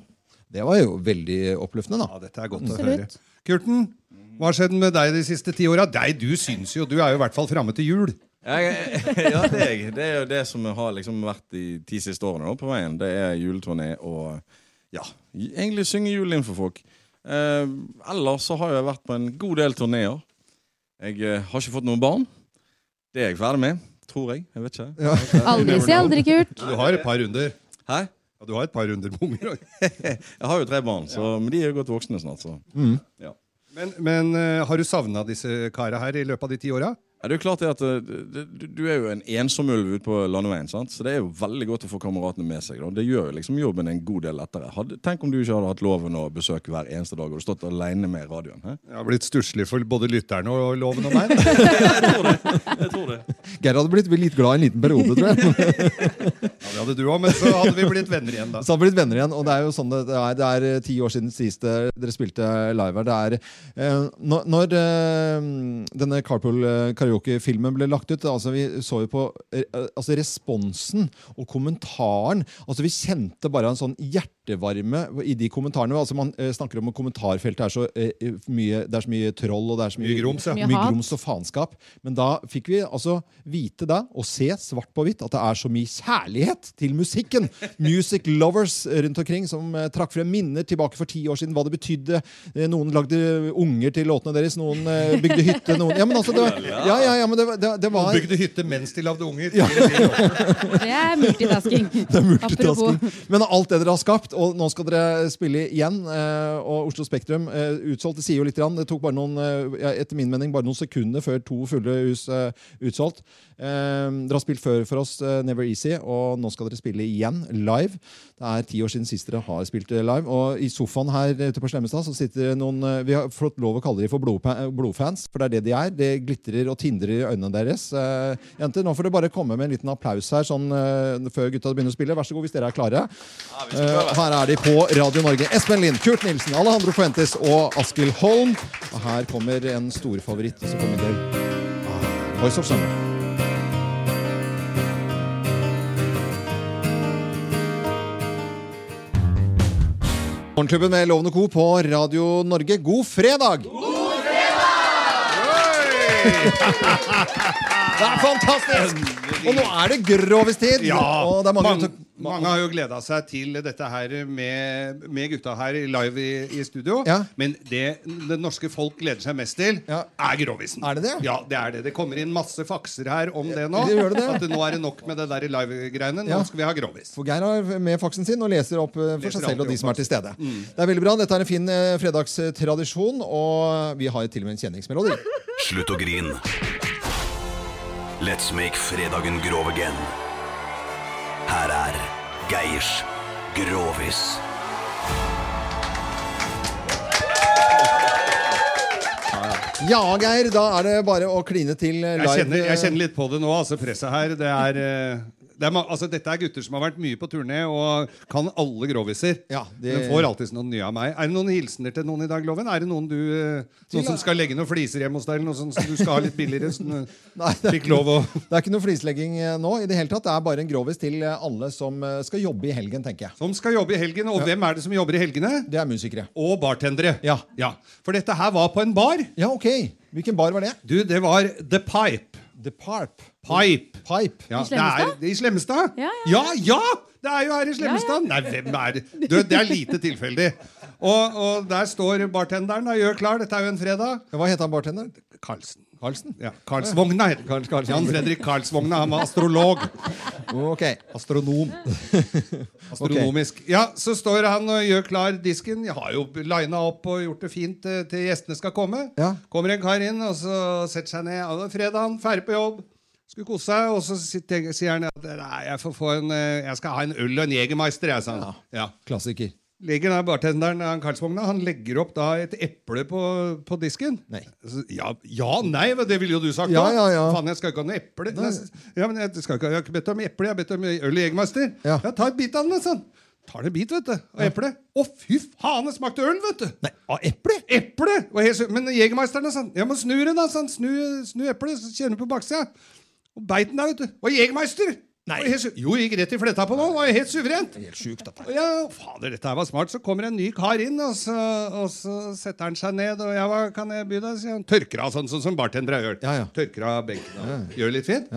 [SPEAKER 1] Det var jo veldig oppløftende, da.
[SPEAKER 2] Ja, dette er godt å høre.
[SPEAKER 21] Absolutt.
[SPEAKER 2] Kurten, hva har skjedd med deg de siste ti åra? Du syns jo, du er jo i hvert fall framme til jul.
[SPEAKER 4] Jeg, ja, det er jeg. Det er jo det som har liksom vært de ti siste årene nå på veien. Det er juleturné og ja, egentlig synge jul inn for folk. Eh, ellers så har jeg vært på en god del turneer. Jeg eh, har ikke fått noen barn. Det er jeg ferdig med, tror jeg. Jeg vet ikke.
[SPEAKER 14] Aldri
[SPEAKER 4] You never
[SPEAKER 14] si aldri,
[SPEAKER 4] know.
[SPEAKER 14] Kurt.
[SPEAKER 2] Du har et par runder.
[SPEAKER 4] Hæ?
[SPEAKER 2] Ja, du har et par runder med unger òg.
[SPEAKER 4] *laughs* jeg har jo tre barn, så, men de er jo godt voksne snart. Så.
[SPEAKER 2] Mm.
[SPEAKER 4] Ja.
[SPEAKER 2] Men, men eh, har du savna disse kara her i løpet av de ti åra?
[SPEAKER 4] Ja, det er jo klart det at eh, du, du- du er jo en ensom ulv ute på landeveien, sant? så det er jo veldig godt å få kameratene med seg. Da. Det gjør jo liksom jobben en god del lettere. Hadde, tenk om du ikke hadde hatt loven å besøke hver eneste dag og du stått alene med radioen. Hæ?
[SPEAKER 2] Jeg har blitt stusslig for både lytterne og loven og *laughs* meg.
[SPEAKER 4] Jeg tror det.
[SPEAKER 1] Geir hadde blitt litt glad i en liten periode, tror jeg.
[SPEAKER 2] *laughs* Ja, det hadde du òg, men så hadde vi blitt venner igjen, da.
[SPEAKER 1] Så har vi blitt venner igjen, og det er jo sånn det det er. Det er eh, ti år siden sist eh, dere spilte live her. Det er eh, når, når eh, denne Carpool eh, Karaoke-filmen ble lagt ut, altså vi så jo på eh, altså responsen og kommentaren. Altså vi kjente bare en sånn hjertevarme i de kommentarene. Altså man eh, snakker om at kommentarfeltet er så eh, mye, det er så mye troll og det er så mye,
[SPEAKER 2] Mye grums, ja. Mye
[SPEAKER 1] mye
[SPEAKER 2] hat.
[SPEAKER 1] grums og faenskap. Men da fikk vi altså vite da, og se svart på hvitt, at det er så mye kjærlighet til musikken. Music lovers rundt omkring som eh, trakk frem minner tilbake for ti år siden, hva det betydde. Eh, Noen lagde unger til låtene deres, noen eh, bygde hytte, noen Ja, men altså, det var, ja, ja, ja, men det, var- det, det var
[SPEAKER 2] Bygde hytte mens de lagde unger.
[SPEAKER 14] Det er multitasking.
[SPEAKER 1] *laughs* det er multitasking.
[SPEAKER 14] Apropos.
[SPEAKER 1] Men alt det dere har skapt, og nå skal dere spille igjen. eh, Og Oslo Spektrum eh, utsolgt, det sier jo litt. grann. Det tok bare noen, eh, ja, etter min mening bare noen sekunder før to fulle hus eh, utsolgt. Eh, Dere har spilt før for oss, eh, Never Easy, og nå skal dere spille igjen, live. Det er ti år siden sist dere har spilt eh, live. Og i sofaen her ute på Slemmestad så sitter det noen eh, Vi har fått lov å kalle dem for blodpa- eh, blodfans, for det er det de er. Det glitrer og tindrer i øynene deres. Eh, Jenter, nå får dere bare komme med en liten applaus her sånn, eh, før gutta begynner å spille. Vær så god hvis dere er klare. Eh, og her er de på Radio Norge. Espen Lind, Kurt Nilsen, Alejandro Fuentes og Askild Holm. Og her kommer en storfavoritt som kommer til ah, Voice of Summer. Morgenklubben med Lovende Co. på Radio Norge. God fredag! *laughs* Det er fantastisk! Og nå er det grovis-tid.
[SPEAKER 2] Ja,
[SPEAKER 1] og det er mange
[SPEAKER 2] mange, mange har jo gleda seg til dette her med, med gutta her live i, i studio. Men det det norske folk gleder seg mest til, er Grovisen.
[SPEAKER 1] Er det det?
[SPEAKER 2] Ja, det er det. Det kommer inn masse fakser her om det nå.
[SPEAKER 1] Det gjør det det.
[SPEAKER 2] At nå er det nok med det der live-greiene. Nå
[SPEAKER 1] Ja.
[SPEAKER 2] skal vi ha Grovis.
[SPEAKER 1] For Geir har med faksen sin og leser opp eh, for
[SPEAKER 2] Leser
[SPEAKER 1] seg selv
[SPEAKER 2] alltid
[SPEAKER 1] og de
[SPEAKER 2] opp
[SPEAKER 1] som er til stede.
[SPEAKER 2] Mm.
[SPEAKER 1] Det er veldig bra. Dette er en fin eh, fredagstradisjon, og vi har jo til og med en kjenningsmelodi.
[SPEAKER 6] Slutt å grine. Let's make fredagen grov again. Her er Geirs Grovis.
[SPEAKER 1] Ja, Geir, da er det bare å kline til eh, live.
[SPEAKER 2] Jeg kjenner, jeg kjenner litt på det nå, altså presset her. Det er, eh, det er, ma- altså, dette er gutter som har vært mye på turné og kan alle groviser.
[SPEAKER 1] det-
[SPEAKER 2] Men får alltid noen nye av meg. Er det noen hilsener til noen i dag, Loven? Er det noen du eh,
[SPEAKER 1] Til-
[SPEAKER 2] Noen som skal legge noen fliser hjemme hos deg, eller noe sånt som du skal ha litt billigere? Sånn,
[SPEAKER 1] *laughs* eh, Nei, det, er
[SPEAKER 2] fikk
[SPEAKER 1] ikke-
[SPEAKER 2] lov å
[SPEAKER 1] *laughs* det er ikke noe flislegging eh, nå. i Det hele tatt. Det er bare en grovis til eh, alle som eh, skal jobbe i helgen, tenker jeg.
[SPEAKER 2] Som skal jobbe i helgen. Og hvem er det som jobber i helgene?
[SPEAKER 1] Det er musikere.
[SPEAKER 2] Og bartendere. Ja. For dette her var på en bar.
[SPEAKER 1] Ja, ok. Hvilken bar var det?
[SPEAKER 2] Du, det var The Pipe.
[SPEAKER 1] The Parp.
[SPEAKER 2] Pipe.
[SPEAKER 1] Pipe.
[SPEAKER 2] Ja,
[SPEAKER 1] I
[SPEAKER 2] det er- I Slemmestad? Ja, ja! Det er jo her i Slemmestad! Nei, hvem er det? Du, det er lite tilfeldig. Og, og der står bartenderen og gjør klar. Dette er jo en fredag.
[SPEAKER 1] Hva het han bartenderen?
[SPEAKER 2] Karlsen.
[SPEAKER 1] Karlsen?
[SPEAKER 2] Ja, Karlsvogna heter
[SPEAKER 1] Karl- Karlsen.
[SPEAKER 2] Jan Fredrik Karlsvogna. Han var astrolog.
[SPEAKER 1] Ok.
[SPEAKER 2] Astronom.
[SPEAKER 1] *laughs*
[SPEAKER 2] Astronomisk. Ja, så står han og gjør klar disken. Jeg har jo lina opp og gjort det fint eh, til gjestene skal komme.
[SPEAKER 1] Ja.
[SPEAKER 2] Kommer en kar inn og så setter seg ned. Ja, det er fredagen, ferdig på jobb. Skulle kose seg, og så sitter- sier han at nei, jeg, får få en, eh, jeg skal ha en øl og en Jegermeister. Jeg, sa han. Ja.
[SPEAKER 1] Klassiker.
[SPEAKER 2] Ligger der bartenderen han Karlsvogna Han legger opp da et eple på, på disken.
[SPEAKER 1] Nei.
[SPEAKER 2] Ja, ja, nei, men det ville jo du sagt.
[SPEAKER 1] Ja,
[SPEAKER 2] da.
[SPEAKER 1] ja, ja.
[SPEAKER 2] Faen, jeg skal ikke ha noe eple. Nei, s- Ja, men jeg, skal ikke, jeg har ikke bedt om eple, jeg har bedt om øl og Jegermeister. Ja. ta et bit av den, da, sånn. Tar en bit, vet du. Av eplet. Å, fy faen, det smakte ørn, vet du! Nei, av eple? Eple! Og jeg så- Men jegermeisteren sa ja, men snu den, da. sa han. Snu, snu eplet, så kjenner du på baksida. Og beit den der, vet du. Og jegermeister! Nei. Jo, gikk rett i fletta på nå. Var helt suverent. Helt sjukt, dette. Ja, fader, dette her var smart. Så kommer en ny kar inn, og så, og så setter han seg ned. Og ja, hva kan jeg by deg? sier han. Tørker av, sånn, sånn som bartendere gjør. Tørker av benken. og Gjør litt fint.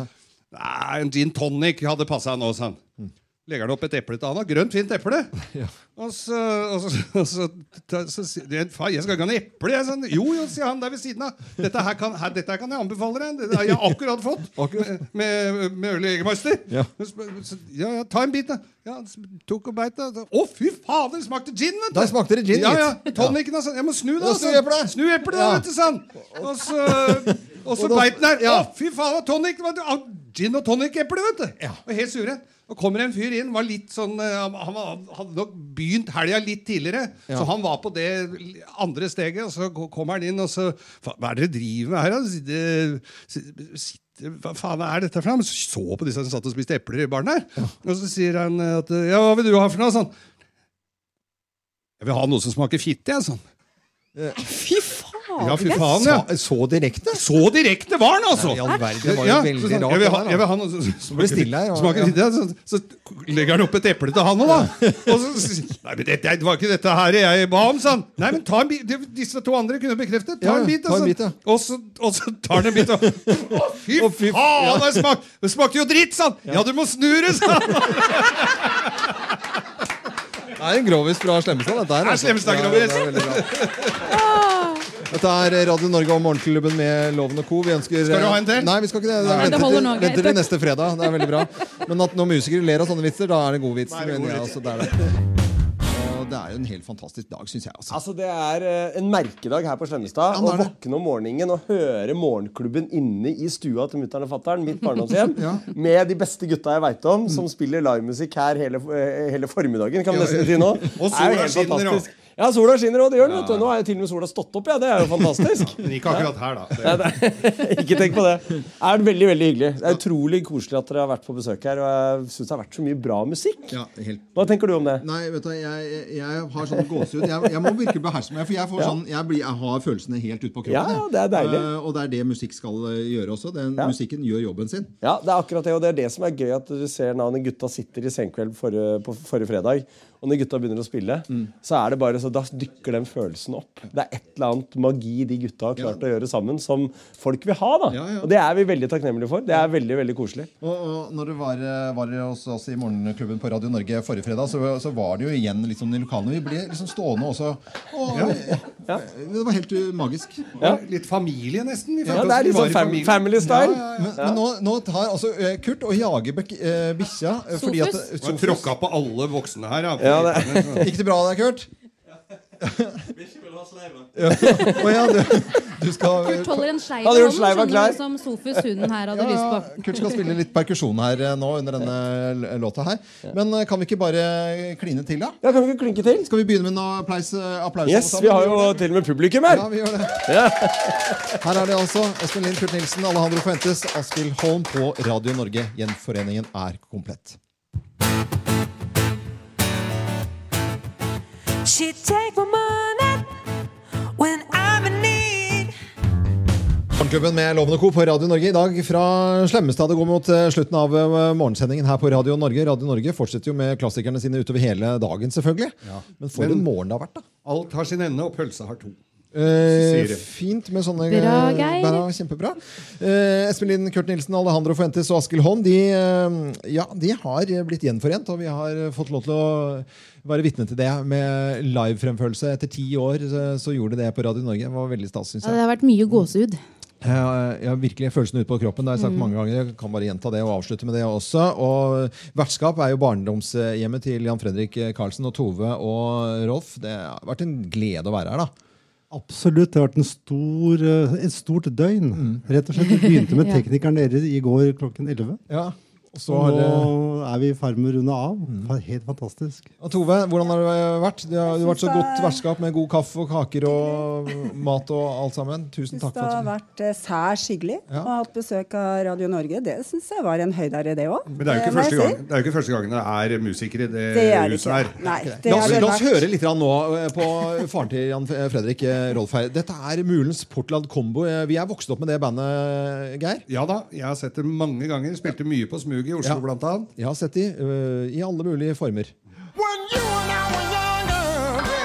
[SPEAKER 2] Nei, en gin tonic hadde passa nå, sa han. Legger han opp et eple til han. og Grønt, fint
[SPEAKER 1] *laughs*
[SPEAKER 2] eple. Og så, og så, og så, ta- så, sier de, faen, jeg skal ikke ha noe eple. Jeg, sånn. Jo, jo, sier han der ved siden av. Dette her kan, her, dette her kan jeg anbefale deg. Det har jeg akkurat
[SPEAKER 1] *laughs*
[SPEAKER 2] fått med, med, med øl og jegermeister.
[SPEAKER 1] Ja.
[SPEAKER 2] Så- Ja, ja, ta en bit, da. Ja, han tok og beit, da. Så- Å, fy fader, det smakte gin! vet du
[SPEAKER 1] Da smakte det gin,
[SPEAKER 2] Ja, ja,
[SPEAKER 1] gitt.
[SPEAKER 2] Tonicen, altså. Jeg må snu, da.
[SPEAKER 1] Ja, snu
[SPEAKER 2] sa han.
[SPEAKER 1] eplet.
[SPEAKER 2] Snu eplet, da,
[SPEAKER 1] Ja.
[SPEAKER 2] vet du, sa han. Og så, og så
[SPEAKER 1] Og da-
[SPEAKER 2] beit den der.
[SPEAKER 1] ja.
[SPEAKER 2] Å, fy faen, det var tonic! det var- det var Gin og tonic-eple, vet du. Og helt sure. Og kommer en fyr inn, var litt sånn eh, Han, han var- hadde nok begynt helga litt tidligere,
[SPEAKER 1] Ja.
[SPEAKER 2] så han var på det andre steget, og så ko- kommer han inn, og så "Fa- Hva er det dere driver med her, da? Sitte- si- sitte- Hva faen er dette for noe? Så så på disse som satt og spiste epler i baren her. Og så sier han eh, at Ja, hva vil du ha for noe? Sånn. Jeg vil ha noe som smaker fitte, jeg, sånn.
[SPEAKER 9] Fy faen!
[SPEAKER 2] Ja, fy faen, ja. Så, direkte? Så direkte var han, altså!
[SPEAKER 1] Nei, i all verden, det var jo
[SPEAKER 2] Ja, så
[SPEAKER 1] veldig
[SPEAKER 2] sånn,
[SPEAKER 1] rart,
[SPEAKER 2] Jeg vil ha,
[SPEAKER 1] det der, da.
[SPEAKER 2] jeg vil ha noe som
[SPEAKER 1] Så ble det stille her, ja.
[SPEAKER 2] smaker fitte, så, så legger han opp et eple til han òg, da. Og så, sier- nei, men det, det var ikke dette her jeg ba om, sa han. Nei, men ta en bit. De- Disse to andre kunne bekreftet. Ta
[SPEAKER 1] Ja,
[SPEAKER 2] en bit,
[SPEAKER 1] ta en
[SPEAKER 2] altså.
[SPEAKER 1] bit, ja.
[SPEAKER 2] Og så, og så tar han en bit, og Å, fy faen!
[SPEAKER 1] ja.
[SPEAKER 2] Det, smak, det smakte jo dritt, sa han! Ja, du må snu det, sa han!
[SPEAKER 1] Det er en grovis fra Slemmestad, dette her.
[SPEAKER 2] Det er
[SPEAKER 1] altså.
[SPEAKER 2] Slemmestad,
[SPEAKER 1] Ja,
[SPEAKER 2] grovis.
[SPEAKER 1] det er veldig bra. Dette er eh, Radio Norge og Morgenklubben med Loven og co. Vi ønsker
[SPEAKER 2] Skal du ha en til?
[SPEAKER 1] Nei, vi skal ikke det.
[SPEAKER 2] Nei.
[SPEAKER 1] Venter
[SPEAKER 2] Det holder
[SPEAKER 1] til-
[SPEAKER 2] nå, Geir.
[SPEAKER 1] Venter til neste fredag. Det er veldig bra. Men at når musikere ler av sånne vitser, da er det god vits. Da er det god mener jeg, vits. altså, det er det. *laughs* Og det er jo en helt fantastisk dag, syns jeg. Altså.
[SPEAKER 20] Altså, Det er eh, en merkedag her på Slemmestad. Å våkne om morgenen og høre Morgenklubben inne i stua til mutter'n og fatter'n, mitt barndomshjem,
[SPEAKER 1] *laughs* Ja.
[SPEAKER 20] med de beste gutta jeg veit om, som spiller livemusikk her hele, eh, hele formiddagen, kan vi
[SPEAKER 1] Ja.
[SPEAKER 20] nesten si nå.
[SPEAKER 1] Og
[SPEAKER 20] Det er jo
[SPEAKER 1] sola
[SPEAKER 20] helt
[SPEAKER 1] skinner
[SPEAKER 20] fantastisk. Ja, sola skinner òg. Det gjør den. vet du. Nå er jo til og med sola stått opp, ja. Det er jo fantastisk.
[SPEAKER 2] Men ikke akkurat
[SPEAKER 20] *laughs*
[SPEAKER 2] her, da.
[SPEAKER 20] Nei, nei, ikke tenk på det. Det er veldig veldig hyggelig. Det er utrolig koselig at dere har vært på besøk her. Og jeg syns det har vært så mye bra musikk. Hva tenker du om det?
[SPEAKER 1] Nei, vet du, jeg, jeg- jeg har sånn gåsehud. Jeg, jeg må virkelig beherske meg, for jeg, får
[SPEAKER 20] Ja.
[SPEAKER 1] sånn, jeg, blir, jeg har følelsene helt ut på kroppen.
[SPEAKER 20] Ja,
[SPEAKER 1] jeg.
[SPEAKER 20] det er deilig.
[SPEAKER 1] Eh, og det er det musikk skal eh, gjøre også. Den,
[SPEAKER 20] Ja.
[SPEAKER 1] Musikken gjør jobben sin.
[SPEAKER 20] Ja, det er akkurat det, og det er det som er gøy at du ser når gutta sitter i senkveld forrige, på forrige fredag, og når gutta begynner å spille,
[SPEAKER 1] Mm.
[SPEAKER 20] så er det bare så, da dykker den følelsen opp. Det er et eller annet magi de gutta har klart å gjøre sammen, som folk vil ha. da. Og det er vi veldig takknemlige for. Det er veldig, veldig koselig.
[SPEAKER 1] Og, og når du var, eh, var hos oss i Morgenklubben på Radio Norge forrige fredag, så, så var det jo igjen litt sånn i lokalene. Vi ble liksom stående også. Og, eh, Det var helt uh, magisk.
[SPEAKER 2] Litt familie, nesten. Vi
[SPEAKER 1] Ja,
[SPEAKER 2] følte
[SPEAKER 1] det er
[SPEAKER 2] oss- vi
[SPEAKER 1] litt
[SPEAKER 2] var
[SPEAKER 1] sånn
[SPEAKER 2] i
[SPEAKER 1] fam-
[SPEAKER 2] familie.
[SPEAKER 1] family
[SPEAKER 20] style.
[SPEAKER 2] Ja, ja,
[SPEAKER 1] Men, men nå, nå tar altså eh, Kurt og jager bek- eh, bikkja eh, fordi at
[SPEAKER 2] Sofus. Man tråkka på alle voksne her. Ja.
[SPEAKER 1] *laughs* Gikk det bra der, Kurt?
[SPEAKER 23] Ikke vil ha sleiven.
[SPEAKER 1] Ja. Å ja, du, du skal
[SPEAKER 14] Kurt holder en sleiv i
[SPEAKER 1] Hadde gjort
[SPEAKER 14] hånden,
[SPEAKER 1] sleiva
[SPEAKER 14] sånn
[SPEAKER 1] klar.
[SPEAKER 14] Som Sofus hunden her hadde
[SPEAKER 1] Ja, ja,
[SPEAKER 14] lyst på.
[SPEAKER 1] Kurt skal spille litt perkusjon her eh, nå under denne l- låta her. Men eh, kan vi ikke bare kline til, da?
[SPEAKER 20] Ja, kan vi ikke klinke til?
[SPEAKER 1] Skal vi begynne med en applaus? eh, applaus alle
[SPEAKER 20] Yes,
[SPEAKER 1] sammen?
[SPEAKER 20] vi har jo til og med publikum her.
[SPEAKER 1] Ja, vi gjør det.
[SPEAKER 20] Ja.
[SPEAKER 1] Her er de altså. Espen Lind, Kurt Nilsen, Alejandro Fuentes, Askild Holm på Radio Norge. Gjenforeningen er komplett.
[SPEAKER 7] She take my money when I'm in need.
[SPEAKER 1] Morgenklubben med Loven og Co. på Radio Norge i dag fra Slemmestad. Det går mot eh, slutten av eh, morgensendingen her på Radio Norge. Radio Norge fortsetter jo med klassikerne sine utover hele dagen, selvfølgelig. Men for en morgen det har vært, da.
[SPEAKER 2] Alt har sin ende, og pølsa har to.
[SPEAKER 1] Eh,
[SPEAKER 2] Sier det.
[SPEAKER 1] fint med sånne
[SPEAKER 2] Bra, Geir.
[SPEAKER 1] Bra, kjempebra. Eh, Espen Lind, Kurt Nilsen, Alejandro Fuentes og Askild Holm de, eh, ja, de har blitt gjenforent. Og vi har eh, fått lov til å være vitne til det med livefremførelse. Etter ti år eh, så gjorde de det på Radio Norge. Det var veldig stas, syns
[SPEAKER 14] Ja,
[SPEAKER 1] jeg.
[SPEAKER 14] det har vært mye gåsehud.
[SPEAKER 1] Ja, ja, Eh, virkelig følelsen ute på kroppen. Det har jeg sagt
[SPEAKER 14] Mm.
[SPEAKER 1] mange ganger. Jeg kan bare gjenta det og avslutte med det også. Og Vertskap er jo barndomshjemmet til Jan Fredrik Karlsen og Tove og Rolf. Det har vært en glede å være her, da.
[SPEAKER 18] Absolutt. Det har vært en stor, eh, et stort døgn.
[SPEAKER 1] Mm.
[SPEAKER 18] Rett og slett. Vi begynte med
[SPEAKER 1] Ja.
[SPEAKER 18] teknikeren dere i går klokken 11.
[SPEAKER 1] Ja, og så
[SPEAKER 18] Og
[SPEAKER 1] har Mm.
[SPEAKER 18] nå er vi i ferd med å runde av. Fa- Helt fantastisk.
[SPEAKER 1] Og Tove, hvordan har det vært? Du har, du har vært så godt vertskap med god kaffe og kaker og mat og alt sammen. Tusen
[SPEAKER 19] Syns
[SPEAKER 1] takk
[SPEAKER 19] det
[SPEAKER 1] for
[SPEAKER 19] har
[SPEAKER 1] at du
[SPEAKER 19] vært eh, særs hyggelig å ha hatt besøk av Radio Norge. Det syns jeg var en høydare, det Eh, òg.
[SPEAKER 8] Men det er, jo ikke første gang, det er jo ikke første gangen det er musikere i det,
[SPEAKER 19] Det er det
[SPEAKER 8] huset
[SPEAKER 19] ikke.
[SPEAKER 8] her.
[SPEAKER 19] Nei, det
[SPEAKER 1] La oss,
[SPEAKER 19] har det
[SPEAKER 1] la oss
[SPEAKER 19] vært.
[SPEAKER 1] høre litt grann nå eh, på faren til Jan F- Fredrik eh, Rolf her. Dette er mulens Portland Combo. Eh, Vi er vokst opp med det bandet, eh, Geir.
[SPEAKER 8] Ja da, jeg har sett det mange ganger. Spilte mye på Smug i Oslo,
[SPEAKER 1] Ja.
[SPEAKER 8] blant annet.
[SPEAKER 1] Jeg har sett de eh, i alle mulige former.
[SPEAKER 7] When you and I were younger, babe.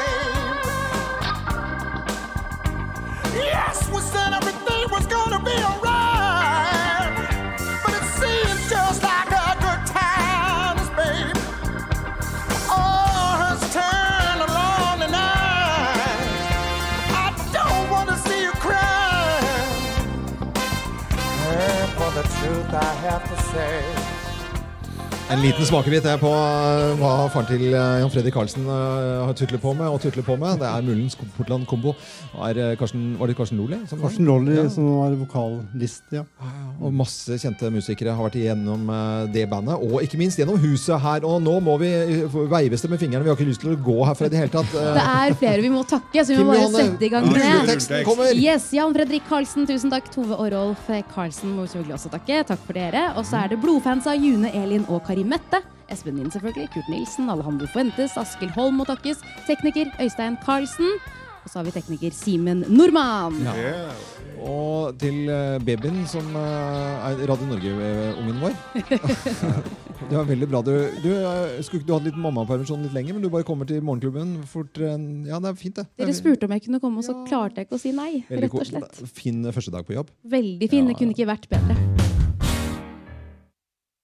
[SPEAKER 7] Yes, we said everything was gonna be alright. But it seems just like a good times, babe. All has turned along the night. I don't wanna see you cry. And for the truth, I have to say.
[SPEAKER 1] En liten smakebit er på eh, hva faren til eh, Jan Fredrik Karlsen eh, har tutlet på med og tutler på med. Det er mulens Portland Combo. Er, eh, Karsten, var det Karsten Lole? som-
[SPEAKER 18] Karsten Lolly,
[SPEAKER 1] Ja.
[SPEAKER 18] som var vokalist. Ja.
[SPEAKER 1] Og masse kjente musikere har vært igjennom eh, det bandet, og ikke minst gjennom huset her. Og nå må vi eh, veives det med fingrene. Vi har ikke lyst til å gå herfra i det hele tatt. eh.
[SPEAKER 14] Det er flere vi må takke, så vi
[SPEAKER 1] Kim
[SPEAKER 14] må bare
[SPEAKER 1] Johanne,
[SPEAKER 14] sette i gang med
[SPEAKER 1] rulleteksten kommer.
[SPEAKER 14] Yes, Jan Fredrik Karlsen, tusen takk. Tove og Rolf Karlsen må vi selvfølgelig også takke. Takk for dere. Og så er det blodfans av June Elin og Kari Mette. Espen Lind, selvfølgelig. Kurt Nilsen, Alejandro Fuentes, Askild Holm må takkes. Tekniker Øystein Karlsen. Og så har vi tekniker Simen Normann.
[SPEAKER 1] Ja. Og til eh, babyen som eh, er Radio Norge-ungen vår.
[SPEAKER 14] *laughs*
[SPEAKER 1] *laughs* Det var veldig bra. Du, du, eh, skulle, ikke- du hadde litt mammapermisjon litt lenger, men du bare kommer til morgenklubben fortere enn Ja, det er fint, det.
[SPEAKER 14] Dere spurte om jeg kunne komme, og så klarte jeg ikke å si nei.
[SPEAKER 1] Veldig
[SPEAKER 14] Rett og slett.
[SPEAKER 1] ko- Fin første dag på jobb.
[SPEAKER 14] Veldig fin. Det kunne ikke vært bedre.